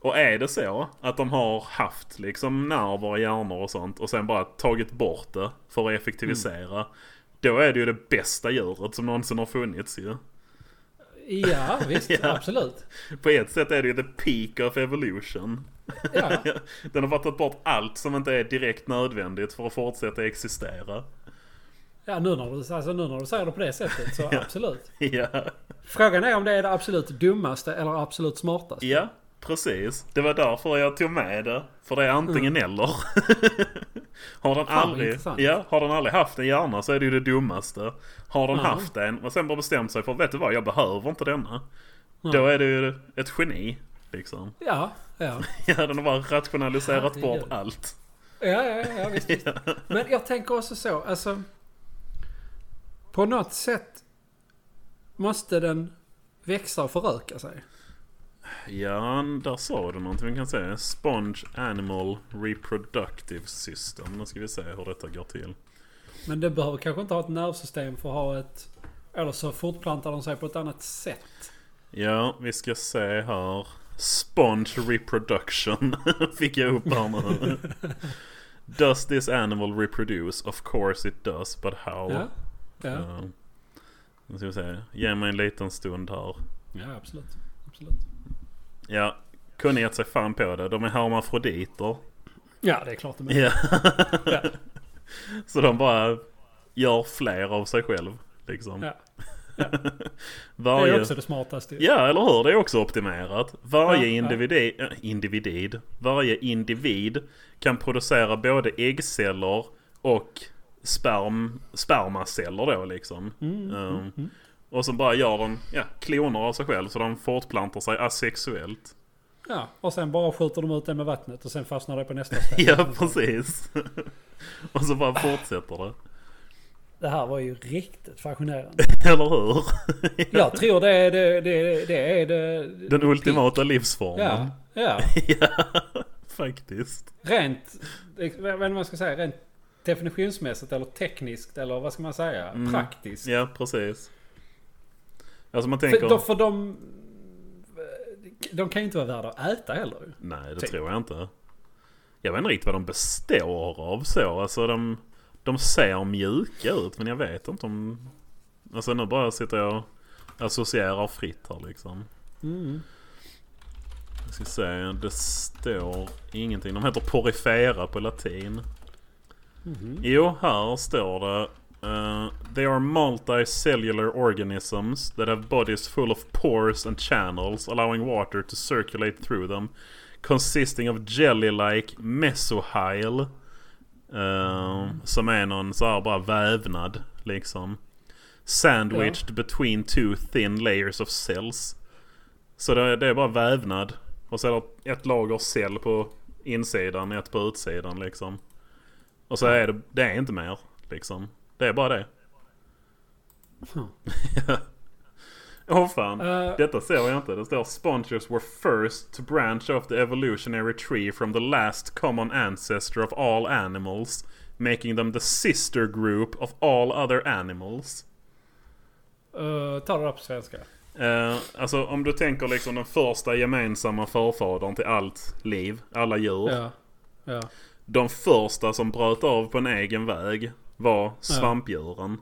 Och är det så att de har haft liksom nerver i hjärnor och sånt och sen bara tagit bort det för att effektivisera. Mm. Då är det ju det bästa djuret som någonsin har funnits ju. Ja, visst. Ja. Absolut. På ett sätt är det ju the peak of evolution. Ja. Den har bara tagit bort allt som inte är direkt nödvändigt för att fortsätta existera. ja, nu när, du, alltså, nu när du säger det på det sättet så absolut. Ja, Frågan är om det är det absolut dummaste eller absolut smartaste. ja precis. Det var därför jag tog med det. För det är antingen eller. har, den Mm. vad aldrig, intressant. ja, har den aldrig haft en hjärna så är det ju det dummaste. Har den Ja. haft en och sen bara bestämt sig för vet du vad, jag behöver inte denna. Då är det ju ett geni. Liksom. Ja, ja. Ja, den har bara rationaliserat Herregud. bort allt. Ja, ja, ja visst, visst. Men jag tänker också så, alltså. På något sätt måste den växa och föröka sig. Ja, där sa du någonting. Vi kan säga Sponge Animal Reproductive System. Nu ska vi se hur detta går till. Men den behöver kanske inte ha ett nervsystem för att ha ett... Eller så fortplantar de sig på ett annat sätt. Ja, vi ska se här. Sponge Reproduction fick jag upp här nu. does this animal reproduce? Of course it does, but how? Ja, ja, Ja. Nu ska vi se. Ge mig en liten stund här. ja absolut. absolut. Ja, kunde gett sig fan på det. De är hermafroditer. Ja, det är klart de är. Ja. Så de bara gör fler av sig själv. Liksom. Ja. Det Varje... är också det smartaste. ju. Ja, eller hur? Det är också optimerat. Varje Ja, ja. individ, äh, individ, varje individ kan producera både äggceller och sperm, spermaceller då liksom. Mm, Ehm, Och så bara gör de ja, kloner av sig själv så de fortplantar sig asexuellt. Ja, och sen bara skjuter de ut det med vattnet och sen fastnar det på nästa steg. Ja, precis. och så bara fortsätter det. Det här var ju riktigt fascinerande. Eller hur? Jag tror det är det, det, det, är det Den ultimata livsformen. Ja, ja. Faktiskt. Rent, jag vet inte vad man ska säga, rent definitionsmässigt eller tekniskt eller vad ska man säga? Praktiskt. Mm. Ja, precis. Alltså man För, tänker... de, för de, de kan ju inte vara värda att äta heller. ju. Nej, det Typ. tror jag inte. Jag vet inte riktigt vad de består av så. Alltså de, de ser mjuka ut men jag vet inte om... Alltså nu bara sitter jag och associerar fritt här liksom. Mm. Jag ska se, det står ingenting. De heter porifera på latin. Mm. Jo, här står det. eh, they are multicellular organisms that have bodies full of pores and channels allowing water to circulate through them consisting of jelly-like mesohyl. eh, Som är någon så här bara vävnad liksom. Sandwiched between two thin layers of cells. Så det är, det är bara vävnad. Och så är det ett lager cell på insidan, ett på utsidan liksom. Och så är det, det är inte mer. Liksom. Det är bara det. Hmm. Åh fan. Eh, Detta ser jag inte. Det står Sponsors were first to branch off the evolutionary tree from the last common ancestor of all animals. Making them the sister group of all other animals. eh, ta det där på svenska. Eh, alltså om du tänker liksom den första gemensamma förfadern till allt liv, alla djur. Ja. Ja. De första som bröt av på en egen väg var svampdjuren.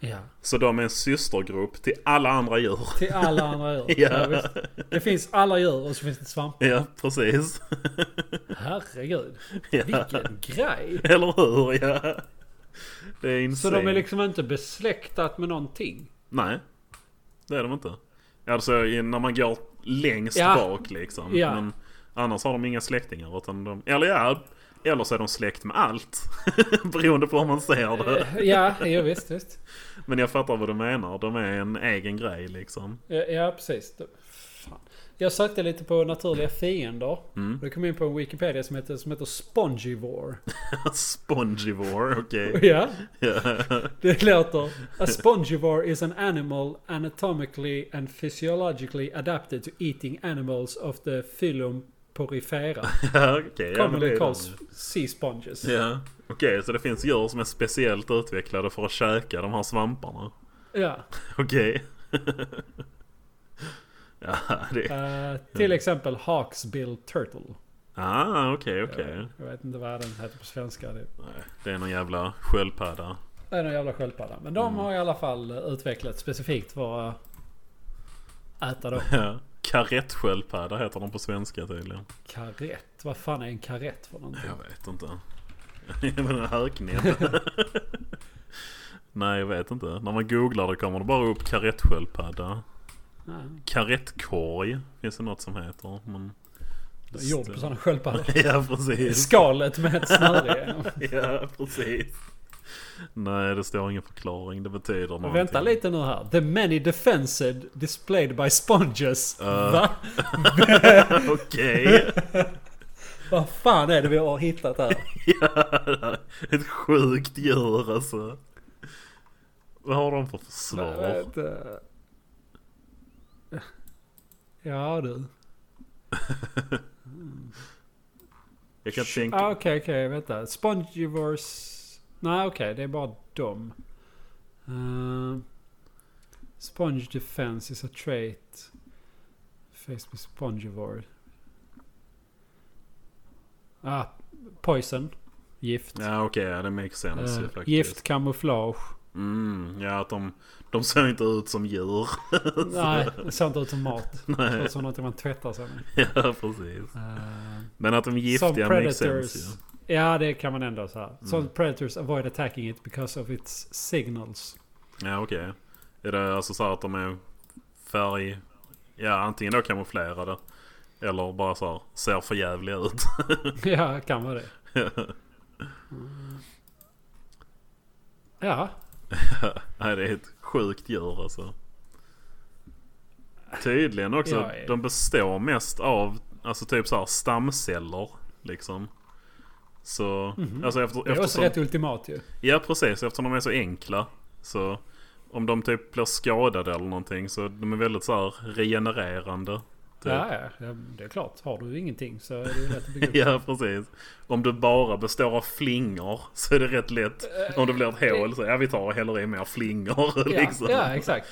ja. Så de är en systergrupp till alla andra djur. Till alla andra djur. Ja. visst. det finns alla djur och så finns det svampar. Ja, precis. Herregud. Ja. Vilken grej. Eller hur? Ja. Det är Så insane. de är liksom inte besläktat med någonting? Nej, det är de inte. Alltså i- när man går längst Ja. bak liksom. Ja. Men annars har de inga släktingar. Utan de, eller ja, eller så är de släkt med allt. Beroende på hur man ser det. Eh, Ja, jo, visst, visst. Men jag fattar vad du menar. De är en egen grej liksom. Ja, ja precis. Då- Fan. Jag sökte lite på naturliga fiender. Mm. Då kom jag in på en Wikipedia som heter, som heter Spongivore. Spongivore, okej. Ja, Ja. det låter. A spongivore is an animal anatomically and physiologically adapted to eating animals of the phylum porifera. Ja, okej. Ja, men det Commonly är de. calls sea sponges. Ja, okej. så det finns djur som är speciellt utvecklade för att käka de här svamparna. Ja. Okej. ja, det... eh, till exempel Hawksbill Turtle. Ah, okej, okej. Eh, Jag vet inte vad den heter på svenska. Det Nej, det är någon jävla sköldpadda. Det är någon jävla sköldpadda. Men de Mm. har i alla fall utvecklat specifikt för att äta dem. Ja. Karettsköldpadda heter de på svenska tydligen. Karett. Vad fan är en karett för någonting? Jag vet inte. Jag menar höknäbb. Nej, jag vet inte. När man googlar det kommer det bara upp karettsköldpadda. Nej, Karettkorg finns det något som heter. Men... jag är Gjord på sådana sköldpaddor. Ja, precis. Skalet med ett snöre igenom. Ja, precis. Nej, det står ingen förklaring. Det betyder någonting. Vänta lite nu här. The many defensed displayed by sponges. Eh. Va? Okej. Vad fan är det vi har hittat här? ja, ett sjukt djur alltså. Vad har de för försvar? Vänta. Ja du. Jag kan tänka... Ah, Okej, okej, vänta. Spongivores... Nej, okej, det är bara dem. Eh, sponge defense is a trait. Faced with spongivore. Ah, poison. Gift. Ja okej, ja, det makes sense Eh, ju faktiskt. gift, kamouflage. Mm, ja att de, de ser inte ut som djur. Nej, det ser inte ut som mat. Det ser Nej, ut som något man tvättar sig med. ja precis. Eh, Men att de är giftiga Mm. makes sense ju. Ja, det kan man ändå säga. Some predators avoid attacking it because of its signals. Ja okej. Är det alltså så här att de är färg... Ja antingen då kamouflerade. Eller bara så här, ser för jävliga ut. Ja, kan vara det. Mm. Ja, Nej det är ett sjukt djur alltså. Tydligen också. Ja, ja. De består mest av alltså typ så här stamceller. Liksom. Så alltså efter, Mhm. det är också eftersom, Typ. rätt ultimat ju. Ja precis eftersom de är så enkla. Så om de typ blir skadade eller någonting så de är väldigt så här regenererande. Typ. Ja, ja, ja, det är klart. Har du ingenting så är det ju lätt att bygga upp. Ja, precis. Om du bara består av flingor så är det rätt lätt. Om det blir ett hål så ja, vi tar och häller i mer flingor. Eh, Ja, liksom. ja, exakt.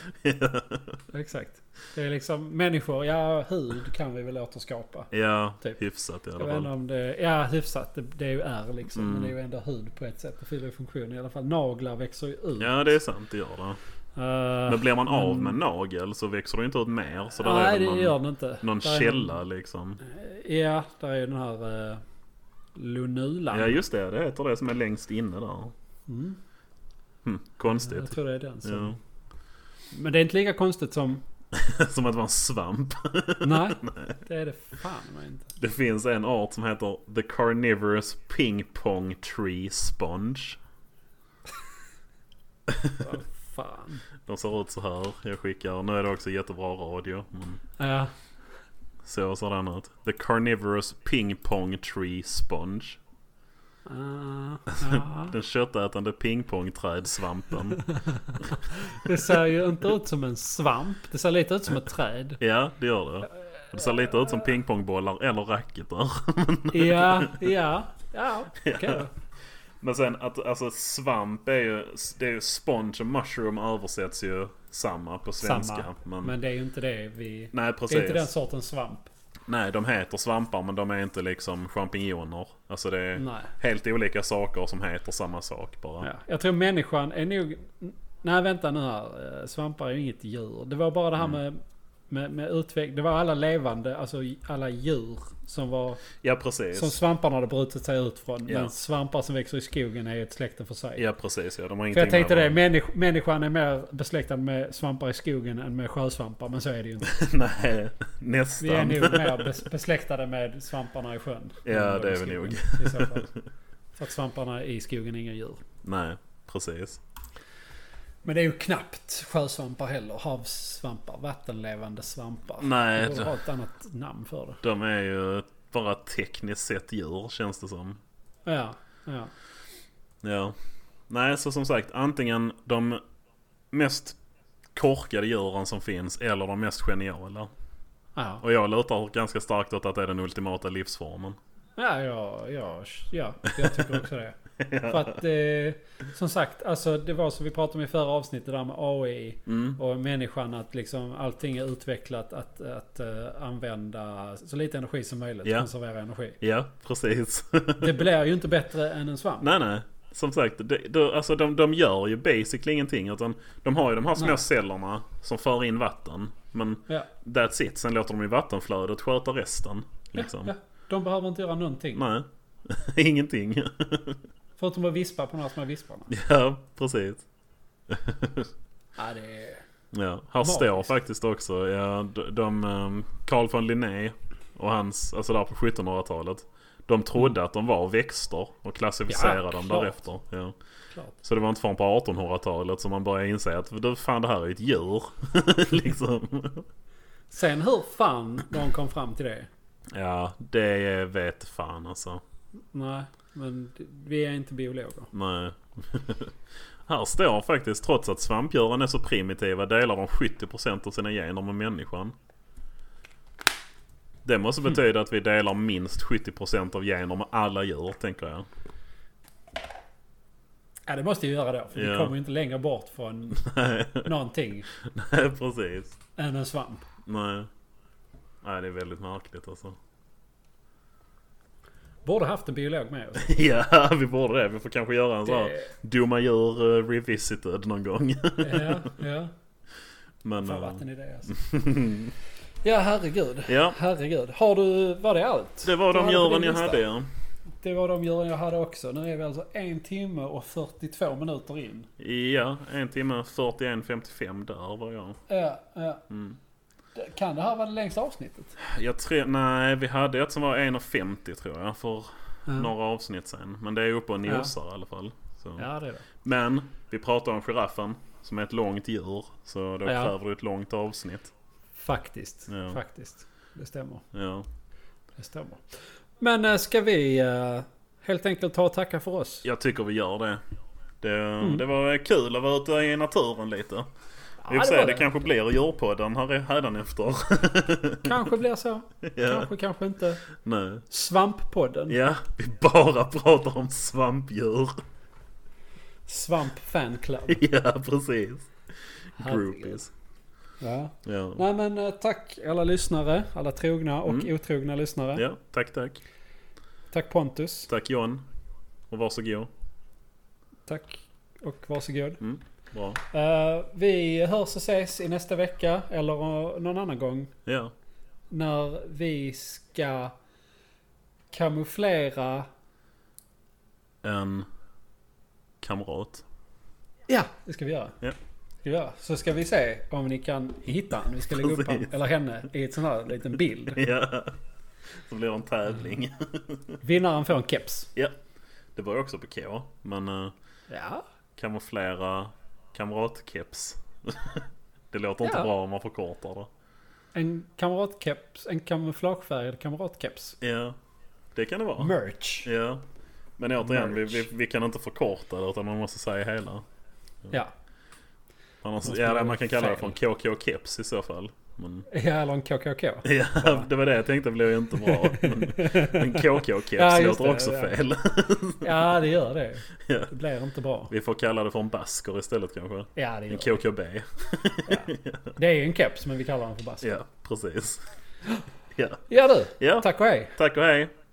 Exakt. Det är liksom människor, ja hud kan vi väl återskapa. ja Typ. hyfsat i alla Jag vet inte fall. om det, ja hyfsat, det, det är ju är liksom. Men Mm. det är ju ändå hud på ett sätt. Det fyller ju funktion i alla fall. Naglar växer ju ut. Ja, det är sant. Det gör det. Eh, Men blir man av med en nagel så växer det inte ut mer. Så där nej, är det det gör någon, den inte. någon Där är- källa liksom. Ja, där är ju den här uh, Lunulan. Ja, just det. Det heter det som är längst inne där. Mm. Hm, Jag konstigt. tror det är den. Som... Ja. Men det är inte lika konstigt som... Som att det var en svamp. Nej, det är det fan mig inte. Det finns en art som heter The Carnivorous Ping Pong Tree Sponge. Vad fan. De ser ut så här. Jag skickar. Nu är det också jättebra radio. Men Ja, så ser den ut. The Carnivorous Ping Pong Tree Sponge. Ah, ja. Den köttätande pingpongträdsvampen. Det ser ju inte ut som en svamp. Det ser lite ut som ett träd. Ja, det gör det. Det ser lite ut som pingpongbollar eller racketar. Ja, ja, ja. Okej då. Men sen att alltså svamp är ju, det är ju sponge och mushroom översätts ju samma på svenska. Samma. Men, Men det är ju inte det vi... nej Det precis. är inte den sortens svamp. Nej de heter svampar men de är inte liksom champinjoner. Alltså det är Nej. helt olika saker som heter samma sak bara. Ja. Jag tror människan är nog... Nej vänta nu här. Eh, Svampar är ju inget djur. Det var bara det här Mm. med, med, med utveckling. Det var alla levande, alltså alla djur som var... Ja, precis. Som svamparna hade brutit sig ut från. Ja. Men svampar som växer i skogen är ju ett släkte för sig. Ja precis ja. De har För jag ingenting tänkte med det, varandra. människ- människan är mer besläktad med svampar i skogen än med sjösvampar. Men så är det ju inte. Nej, nästan. Vi är nog mer bes- besläktade med svamparna i sjön. Ja, än med det är vi skogen, nog. i så fall. För att svamparna i skogen är inga djur. Nej, precis. Men det är ju knappt sjösvampar heller. Havssvampar, vattenlevande svampar. Nej, Vi borde det- ha ett annat namn för det. De är ju bara tekniskt sett djur känns det som. Ja, ja. Ja. Nej, så som sagt antingen de mest korkade djuren som finns eller de mest geniala. Ja, Och jag lutar ganska starkt åt att det är den ultimata livsformen. ja, ja, ja, ja jag tycker också det. För att eh, som sagt, alltså det var som vi pratade om i förra avsnittet där med AI Mm. och människan att liksom allting är utvecklat att, att eh, använda så lite energi som möjligt. Ja. Konservera energi. Ja, precis. Det blir ju inte bättre än en svamp. nej, nej. Som sagt, det, det, alltså de, de gör ju basically ingenting. Utan de har ju de här små Nej. cellerna som för in vatten. Men Ja. that's it. Sen låter de ju vattenflödet sköta resten. Liksom. Ja, ja. De behöver inte göra någonting. Nej, ingenting. Förutom att vispa på de här små visparna. ja, precis. Ja, det är... Ja, här Magiskt. står faktiskt också ja, de, de, ehm, Carl von Linné och hans, alltså där på 1700-talet. De trodde att de var växter och klassificerade Mm. Ja, dem klart. därefter. Ja. Klart. Så det var inte förrän på 1800-talet som man började inse att du, fan det här är ett djur. liksom. Sen hur fan de kom fram till det? Ja, det vet fan alltså. Nej, men vi är inte biologer. Nej. Här står faktiskt, trots att svampdjuren är så primitiva delar de 70% av sina gener med människan. Det Hm. måste betyda att vi delar minst 70% av gener med alla djur, tänker jag. Ja, det måste ju göra då. För vi Ja. kommer ju inte längre bort från någonting Nej, precis. än en svamp. Nej. Nej, det är väldigt märkligt alltså. Borde haft en biolog med oss. Ja, vi borde det. Vi får kanske göra en sån här Det- Dumma djur eh, revisited någon gång. Ja, ja. Men... Fan eh, vad en idé alltså. Ja, herregud. Ja. Herregud. Har du... Var det allt? Det var de på djuren din jag lista? hade ja. Det var de djuren jag hade också. Nu är vi alltså en timme och 42 minuter in. Ja, en timme 41.55 där var jag. Ja, ja. Mm. Det- Kan det här vara det längsta avsnittet? Jag tror, nej vi hade ett som var 1,50 tror jag för några avsnitt sen. Men det är uppe och Mm. Ja. nosar i alla fall. Så. Ja, det är det. Men vi pratar om giraffen som är ett långt djur. Så då Ja. kräver det ett långt avsnitt. Faktiskt. Ja. Faktiskt. Det stämmer. Ja, Det stämmer. Men eh, ska vi eh, helt enkelt ta och tacka för oss? jag tycker vi gör det. Det, Mm. det var kul att vara ute i naturen lite. Vi det får se, var det, det. kanske blir djurpodden här hädanefter. Kanske blir så. ja, Kanske, kanske inte. nej. Svamppodden. ja, vi bara pratar om svampdjur. Svamp fanclub. ja, precis. Herregud. Groupies. Ja. Ja. Nej men eh, tack alla lyssnare. Alla trogna och otrogna lyssnare. Mm. ja, tack tack. Tack Pontus. Tack John. Och varsågod. Tack. Och varsågod. Bra. Eh, vi hörs och ses i nästa vecka. Eller eh, någon annan gång. Ja. När vi ska kamouflera En kamrat. Ja, det ska vi göra. Ja. Ska vi göra. Så ska vi se om ni kan hitta honom. Vi ska lägga upp Precis. honom, eller henne i ett sån här liten bild. Ja. Så blir det en tävling. Mm. Vinnaren får en keps. Ja. Det var ju också på K. Men uh, Ja. kamouflera kamratkeps. det låter inte Ja. bra om man förkortar det. En kamratkeps. En kamouflagefärgad kamratkeps. Ja. Det kan det vara. Merch. Ja. Men återigen, vi, vi, Merch. vi kan inte förkorta det utan man måste säga hela. Ja. Annars, Man ska ja, göra man kan kalla det fel. för en KK-keps i så fall. Men, Ja, eller en KKK. ja, det var det jag tänkte blev ju inte bra. Men en KK-keps Ja, just låter det, också ja. fel. Ja, det gör det. Ja. Det blir inte bra. Vi får kalla det för en basker istället kanske. Ja, det En gör det. KKB. Det är ju en keps, men vi kallar den för basker. Ja, precis. Ja, Ja du, ja. tack och hej. tack och hej.